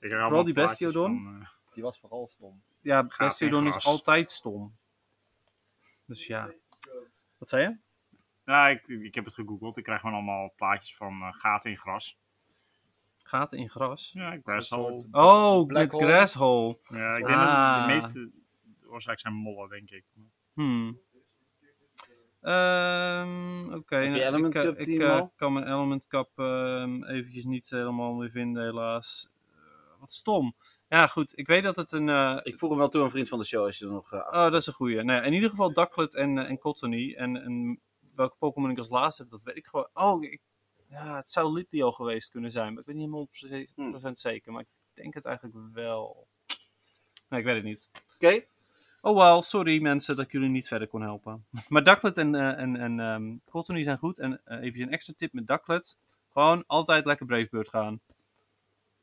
Speaker 5: Ik heb allemaal
Speaker 3: die
Speaker 5: plaatjes
Speaker 3: Bestiodon?
Speaker 5: van, eh,
Speaker 6: Die was vooral stom.
Speaker 3: Ja,
Speaker 5: en
Speaker 3: Bastiodon is
Speaker 5: gras.
Speaker 3: altijd stom. Dus ja. Wat zei je?
Speaker 5: nou, ik, ik heb het gegoogeld. Ik krijg gewoon allemaal plaatjes van eh, gaten in gras.
Speaker 3: Gaten in gras.
Speaker 5: Ja, grasshole.
Speaker 6: Een soort-
Speaker 3: Oh,
Speaker 6: Hmm. Black
Speaker 3: met
Speaker 6: hole.
Speaker 3: grasshole.
Speaker 5: Ja, ik denk
Speaker 3: Ah.
Speaker 5: dat de meeste oorzaak zijn mollen, denk ik.
Speaker 3: Hmm. Ehm, Oké,
Speaker 4: Heb je
Speaker 3: nou,
Speaker 4: Element
Speaker 3: ik, eh,
Speaker 4: Cup
Speaker 3: ik
Speaker 4: team
Speaker 3: eh,
Speaker 4: al?
Speaker 3: kan mijn Element Cup ehm, eventjes niet helemaal meer vinden, helaas. Eh, wat stom. Ja, goed, ik weet dat het een... eh,
Speaker 4: Ik vroeg hem wel toe, een vriend van de show, als je er nog... eh,
Speaker 3: Oh, dat is een goeie. Nou, ja, in ieder geval Ducklet en, eh, en Cottony. En, en welke Pokémon ik als laatste heb, dat weet ik gewoon. Oh, ik- ja, het zou Lidlio geweest kunnen zijn. Maar ik weet niet helemaal precies-
Speaker 4: Hmm.
Speaker 3: procent zeker. Maar ik denk het eigenlijk wel. Nee, ik weet het niet.
Speaker 4: Oké,
Speaker 3: Oh wel, sorry mensen dat ik jullie niet verder kon helpen. Maar Ducklet en, eh, en, en ehm, Cottony zijn goed. En eh, even een extra tip met Ducklet. Gewoon altijd lekker Bravebird gaan.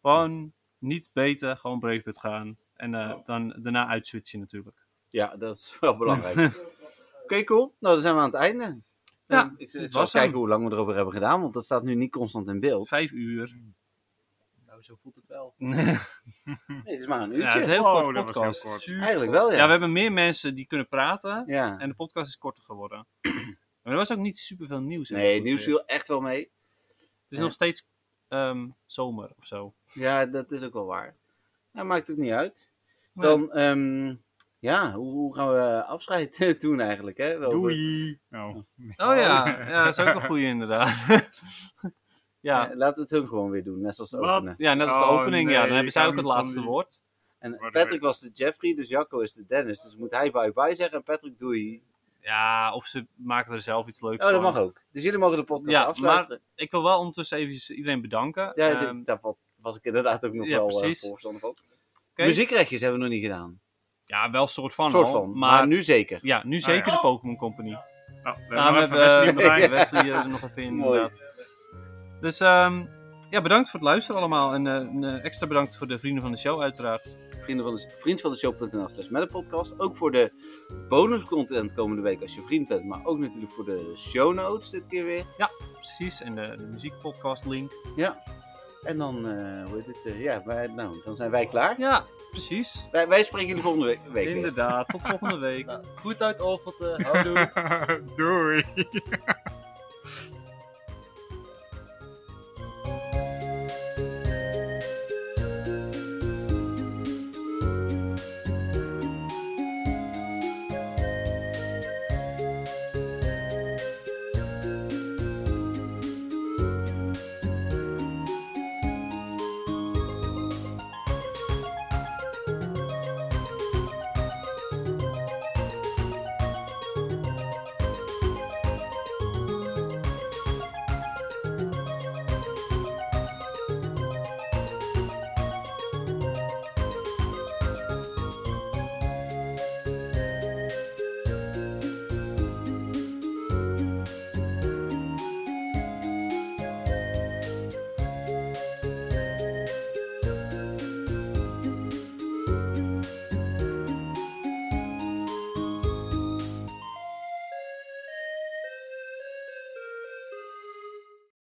Speaker 3: Gewoon niet beter, gewoon Bravebird gaan. En eh, dan daarna uitswitchen natuurlijk.
Speaker 4: ja, dat is wel belangrijk. Oké, cool. Nou, dan zijn we aan het einde.
Speaker 3: Ja,
Speaker 4: Eh, ik, ik
Speaker 3: dit
Speaker 4: zal
Speaker 3: was
Speaker 4: eens kijken
Speaker 3: hem.
Speaker 4: hoe lang we erover hebben gedaan, want dat staat nu niet constant in beeld.
Speaker 3: Vijf uur.
Speaker 4: Nou, zo voelt het wel.
Speaker 3: ja,
Speaker 4: Nee, het is maar een
Speaker 3: het is
Speaker 4: uurtje.
Speaker 3: een heel
Speaker 5: Oh,
Speaker 3: kort
Speaker 5: dat was heel
Speaker 3: podcast.
Speaker 5: kort.
Speaker 4: Eigenlijk wel,
Speaker 3: Ja, we
Speaker 4: ja.
Speaker 3: hebben meer mensen die kunnen praten.
Speaker 4: ja.
Speaker 3: En de podcast is korter geworden. maar er was ook niet superveel nieuws.
Speaker 4: Nee,
Speaker 3: hè,
Speaker 4: het nieuws
Speaker 3: weer.
Speaker 4: viel echt wel mee.
Speaker 3: Het is nog steeds ehm, zomer of zo.
Speaker 4: Ja, dat is ook wel waar. Nou, maakt ook niet uit. Dan, ehm, ja, hoe, hoe gaan we afscheid doen eigenlijk, hè? Wel,
Speaker 5: Doei! Oh.
Speaker 3: Oh ja, ja dat is ook een goede inderdaad. ja.
Speaker 4: eh, laten we het hun gewoon weer doen, net als
Speaker 5: Wat?
Speaker 4: openen.
Speaker 3: ja, net als de
Speaker 5: Oh,
Speaker 3: opening, ja,
Speaker 5: nee,
Speaker 3: dan hebben
Speaker 5: ik
Speaker 3: zij
Speaker 5: hou
Speaker 3: ook het
Speaker 5: niet van
Speaker 3: laatste
Speaker 5: die-
Speaker 3: woord.
Speaker 4: En
Speaker 5: Maar
Speaker 4: Patrick
Speaker 5: dat-
Speaker 4: was de Jeffrey, dus Jacco is de Dennis. Dus moet hij bye-bye zeggen en Patrick doei.
Speaker 3: Ja, of ze maken er zelf iets leuks
Speaker 4: Oh, dat
Speaker 3: van.
Speaker 4: mag ook. Dus jullie mogen de podcast
Speaker 3: Ja,
Speaker 4: afsluiten.
Speaker 3: Ik wil wel ondertussen even iedereen bedanken.
Speaker 4: Ja,
Speaker 3: Ehm,
Speaker 4: ik- daar wa- was ik inderdaad ook nog
Speaker 3: ja,
Speaker 4: wel eh,
Speaker 3: precies.
Speaker 4: voorstander van.
Speaker 3: oké.
Speaker 4: Muziekrechtjes hebben we nog niet gedaan.
Speaker 3: Ja, wel een soort van.
Speaker 4: soort
Speaker 3: al,
Speaker 4: van, maar,
Speaker 3: maar,
Speaker 4: nu zeker.
Speaker 3: ja, nu
Speaker 5: ja.
Speaker 3: zeker de Pokémon Company.
Speaker 5: Nou, we
Speaker 3: Nou, we
Speaker 5: hebben
Speaker 3: hebben
Speaker 5: nog
Speaker 3: Wesley,
Speaker 5: even Wesley bedankt.
Speaker 3: Wesley eh, er nog even in,
Speaker 4: Mooi.
Speaker 3: inderdaad. Dus ehm, ja, bedankt voor het luisteren allemaal. En eh, een, eh, extra bedankt voor de vrienden van de show, uiteraard.
Speaker 4: Vrienden van de, vriend van de show.nl slash met podcast. Ook voor de bonuscontent komende week als je vriend bent. Maar ook natuurlijk voor de show notes dit keer weer.
Speaker 3: Precies, en de, de muziekpodcast link.
Speaker 4: En dan, eh, hoe heet het, eh, ja, wij, nou, dan zijn wij klaar.
Speaker 3: Ja, precies.
Speaker 4: Wij, wij spreken jullie volgende week. week weer.
Speaker 3: Inderdaad, tot volgende week.
Speaker 6: Nou, goed uit Olfert, houdoe.
Speaker 5: Doei.